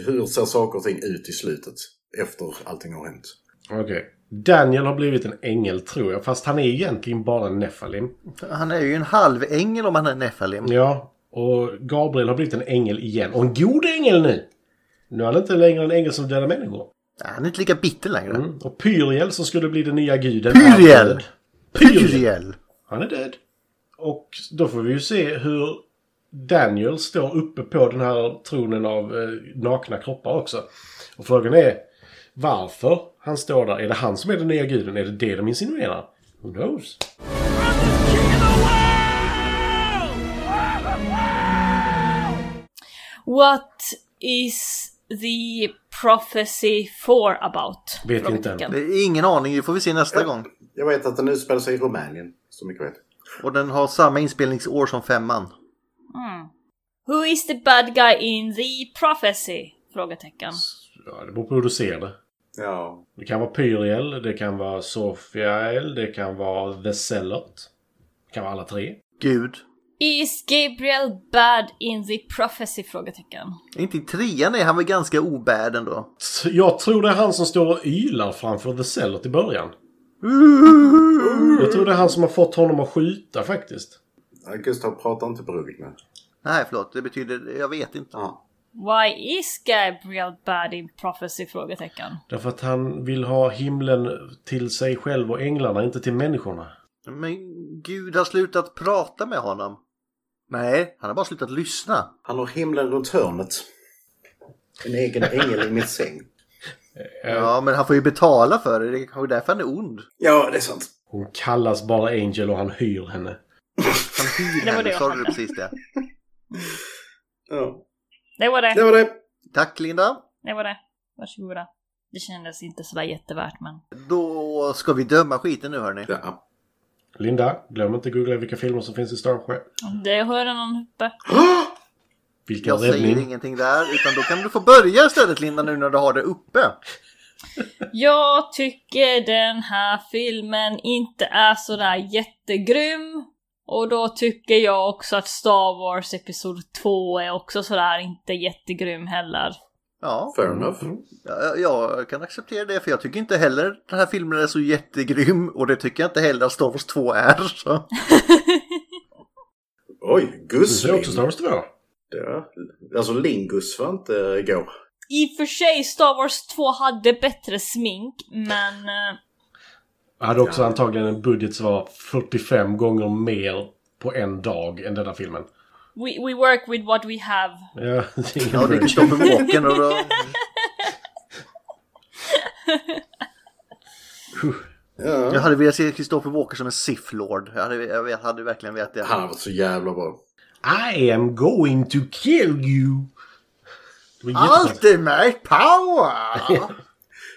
[SPEAKER 4] Hur ser saker och ting ut i slutet? Efter allting har hänt.
[SPEAKER 6] Okej. Okay. Daniel har blivit en ängel tror jag, fast han är egentligen bara en Nefalim.
[SPEAKER 3] Han är ju en halv ängel om han är Nefalim.
[SPEAKER 6] Ja, och Gabriel har blivit en ängel igen. Och en god ängel nu! Nu är han inte längre en ängel som dödar människor.
[SPEAKER 3] Han är inte lika bitter längre.
[SPEAKER 6] Mm. Och Pyriel som skulle bli den nya guden.
[SPEAKER 3] Pyriel! Pyriel!
[SPEAKER 6] Han är död. Och då får vi ju se hur Daniel står uppe på den här tronen av eh, nakna kroppar också. Och frågan är varför han står där. Är det han som är den nya guden? Är det det de insinuerar? Who knows?
[SPEAKER 7] What is the prophecy for about?
[SPEAKER 6] Vet inte än.
[SPEAKER 3] Det är ingen aning, det får vi se nästa
[SPEAKER 4] jag,
[SPEAKER 3] gång.
[SPEAKER 4] Jag vet att den utspelar sig i Rumänien, så mycket vet
[SPEAKER 3] Och den har samma inspelningsår som femman.
[SPEAKER 7] Mm. Who is the bad guy in the prophecy? Frågetecken.
[SPEAKER 6] Ja, det beror på hur du ser det.
[SPEAKER 4] Ja.
[SPEAKER 6] Det kan vara Pyriel, det kan vara Sofiael, det kan vara The Sellert. Det kan vara alla tre.
[SPEAKER 3] Gud.
[SPEAKER 7] Is Gabriel bad in the prophecy? Frågetecken.
[SPEAKER 3] Inte i trean är han väl ganska obärd ändå?
[SPEAKER 6] Jag tror det är han som står och ylar framför The Sellert i början. Jag tror det är han som har fått honom att skjuta faktiskt.
[SPEAKER 4] Ja, Eh, Gustav pratar inte bruggigt nu.
[SPEAKER 3] Nej, förlåt. Det betyder... Jag vet inte.
[SPEAKER 4] Ja.
[SPEAKER 7] Why is Gabriel bad in prophecy? Frågetecken.
[SPEAKER 6] Därför att han vill ha himlen till sig själv och änglarna, inte till människorna.
[SPEAKER 3] Men Gud har slutat prata med honom. Nej, han har bara slutat lyssna.
[SPEAKER 4] Han har himlen runt hörnet. En egen ängel i min säng.
[SPEAKER 7] Eh,
[SPEAKER 3] Ja, men han får ju betala för det. Det är kanske därför han är ond.
[SPEAKER 4] Ja, det är sant.
[SPEAKER 6] Hon kallas bara Angel och han hyr henne.
[SPEAKER 3] Han
[SPEAKER 7] *laughs*
[SPEAKER 3] hyr
[SPEAKER 7] Det var det
[SPEAKER 3] henne,
[SPEAKER 7] jag
[SPEAKER 3] sa du
[SPEAKER 7] hade.
[SPEAKER 3] precis det.
[SPEAKER 4] Ja.
[SPEAKER 7] Det var det.
[SPEAKER 4] Det var det.
[SPEAKER 3] Tack Linda.
[SPEAKER 7] Det var det. Varsågoda. Det kändes inte sådär jättevärt men...
[SPEAKER 3] Då ska vi döma skiten nu hörni.
[SPEAKER 4] Ja.
[SPEAKER 6] Linda, glöm inte googla vilka filmer som finns i Starsjö.
[SPEAKER 7] Det hör någon uppe.
[SPEAKER 4] Ah!
[SPEAKER 6] Vilken
[SPEAKER 3] Jag
[SPEAKER 6] räddning.
[SPEAKER 3] säger ingenting där, utan då kan du få börja istället Linda nu när du har det uppe.
[SPEAKER 7] Jag tycker den här filmen inte är sådär jättegrym. Och då tycker jag också att Star Wars Episod 2 är också sådär inte jättegrym heller.
[SPEAKER 3] Ja,
[SPEAKER 4] Fair enough.
[SPEAKER 3] jag, jag kan acceptera det för jag tycker inte heller den här filmen är så jättegrym och det tycker jag inte heller att Star Wars 2 är. Så.
[SPEAKER 4] Oj,
[SPEAKER 6] Du ser också Star
[SPEAKER 4] Gusvin.
[SPEAKER 6] Wars 2.
[SPEAKER 4] Ja. Alltså Lingus var inte igår.
[SPEAKER 7] I och för sig, Star Wars 2 hade bättre smink, men... eh,
[SPEAKER 6] Jag hade också antagligen en budget som var 45 gånger mer på en dag än denna filmen.
[SPEAKER 7] We, we work with what we have.
[SPEAKER 6] Ja, *laughs* det är ingen
[SPEAKER 3] Ja, det är
[SPEAKER 6] budget.
[SPEAKER 3] Christopher Walken och då...
[SPEAKER 4] Ja.
[SPEAKER 3] Jag hade velat se Christopher Walken som en Sith Lord. Jag hade, jag vet- hade verkligen velat det.
[SPEAKER 4] Han var så jävla bra.
[SPEAKER 6] I am going to kill you! Det var jättebra.
[SPEAKER 3] Ultimate power!
[SPEAKER 4] Ja,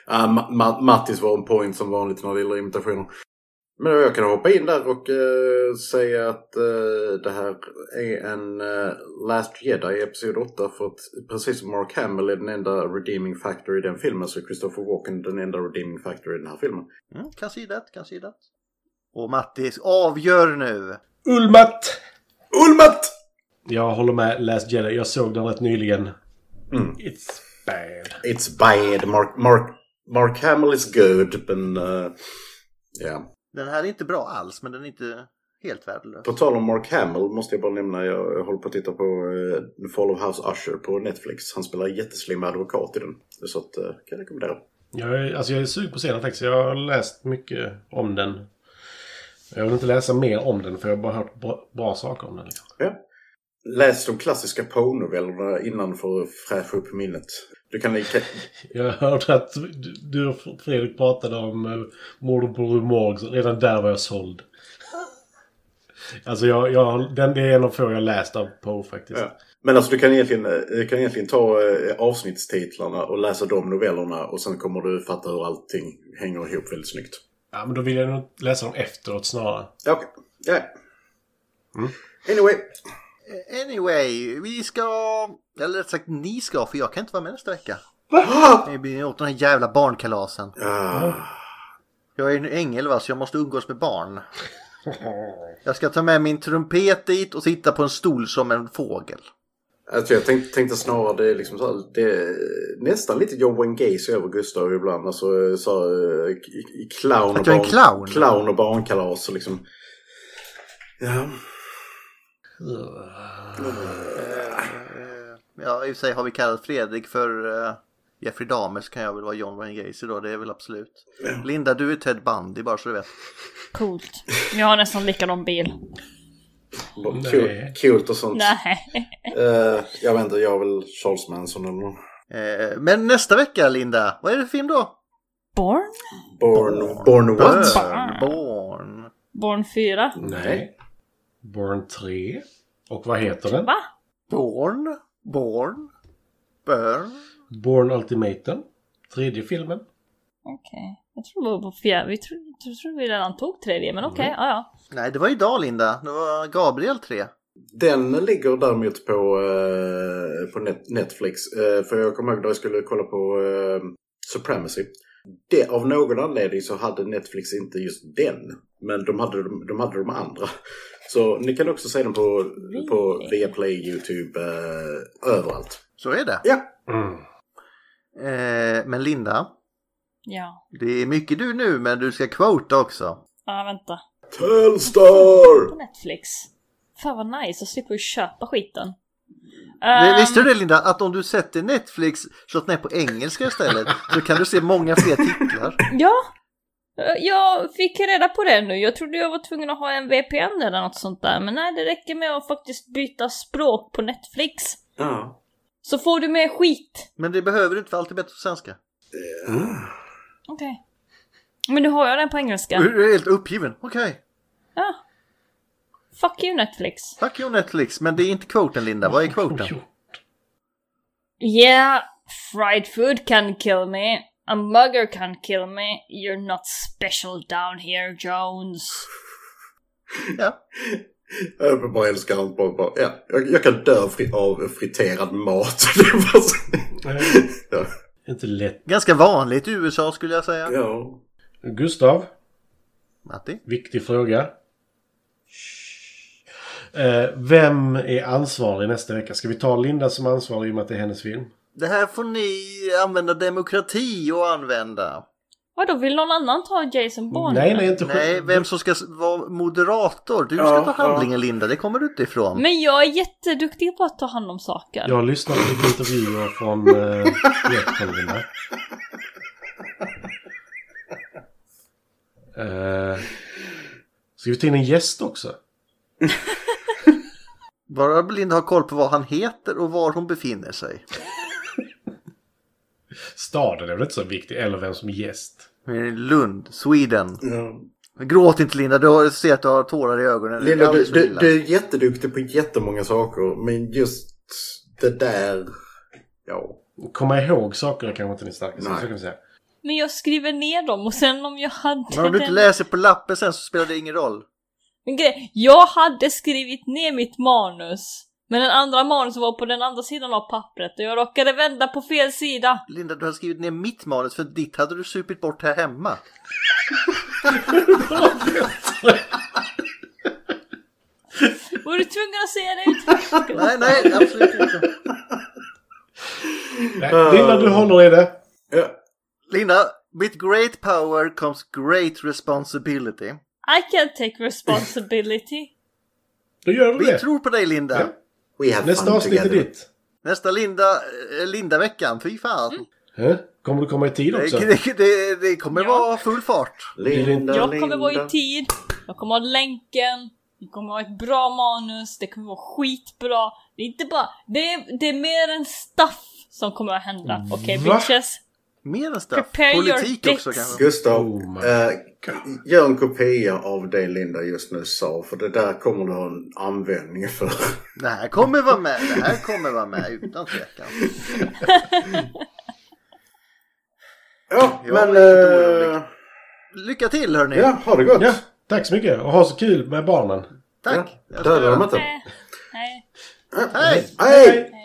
[SPEAKER 4] Ma- Ma- Mattis var en point som vanligt när det gäller imitationer. Men jag kan hoppa in där och eh, säga att eh, det här är en eh, Last Jedi i Episod 8. För att precis som Mark Hamill är den enda redeeming factor i den filmen så är Christopher Walken den enda redeeming factor i den här filmen.
[SPEAKER 3] *laughs* Mm, kan se det, kan se det. Och Mattis, avgör nu!
[SPEAKER 6] Ulmat!
[SPEAKER 4] Ulmat!
[SPEAKER 6] Jag håller med Last Jedi. Jag såg den rätt nyligen.
[SPEAKER 3] Mm.
[SPEAKER 6] It's bad.
[SPEAKER 4] It's bad. Mark, Mark, Mark Hamill is good, men... eh, Ja.
[SPEAKER 3] Den här är inte bra alls, men den är inte helt värdelös.
[SPEAKER 4] På tal om Mark Hamill måste jag bara nämna, jag, jag håller på att titta på eh, Fall of House Usher på Netflix. Han spelar en jätteslim advokat i den. Så att, eh, kan jag rekommendera.
[SPEAKER 6] Jag är, alltså jag är sugen på scenen faktiskt. Jag har läst mycket om den. Jag vill inte läsa mer om den för jag har bara hört bra, bra saker om den. Liksom.
[SPEAKER 4] Ja. Läs de klassiska Poe-novellerna innan för att fräscha upp minnet. Du kan *laughs* lika...
[SPEAKER 6] Jag hörde att du- du och Fredrik pratade om eh, mordet på Rue Morgue. så Redan där var jag såld. Alltså jag, jag, den det är en av få jag läst av Poe faktiskt.
[SPEAKER 4] Ja. Men alltså du kan egentligen, eh, du kan egentligen ta eh, avsnittstitlarna och läsa de novellerna och sen kommer du fatta hur allting hänger ihop väldigt snyggt.
[SPEAKER 6] Ja, men då vill jag nog läsa dem efteråt snarare.
[SPEAKER 4] Ja, Okej. Ja. Mm. Anyway.
[SPEAKER 3] Anyway, vi ska... Eller rätt sagt ni ska, för jag kan inte vara med nästa vecka. Det blir åt den här jävla barnkalasen.
[SPEAKER 4] Ah.
[SPEAKER 3] Jag är en ängel va, så jag måste umgås med barn. Jag ska ta med min trumpet dit och sitta på en stol som en fågel.
[SPEAKER 4] Alltså jag tänkte, tänkte snarare det är liksom så här, det är nästan lite John Wayne Gacy över Gustav ibland. Alltså så här, eh, k- k- clown,
[SPEAKER 3] Att jag är en clown?
[SPEAKER 4] clown och barnkalas och liksom. Ja. Eh.
[SPEAKER 3] Ja, i och för sig har vi kallat Fredrik för eh, Jeffrey Dahmer så kan jag väl vara John Wayne Gacy då, det är väl absolut. Linda, du är Ted Bundy bara så du vet.
[SPEAKER 7] Coolt. Jag har nästan likadan bil.
[SPEAKER 4] Bara
[SPEAKER 6] Nej.
[SPEAKER 4] kul- Kul och
[SPEAKER 7] *laughs*
[SPEAKER 4] sånt.
[SPEAKER 7] Nej.
[SPEAKER 4] Eh, jag vet inte, jag är väl Charles Manson eller någon.
[SPEAKER 3] Eh, men nästa vecka Linda, vad är det för film då?
[SPEAKER 7] Born?
[SPEAKER 4] Born, born what?
[SPEAKER 3] Burn, Born.
[SPEAKER 7] Born 4?
[SPEAKER 6] Nej. Born 3. Och vad heter den?
[SPEAKER 7] Va?
[SPEAKER 3] Born? Born. Burn.
[SPEAKER 6] Born Ultimatum. Tredje filmen.
[SPEAKER 7] Okej. Okay. Jag tror vi var på fjärde. Vi tror, tror, tror vi redan tog tredje, men okej. Okay. Mm. Ja,
[SPEAKER 3] ja. Nej, det var idag Linda. Det var Gabriel 3.
[SPEAKER 4] Den ligger däremot på, eh, på net Netflix. Eh, för jag kommer ihåg då jag skulle kolla på eh, Supremacy. Det, av någon anledning så hade Netflix inte just den. Men de hade de, de hade de andra. Så ni kan också se den på, really? på Viaplay, YouTube, eh, överallt.
[SPEAKER 3] Så är det.
[SPEAKER 4] Ja.
[SPEAKER 3] Mm.
[SPEAKER 6] *laughs*
[SPEAKER 3] men Linda.
[SPEAKER 7] Ja.
[SPEAKER 3] Det är mycket du nu, men du ska quota också.
[SPEAKER 7] Ja, ah, vänta.
[SPEAKER 4] Telstar!
[SPEAKER 7] På Netflix. Fan vad nice, då slipper vi köpa skiten. Ehm.
[SPEAKER 3] Um... Visste du det Linda, att om du sätter Netflix slått ner på engelska istället så kan du se många fler titlar.
[SPEAKER 7] ja, Eh, jag fick reda på det nu. Jag trodde jag var tvungen att ha en VPN eller något sånt där, men nej det räcker med att faktiskt byta språk på Netflix.
[SPEAKER 4] Ja.
[SPEAKER 7] Så får du med skit.
[SPEAKER 3] Men det behöver du inte för allt är bättre på svenska.
[SPEAKER 7] Mm. Okej. Okay. Men nu har jag den på engelska.
[SPEAKER 3] Du är helt uppgiven. Okej. Okay.
[SPEAKER 7] Ja. Fuck you Netflix.
[SPEAKER 3] Fuck you Netflix. Men det är inte kvoten Linda. Vad är kvoten?
[SPEAKER 7] Yeah, fried food can kill me. A mugger can kill me. You're not special down here Jones.
[SPEAKER 3] ja.
[SPEAKER 4] Uppenbarligen älskar han bara, ja, jag, jag kan dö av friterad mat. *laughs*
[SPEAKER 6] ja. Inte lätt.
[SPEAKER 3] Ganska vanligt i USA skulle jag säga.
[SPEAKER 4] Ja.
[SPEAKER 6] Gustav.
[SPEAKER 3] Matti.
[SPEAKER 6] Viktig fråga. Eh, vem är ansvarig nästa vecka? Ska vi ta Linda som ansvarig i och med att det är hennes film?
[SPEAKER 3] Det här får ni använda demokrati och använda.
[SPEAKER 7] Vadå, vill någon annan ta Jason Bourne?
[SPEAKER 6] Nej, nej, inte
[SPEAKER 3] Nej, vem som ska vara moderator. Du ska ja, ta handlingen, ja. Linda. Det kommer du inte ifrån.
[SPEAKER 7] Men jag är jätteduktig på att ta hand om saker.
[SPEAKER 6] Jag har lyssnat på lite intervjuer från eh, Vietkongen eh, uh, Ska vi ta in en gäst också?
[SPEAKER 3] Bara Linda har koll på vad han heter och var hon befinner sig.
[SPEAKER 6] Staden är väl inte så viktig, eller vem som är gäst.
[SPEAKER 3] Lund, Sweden.
[SPEAKER 4] Mm.
[SPEAKER 3] Gråt inte Linda, du har, ser att du har tårar i ögonen.
[SPEAKER 4] Linda, du, du, du, är jätteduktig på jättemånga saker, men just det där... Ja.
[SPEAKER 6] Komma ihåg saker är kanske inte din starkaste, så kan vi säga.
[SPEAKER 7] Men jag skriver ner dem och sen om jag hade...
[SPEAKER 3] Men om du inte den... läser på lappen sen så spelar det ingen roll.
[SPEAKER 7] Men grej, jag hade skrivit ner mitt manus. Men den andra manus var på den andra sidan av pappret och jag råkade vända på fel sida.
[SPEAKER 3] Linda, du har skrivit ner mitt manus för ditt hade du supit bort här hemma.
[SPEAKER 7] Var du tvungen att säga det uttrycket?
[SPEAKER 3] *laughs* nej, nej, absolut inte.
[SPEAKER 6] Nej, Linda, du håller i det.
[SPEAKER 4] Ja.
[SPEAKER 3] Linda, with great power comes great responsibility.
[SPEAKER 7] I can take responsibility.
[SPEAKER 6] Då gör
[SPEAKER 3] vi
[SPEAKER 6] det.
[SPEAKER 3] Vi tror på dig, Linda. Ja.
[SPEAKER 6] Nästa avsnitt är ditt.
[SPEAKER 3] Nästa Linda, eh, Linda-veckan, fy fan.
[SPEAKER 6] Mm. Kommer du komma i tid också?
[SPEAKER 3] Det, det, det kommer ja. vara full fart.
[SPEAKER 4] Linda,
[SPEAKER 7] jag kommer vara i tid, jag kommer ha länken, jag kommer ha ett bra manus, det kommer vara skitbra. Det är inte bara... Det är, det är mer än stuff som kommer att
[SPEAKER 3] Mm.
[SPEAKER 7] hända. Okej okay, bitches?
[SPEAKER 3] Mer än stuff? Prepare Politik också kanske?
[SPEAKER 4] Gustav, oh eh, gör en kopia av det Linda just nu sa, för det där kommer du ha en användning för.
[SPEAKER 3] Det här kommer vara med, det här kommer vara med utan tvekan.
[SPEAKER 4] ja, men... Eh,
[SPEAKER 3] lycka till hörni!
[SPEAKER 4] Ja, ha det gott!
[SPEAKER 6] Ja, tack så mycket och ha så kul med barnen!
[SPEAKER 3] Tack!
[SPEAKER 4] Ja, döda dem inte!
[SPEAKER 7] Nej.
[SPEAKER 3] Hej!
[SPEAKER 4] Hej!